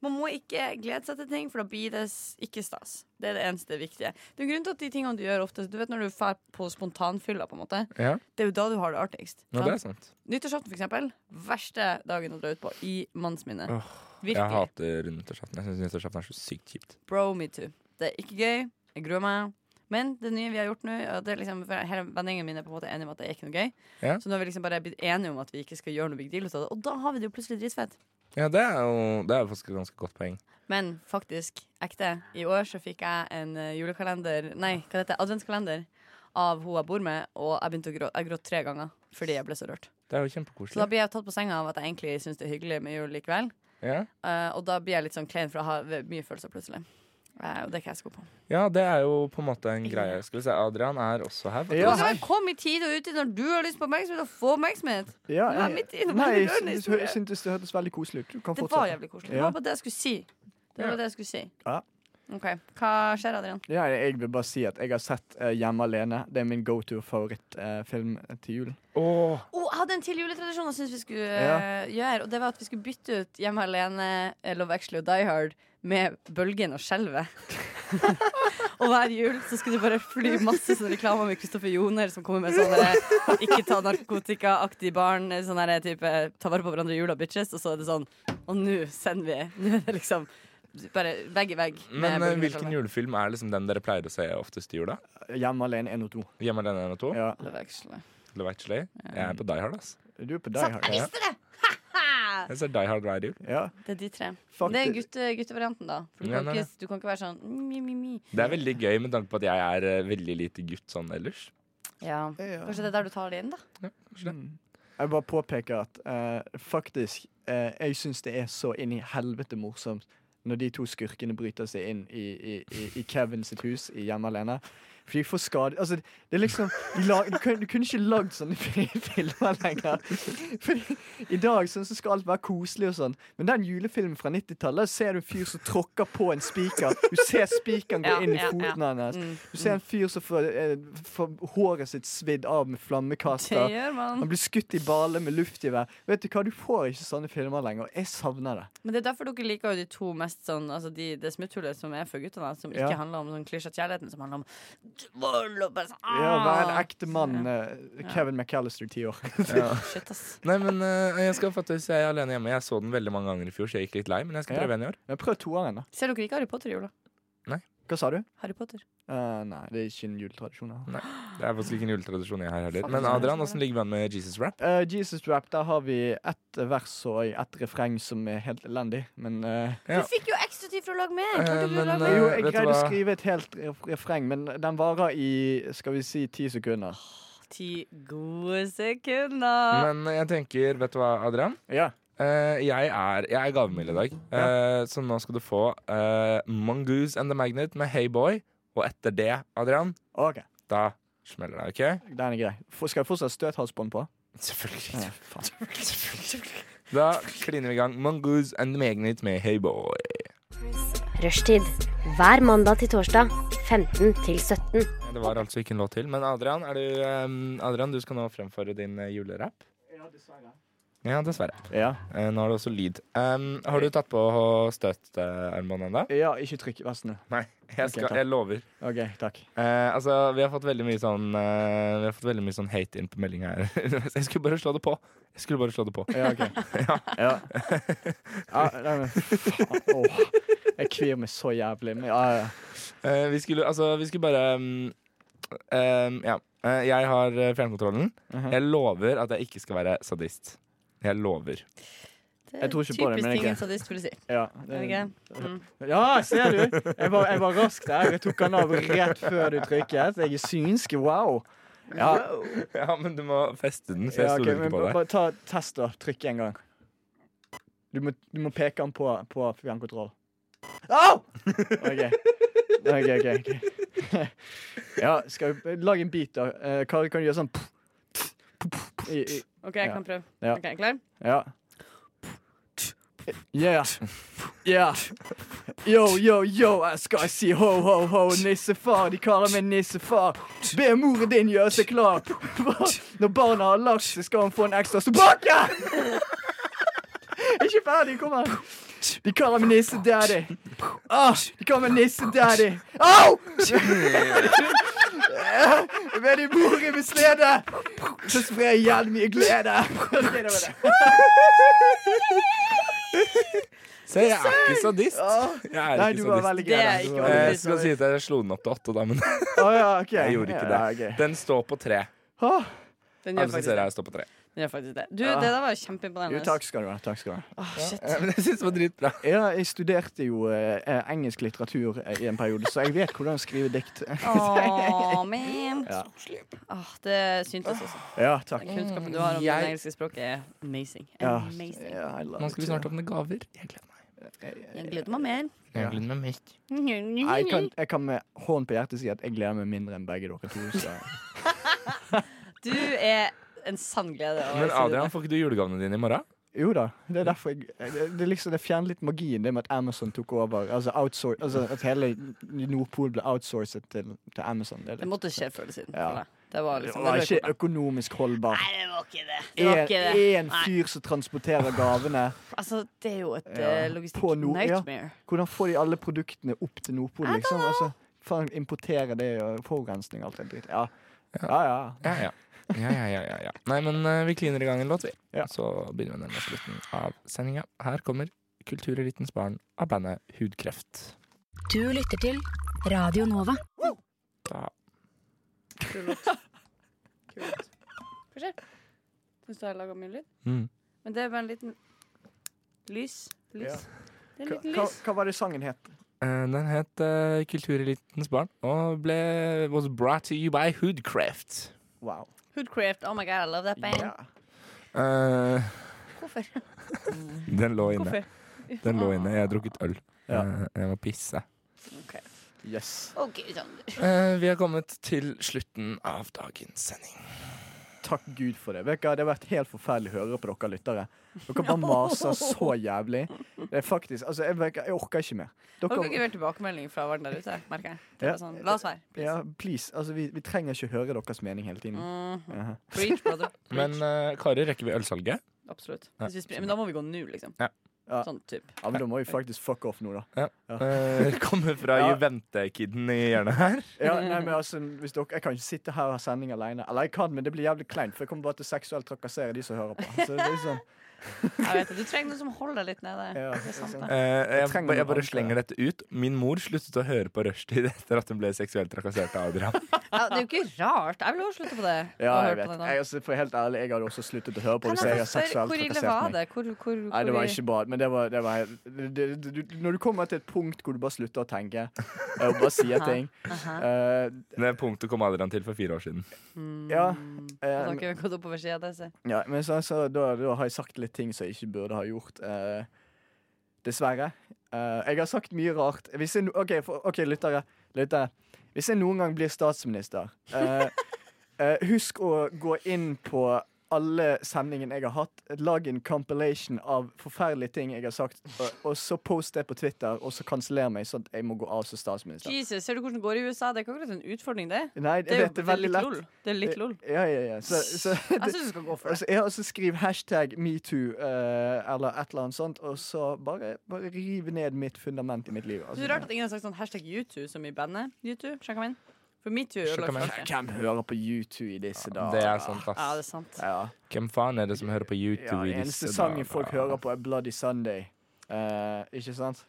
[SPEAKER 7] Man må ikke glede seg til ting, for da blir det s- ikke stas. Det er det eneste viktige. Det er jo grunnen til at de tingene du gjør ofte Du vet når du drar på spontanfylla, på en måte.
[SPEAKER 5] Ja.
[SPEAKER 7] Det er jo da du har det artigst.
[SPEAKER 5] Ja, det er sant.
[SPEAKER 7] Nyttårsaften, for eksempel. Verste dagen å dra ut på i mannsminne.
[SPEAKER 5] Åh, Jeg
[SPEAKER 7] Virkelig.
[SPEAKER 5] hater nyttårsaften. Jeg syns nyttårsaften er så sykt kjipt.
[SPEAKER 7] Bro, me too. Det er ikke gøy. Jeg gruer meg. Men det nye vi har gjort nå og det er liksom, for Hele vennegjengen min er på en måte enige om at det er ikke noe gøy.
[SPEAKER 5] Ja.
[SPEAKER 7] Så nå har vi liksom bare blitt enige om at vi ikke skal gjøre noe big deal ut av det. Og da har vi det jo plutselig dritfett.
[SPEAKER 5] Ja, det er jo det er jo faktisk et ganske godt poeng.
[SPEAKER 7] Men faktisk, ekte. I år så fikk jeg en eh, julekalender Nei, hva heter det? Adventskalender av hun jeg bor med, og jeg begynte å grå, jeg gråt tre ganger fordi jeg ble så rørt.
[SPEAKER 5] Det er jo
[SPEAKER 7] Så da
[SPEAKER 5] kjempekoselig.
[SPEAKER 7] blir jeg tatt på senga av at jeg egentlig syns det er hyggelig med jul likevel.
[SPEAKER 5] Ja.
[SPEAKER 7] Eh, og da blir jeg litt sånn klein, for jeg har mye følelser plutselig. Eh, og det er ikke jeg så god på.
[SPEAKER 5] ja, det er jo på en måte en greie. Skal vi se, Adrian er også her.
[SPEAKER 7] Du skal bare komme i tide og ute når du har lyst på oppmerksomhet, og få oppmerksomhet.
[SPEAKER 6] Ja,
[SPEAKER 7] Du er
[SPEAKER 6] jeg-
[SPEAKER 7] midt i en
[SPEAKER 6] nei,
[SPEAKER 7] veldig
[SPEAKER 6] jeg
[SPEAKER 7] rørende
[SPEAKER 6] syntes-
[SPEAKER 7] historie.
[SPEAKER 6] jeg syntes det hørtes veldig koselig ut. Du kan
[SPEAKER 7] Det var
[SPEAKER 6] fortsette.
[SPEAKER 7] jævlig koselig. Det
[SPEAKER 6] Ja.
[SPEAKER 7] var bare det jeg skulle si. Det var
[SPEAKER 6] Ja.
[SPEAKER 7] det jeg skulle si.
[SPEAKER 6] Ja.
[SPEAKER 7] OK. Hva skjer, Adrian?
[SPEAKER 6] Ja, jeg vil bare si at jeg har sett eh, Hjemme alene. Det er min go to favorittfilm til jul.
[SPEAKER 7] Oh, jeg hadde en til juletradisjon jeg syntes vi skulle
[SPEAKER 6] Ja.
[SPEAKER 7] eh, gjøre. Og det var at vi skulle bytte ut Hjemme alene, eh, Love Actually og Die Hard med Bølgen og Skjelvet. og hver jul så skulle det bare fly masse sånne reklamer med Kristoffer Joner som kommer med sånne eh, ikke ta narkotika-aktig barn, eh, sånn der type ta vare på hverandre i jula, bitches. Og så er det sånn Og nå sender vi. Nå er det liksom bare vegg i vegg. med
[SPEAKER 5] Men eh,
[SPEAKER 7] Bølgen og
[SPEAKER 5] hvilken
[SPEAKER 7] Skjelvet.
[SPEAKER 5] julefilm er liksom den dere pleier å se oftest i jula?
[SPEAKER 6] Hjemme alene 1 og 2.
[SPEAKER 5] Hjemme alene 1 og 2?
[SPEAKER 6] Ja.
[SPEAKER 7] Love Actually.
[SPEAKER 5] Love Actually? Jeg er på Die Hard, ass.
[SPEAKER 6] Du er på
[SPEAKER 7] Sant, jeg visste det! Ha-ha!
[SPEAKER 5] Jeg ser Die Hard hver jul.
[SPEAKER 7] Det er de tre.
[SPEAKER 5] Fuck,
[SPEAKER 7] det er
[SPEAKER 5] det-
[SPEAKER 7] gutte, guttevarianten, da. For du,
[SPEAKER 5] Ja,
[SPEAKER 7] kan
[SPEAKER 5] nei,
[SPEAKER 7] ikke, du kan ikke være sånn mm, mi, mi, mi.
[SPEAKER 5] Det er veldig gøy med tanke på at jeg er eh, veldig lite gutt sånn ellers.
[SPEAKER 7] Ja. Kanskje det er der du tar det inn, da.
[SPEAKER 6] Mm. Jeg bare påpeker at eh, faktisk eh, Jeg syns det er så inn i helvete morsomt når de to skurkene bryter seg inn i, i, i, i Kevin sitt hus i Hjemme alene. For de får skade Altså, det er liksom de la, du, kunne, du kunne ikke lagd sånne fi- filmer lenger. Fordi I dag sånn, så skal alt være koselig og sånn, men den julefilmen fra 90-tallet, der ser du en fyr som tråkker på en spiker. Du ser spikeren gå
[SPEAKER 14] Ja,
[SPEAKER 6] inn i
[SPEAKER 14] ja,
[SPEAKER 6] foten
[SPEAKER 14] ja.
[SPEAKER 6] hans.
[SPEAKER 14] Mm,
[SPEAKER 6] Du ser en fyr som får, eh, får håret sitt svidd av med flammekaster.
[SPEAKER 7] Det gjør man.
[SPEAKER 6] Han blir skutt i bale med luftgevær. Vet du hva, du får ikke sånne filmer lenger. og Jeg savner det.
[SPEAKER 7] Men det er derfor dere liker jo de to mest sånn Altså de, det smutthullet som er for guttene, som ikke
[SPEAKER 6] Ja.
[SPEAKER 7] handler om sånn klisjert kjærligheten, som handler om vold og bare sånn
[SPEAKER 6] Ja, vær en
[SPEAKER 7] ah.
[SPEAKER 6] ekte mann. eh, Kevin McAllister, ti år.
[SPEAKER 5] Ja. Nei, men eh, jeg skal fatte hvis jeg er alene hjemme. Jeg så den veldig mange ganger i fjor, så jeg gikk litt lei, men jeg skal
[SPEAKER 6] Ja.
[SPEAKER 5] prøve en i år.
[SPEAKER 6] Men prøv toeren, da.
[SPEAKER 7] Ser dere ikke Harry Potter i jula?
[SPEAKER 6] Hva sa du?
[SPEAKER 7] Harry Potter.
[SPEAKER 6] Eh, nei, det er ikke en juletradisjon. jeg har.
[SPEAKER 5] Det er faktisk ikke en juletradisjon jeg har heller.
[SPEAKER 6] Faktisk
[SPEAKER 5] Men
[SPEAKER 6] ikke.
[SPEAKER 5] Adrian, åssen ligger vi an med Jesus Rap?
[SPEAKER 6] Eh, Jesus Rap, der har vi ett vers og ett refreng som er helt elendig, men eh,
[SPEAKER 5] Ja.
[SPEAKER 9] Du fikk jo ekstra tid for å lage mer.
[SPEAKER 5] Eh,
[SPEAKER 9] Klarte du å
[SPEAKER 5] men,
[SPEAKER 9] lage
[SPEAKER 5] eh,
[SPEAKER 9] mer?
[SPEAKER 6] Jo,
[SPEAKER 5] vet
[SPEAKER 6] jeg
[SPEAKER 5] du
[SPEAKER 6] greide å
[SPEAKER 5] hva?
[SPEAKER 6] skrive et helt ref- refreng, men den varer i skal vi si ti sekunder.
[SPEAKER 7] Ti gode sekunder.
[SPEAKER 5] Men eh, jeg tenker, vet du hva, Adrian?
[SPEAKER 6] Ja.
[SPEAKER 5] Eh, jeg er, jeg er gavmild i dag, Eh, så nå skal du få eh, Mongoose and the Magnet med Hey Boy. Og etter det, Adrian, da smeller det, OK?
[SPEAKER 6] Den er grei. F- Skal jeg fortsatt ha støthalsbånd på?
[SPEAKER 5] Selvfølgelig.
[SPEAKER 6] Ja, faen.
[SPEAKER 5] Da kliner vi i gang. Mongoose and the Magnet med Hey Boy.
[SPEAKER 9] Rushtid. Hver mandag til torsdag 15 til 17.
[SPEAKER 5] Det var altså ikke en låt til. Men Adrian, er du, eh, Adrian du skal nå fremføre din eh, julerapp. Ja, dessverre. Eh, nå har du også lyd. Um, har du tatt på støtearmbåndet ennå?
[SPEAKER 6] Ja, ikke trykk. Vær snill.
[SPEAKER 5] Nei, jeg, skal,
[SPEAKER 6] Ok, takk.
[SPEAKER 5] jeg lover.
[SPEAKER 6] OK, takk.
[SPEAKER 5] Eh, altså, vi har fått veldig mye sånn eh, Vi har fått veldig mye sånn hate inn på melding her. jeg skulle bare slå det på. Jeg skulle bare slå det på.
[SPEAKER 6] Ja, ok.
[SPEAKER 5] ja.
[SPEAKER 6] Ja. Ja, nei, men faen. Åh, jeg kvir meg så jævlig. Men, ja, ja.
[SPEAKER 5] Eh, vi skulle altså Vi skulle bare mm, eh, Ja. Eh, jeg har eh, fjernkontrollen. Jeg lover at jeg ikke skal være sadist. Jeg lover.
[SPEAKER 7] Det er Typisk ting en sadist ville si.
[SPEAKER 6] Ja,
[SPEAKER 7] Er det ikke? Mm.
[SPEAKER 6] Ja, ser du? Jeg var, jeg var rask der. Jeg tok han av rett før du trykket. Jeg er synsk. Wow. Ja,
[SPEAKER 5] ja, men du må feste den, for jeg
[SPEAKER 6] Ja, ok,
[SPEAKER 5] stoler
[SPEAKER 6] men
[SPEAKER 5] ikke på deg.
[SPEAKER 6] Bare ta test, da. Trykk en gang. Du må, du må peke den på, på fjernkontroll. Au! OK. OK, OK. ok. ja, skal vi lage en beat, da? Eh, Kari, kan du gjøre sånn I- i-
[SPEAKER 7] OK, jeg
[SPEAKER 6] ja.
[SPEAKER 7] kan prøve.
[SPEAKER 6] Ja.
[SPEAKER 7] Ok, klar?
[SPEAKER 6] Ja. Yeah. Yeah. Yo, yo, yo, jeg skal si ho, ho, ho, nissefar. De kaller meg nissefar. Be moren din gjøre seg klar. Når barna har lagt seg, skal hun få en ekstra tilbake! Ikke ferdig, kom her. De kaller meg nisse-daddy. Ah, de kaller meg nisse-daddy. Au! Med de mor i mitt slede, så sprer jeg jævlig mye glede. Ok, det var det.
[SPEAKER 5] Se, jeg er ikke sadist. Jeg er
[SPEAKER 6] Nei,
[SPEAKER 5] ikke
[SPEAKER 6] du var
[SPEAKER 5] sadist. Eh,
[SPEAKER 6] veldig grei, da. Du var veldig
[SPEAKER 5] Jeg skal si at jeg slo den opp til åtte, da, men
[SPEAKER 6] Å, ja, ok.
[SPEAKER 5] jeg gjorde
[SPEAKER 6] Ja,
[SPEAKER 5] ikke
[SPEAKER 6] ja,
[SPEAKER 5] det. Den står på tre.
[SPEAKER 6] Åh.
[SPEAKER 7] Den gjør
[SPEAKER 5] Alle som
[SPEAKER 7] faktisk
[SPEAKER 5] ser
[SPEAKER 7] det.
[SPEAKER 5] her, står på tre.
[SPEAKER 7] Den gjør faktisk det. Du,
[SPEAKER 6] Ja.
[SPEAKER 7] det der var jo
[SPEAKER 6] Jo,
[SPEAKER 7] kjempeimponerende.
[SPEAKER 6] takk skal du ha. Takk skal du ha.
[SPEAKER 7] Åh, shit.
[SPEAKER 5] Ja, men jeg synes det var dritbra.
[SPEAKER 6] Ja, jeg studerte jo eh, eh, engelsk litteratur eh, i en periode, så jeg vet hvordan skrive dikt.
[SPEAKER 7] Åh, man.
[SPEAKER 6] Ja.
[SPEAKER 7] Åh, det syntes også.
[SPEAKER 6] Ja, takk.
[SPEAKER 7] Den kunnskapen du har om
[SPEAKER 5] Jeg-
[SPEAKER 7] det engelske språket, er amazing.
[SPEAKER 6] Ja.
[SPEAKER 7] amazing.
[SPEAKER 6] Ja, I love
[SPEAKER 5] Nå skal vi
[SPEAKER 6] it.
[SPEAKER 5] snart åpne gaver. Jeg gleder meg.
[SPEAKER 7] Jeg gleder meg mer.
[SPEAKER 5] Jeg gleder meg mest.
[SPEAKER 6] Nei, Jeg kan, jeg kan med hånden på hjertet si at jeg gleder meg mindre enn begge dere to. Så.
[SPEAKER 7] Du er en sann glede. å
[SPEAKER 5] Men
[SPEAKER 7] si det.
[SPEAKER 5] Adrian, får ikke du julegavene dine i morgen?
[SPEAKER 6] Jo da. Det er derfor jeg Det, det, er liksom, det fjerner litt magien, det med at Amazon tok over. Altså, outsour- altså At hele Nordpol ble outsourcet til, til Amazon. Det, er
[SPEAKER 7] Det
[SPEAKER 6] litt-
[SPEAKER 7] måtte skje før eller siden.
[SPEAKER 6] Ja.
[SPEAKER 7] for deg. Det var
[SPEAKER 6] det
[SPEAKER 7] liksom
[SPEAKER 6] var
[SPEAKER 7] det
[SPEAKER 6] ikke økonomisk holdbart.
[SPEAKER 7] Nei, det var ikke det. det, var ikke det.
[SPEAKER 6] Én
[SPEAKER 7] Nei.
[SPEAKER 6] fyr som transporterer gavene.
[SPEAKER 7] Altså, det er jo et
[SPEAKER 6] Ja.
[SPEAKER 7] eh,
[SPEAKER 6] På Nord-
[SPEAKER 7] logistikk-nightmare.
[SPEAKER 6] Ja. Hvordan får de alle produktene opp til Nordpolen? Liksom? Altså, faen, importere det og forurensning og alt det dritt. Ja. Ja, ja.
[SPEAKER 5] Ja, ja. Ja, ja, ja, ja, ja. Nei, men eh, vi kliner i gang en låt, vi. Så begynner vi å nærme oss slutten av sendinga. Her kommer Kulturelitens barn av bandet Hudkreft.
[SPEAKER 11] Du lytter til Radio Nova.
[SPEAKER 5] Da
[SPEAKER 7] Hva skjer? Syns du jeg har laga mye lyd?
[SPEAKER 5] Mm.
[SPEAKER 7] Men det er bare en liten lys. Lys.
[SPEAKER 6] Ja.
[SPEAKER 7] Det er en
[SPEAKER 6] Hva,
[SPEAKER 7] liten
[SPEAKER 6] hva,
[SPEAKER 7] lys.
[SPEAKER 6] hva var det sangen het?
[SPEAKER 5] Eh, Den het eh, Kulturelitens barn og ble was brought to you by Hoodcraft.
[SPEAKER 6] Wow.
[SPEAKER 7] Hoodcraft. Oh my god, I love that band.
[SPEAKER 5] Eh,
[SPEAKER 7] Hvorfor?
[SPEAKER 5] den lå inne.
[SPEAKER 7] Hvorfor?
[SPEAKER 5] Ah. Den lå inne. Jeg har drukket øl.
[SPEAKER 6] Ja.
[SPEAKER 5] Eh, jeg må pisse.
[SPEAKER 7] Ok.
[SPEAKER 6] Yes.
[SPEAKER 7] OK, Sander.
[SPEAKER 5] Eh, vi har kommet til slutten av dagens sending.
[SPEAKER 6] Takk Gud for det. Vet dere, det har vært helt forferdelig å høre på dere lyttere. Dere bare maser så jævlig. Det er faktisk, altså, jeg, vet ikke, jeg orker ikke mer.
[SPEAKER 7] Dere har ikke hørt tilbakemelding fra verden der ute, merker jeg. Det
[SPEAKER 6] Ja.
[SPEAKER 7] er bare sånn, La oss være.
[SPEAKER 6] Ja, please. Altså, vi, vi trenger ikke høre deres mening hele tiden.
[SPEAKER 7] Mhm.
[SPEAKER 6] Jaha.
[SPEAKER 7] Preach, brother.
[SPEAKER 5] Men eh, Kari, rekker vi ølsalget?
[SPEAKER 7] Absolutt.
[SPEAKER 5] Ja.
[SPEAKER 7] Hvis vi spri- Men da må vi gå nå, liksom.
[SPEAKER 5] Ja.
[SPEAKER 7] Sånn typ.
[SPEAKER 6] Ja, men da må vi faktisk fuck off nå, da.
[SPEAKER 5] Ja. Eh, kommer fra
[SPEAKER 6] Ja.
[SPEAKER 5] Juvente-kiden i hjørnet her.
[SPEAKER 6] Ja, nei, men altså, hvis dere, Jeg kan ikke sitte her og ha sending alene. Eller jeg kan, men det blir jævlig kleint, for jeg kommer bare til å seksuelt trakassere de som hører på. Så det er liksom,
[SPEAKER 7] Jeg vet det. Du trenger noe som holder deg litt nede. det er sant,
[SPEAKER 5] Eh,
[SPEAKER 7] det.
[SPEAKER 5] jeg,
[SPEAKER 6] trenger
[SPEAKER 5] ba- jeg
[SPEAKER 6] noe
[SPEAKER 5] bare
[SPEAKER 6] annet.
[SPEAKER 5] slenger dette ut. Min mor sluttet å høre på rushtid etter at hun ble seksuelt trakassert av Adrian.
[SPEAKER 7] Ja, det er jo ikke rart. Jeg vil også slutte på det.
[SPEAKER 6] ja,
[SPEAKER 7] Å høre
[SPEAKER 6] jeg
[SPEAKER 7] på
[SPEAKER 6] vet.
[SPEAKER 7] det nå.
[SPEAKER 6] Jeg, altså, for helt ærlig, jeg hadde også sluttet å høre på
[SPEAKER 7] Kan
[SPEAKER 6] hvis
[SPEAKER 7] jeg
[SPEAKER 6] jeg har
[SPEAKER 7] bare spørre,
[SPEAKER 6] seksuelt
[SPEAKER 7] hvor ille var
[SPEAKER 6] trakassert meg.
[SPEAKER 7] det? Hvor, hvor, hvor,
[SPEAKER 6] Nei, det var
[SPEAKER 7] i-
[SPEAKER 6] ikke bra. Men det var, det var helt- det, det, du, Når du kommer til et punkt hvor du bare slutter å tenke eh, og bare sier ting
[SPEAKER 7] Aha.
[SPEAKER 6] eh,
[SPEAKER 5] Det punktet kom Adrian til for fire år siden.
[SPEAKER 6] Ja.
[SPEAKER 7] At
[SPEAKER 6] eh,
[SPEAKER 7] dere har gått oppover siden, det ser jeg.
[SPEAKER 6] Ja, men så, så, da, da har jeg sagt litt ting som jeg ikke burde ha gjort. eh, dessverre. Eh, jeg har sagt mye rart. Hvis jeg, no- OK, for, ok, lyttere. lyttere. Hvis jeg noen gang blir statsminister, eh, eh, husk å gå inn på alle sendingene jeg har hatt. Lag en compilation av forferdelige ting jeg har sagt, og, og så post det på Twitter, og så kanseller meg, sånn at jeg må gå av som statsminister.
[SPEAKER 7] Jesus, ser du hvordan det går i USA? Det er ikke akkurat en utfordring, det.
[SPEAKER 6] Nei, jeg
[SPEAKER 7] det er jo
[SPEAKER 6] vet det er veldig
[SPEAKER 7] litt
[SPEAKER 6] lett.
[SPEAKER 7] lol. Det er litt lol.
[SPEAKER 6] Ja, ja, ja. Så, så,
[SPEAKER 7] Jeg synes du skal gå for det.
[SPEAKER 6] Altså, ja, og så skriv hashtag metoo eh, eller et eller annet sånt, og så bare, bare rive ned mitt fundament i mitt liv. Altså,
[SPEAKER 7] Det er rart at ingen har sagt sånn hashtag YouTube som i bandet. YouTube, sjekk meg inn. For metoo er jo lagt
[SPEAKER 6] Hvem-
[SPEAKER 7] bak.
[SPEAKER 6] Hvem hører på U2 i disse dager?
[SPEAKER 5] Det er sant,
[SPEAKER 7] Ja, det
[SPEAKER 5] ass.
[SPEAKER 7] er sant.
[SPEAKER 6] Ja,
[SPEAKER 5] Hvem faen er det som hører på
[SPEAKER 6] ja,
[SPEAKER 5] YouTube i
[SPEAKER 6] den eneste
[SPEAKER 5] disse
[SPEAKER 6] sangen
[SPEAKER 5] dager?
[SPEAKER 6] folk hører på, er Bloody Sunday. Eh, ikke sant?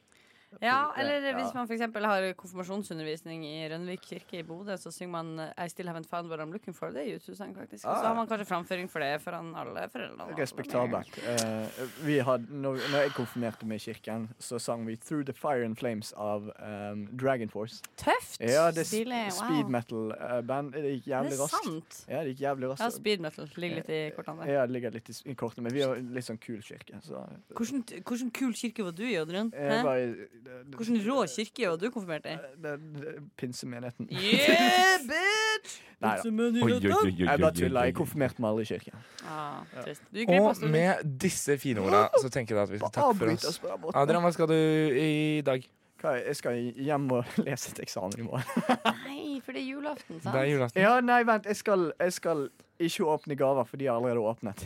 [SPEAKER 7] Ja, eller
[SPEAKER 6] Ja.
[SPEAKER 7] hvis man f.eks. har konfirmasjonsundervisning i Rønvik kirke i Bodø, så synger man eh, I still haven't found what I'm looking for. Det er YouTube-sang, faktisk. Og
[SPEAKER 6] Ah.
[SPEAKER 7] så har man kanskje framføring for det foran alle foreldrene.
[SPEAKER 6] Respektabelt. Eh, vi hadde, når, når jeg konfirmerte meg i kirken, så sang vi Through the Fire and Flames av um, Dragon Force.
[SPEAKER 7] Tøft!
[SPEAKER 6] Ja, det er sp
[SPEAKER 7] Stilig. Wow.
[SPEAKER 6] speed metal-band. det gikk
[SPEAKER 7] Det
[SPEAKER 6] jævlig raskt.
[SPEAKER 7] er
[SPEAKER 6] Altså, eh,
[SPEAKER 7] sant.
[SPEAKER 6] Ja, det gikk jævlig raskt.
[SPEAKER 7] Ja, speed metal ligger litt i kortene der.
[SPEAKER 6] Ja, det ligger litt i, s- i kortene, men vi har en litt sånn kul kirke. Så. eh,
[SPEAKER 7] Hvordan, hvordan kul kirke var du i, Oddrun?
[SPEAKER 6] Jeg
[SPEAKER 7] Hæ?
[SPEAKER 6] var i det- det-
[SPEAKER 7] Hvordan rå kirke var du konfirmert
[SPEAKER 6] Eh,
[SPEAKER 7] i?
[SPEAKER 6] det- det- pinsemenigheten.
[SPEAKER 7] Yeah, bitch!
[SPEAKER 6] Nei da. Jeg bare tuller. Jeg konfirmerte meg aldri i kirken.
[SPEAKER 7] Ah, trist. Du gikk glipp av
[SPEAKER 5] Og
[SPEAKER 7] stor
[SPEAKER 5] med disse fine orda så tenker jeg at vi skal takke for
[SPEAKER 6] Avbryt oss
[SPEAKER 5] oss.
[SPEAKER 6] på den måten.
[SPEAKER 5] Adrian, hva skal du i dag?
[SPEAKER 6] Hva, Jeg skal hjem og lese et eksamen i morgen.
[SPEAKER 7] Nei, for det er julaften, sant?
[SPEAKER 5] Det er julaften.
[SPEAKER 6] Ja, nei, vent. Jeg skal, jeg skal ikke åpne gaver, for de har allerede åpnet.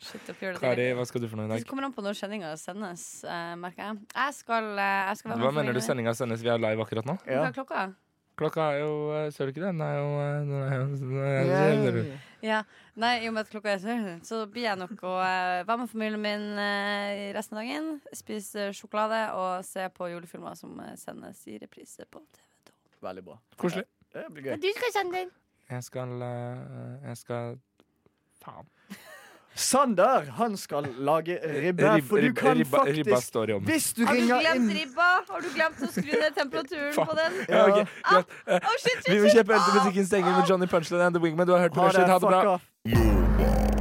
[SPEAKER 7] Shit, dere gjør det
[SPEAKER 5] Kari,
[SPEAKER 7] deilig.
[SPEAKER 5] hva skal du for noe i
[SPEAKER 7] Det
[SPEAKER 5] dag?
[SPEAKER 7] kommer an på når sendinga sendes, eh, merker jeg. Jeg skal, eh, jeg skal være med
[SPEAKER 5] Hva mener du
[SPEAKER 7] familien min.
[SPEAKER 5] sendinga sendes? Vi er live akkurat nå.
[SPEAKER 7] Hva er klokka?
[SPEAKER 5] Klokka er jo eh, Ser du ikke det? Den er jo eh, den er jo- den er jo-
[SPEAKER 7] Ja. Nei, i og med at klokka er sånn, så blir jeg nok å eh, være med familien min eh, resten av dagen. Spise eh, sjokolade og se på julefilmer som eh, sendes i reprise på TV.
[SPEAKER 6] Veldig bra.
[SPEAKER 5] Koselig.
[SPEAKER 6] Ja, Det blir gøy.
[SPEAKER 7] skal sende den!
[SPEAKER 5] Jeg skal eh, Jeg skal Faen.
[SPEAKER 6] Sander, han skal lage ribbe,
[SPEAKER 5] Rib-
[SPEAKER 6] for du
[SPEAKER 5] rib-
[SPEAKER 6] kan
[SPEAKER 5] ribba-
[SPEAKER 6] faktisk
[SPEAKER 5] ribba står i ovnen.
[SPEAKER 6] Hvis du
[SPEAKER 7] Har du
[SPEAKER 6] ringer
[SPEAKER 7] glemt
[SPEAKER 6] inn
[SPEAKER 7] ribba? Har du glemt å skru ned temperaturen på den?
[SPEAKER 5] Ja, ok, greit. Eh,
[SPEAKER 7] Å, shit, shit,
[SPEAKER 5] Vi må
[SPEAKER 7] shit!
[SPEAKER 5] kjøpe øl til butikken stenger med Johnny Punchline and The Wingman. Du har hørt på
[SPEAKER 6] Ha
[SPEAKER 5] Rushdie.
[SPEAKER 6] det,
[SPEAKER 5] Ha det
[SPEAKER 6] fuck
[SPEAKER 5] bra.
[SPEAKER 6] off.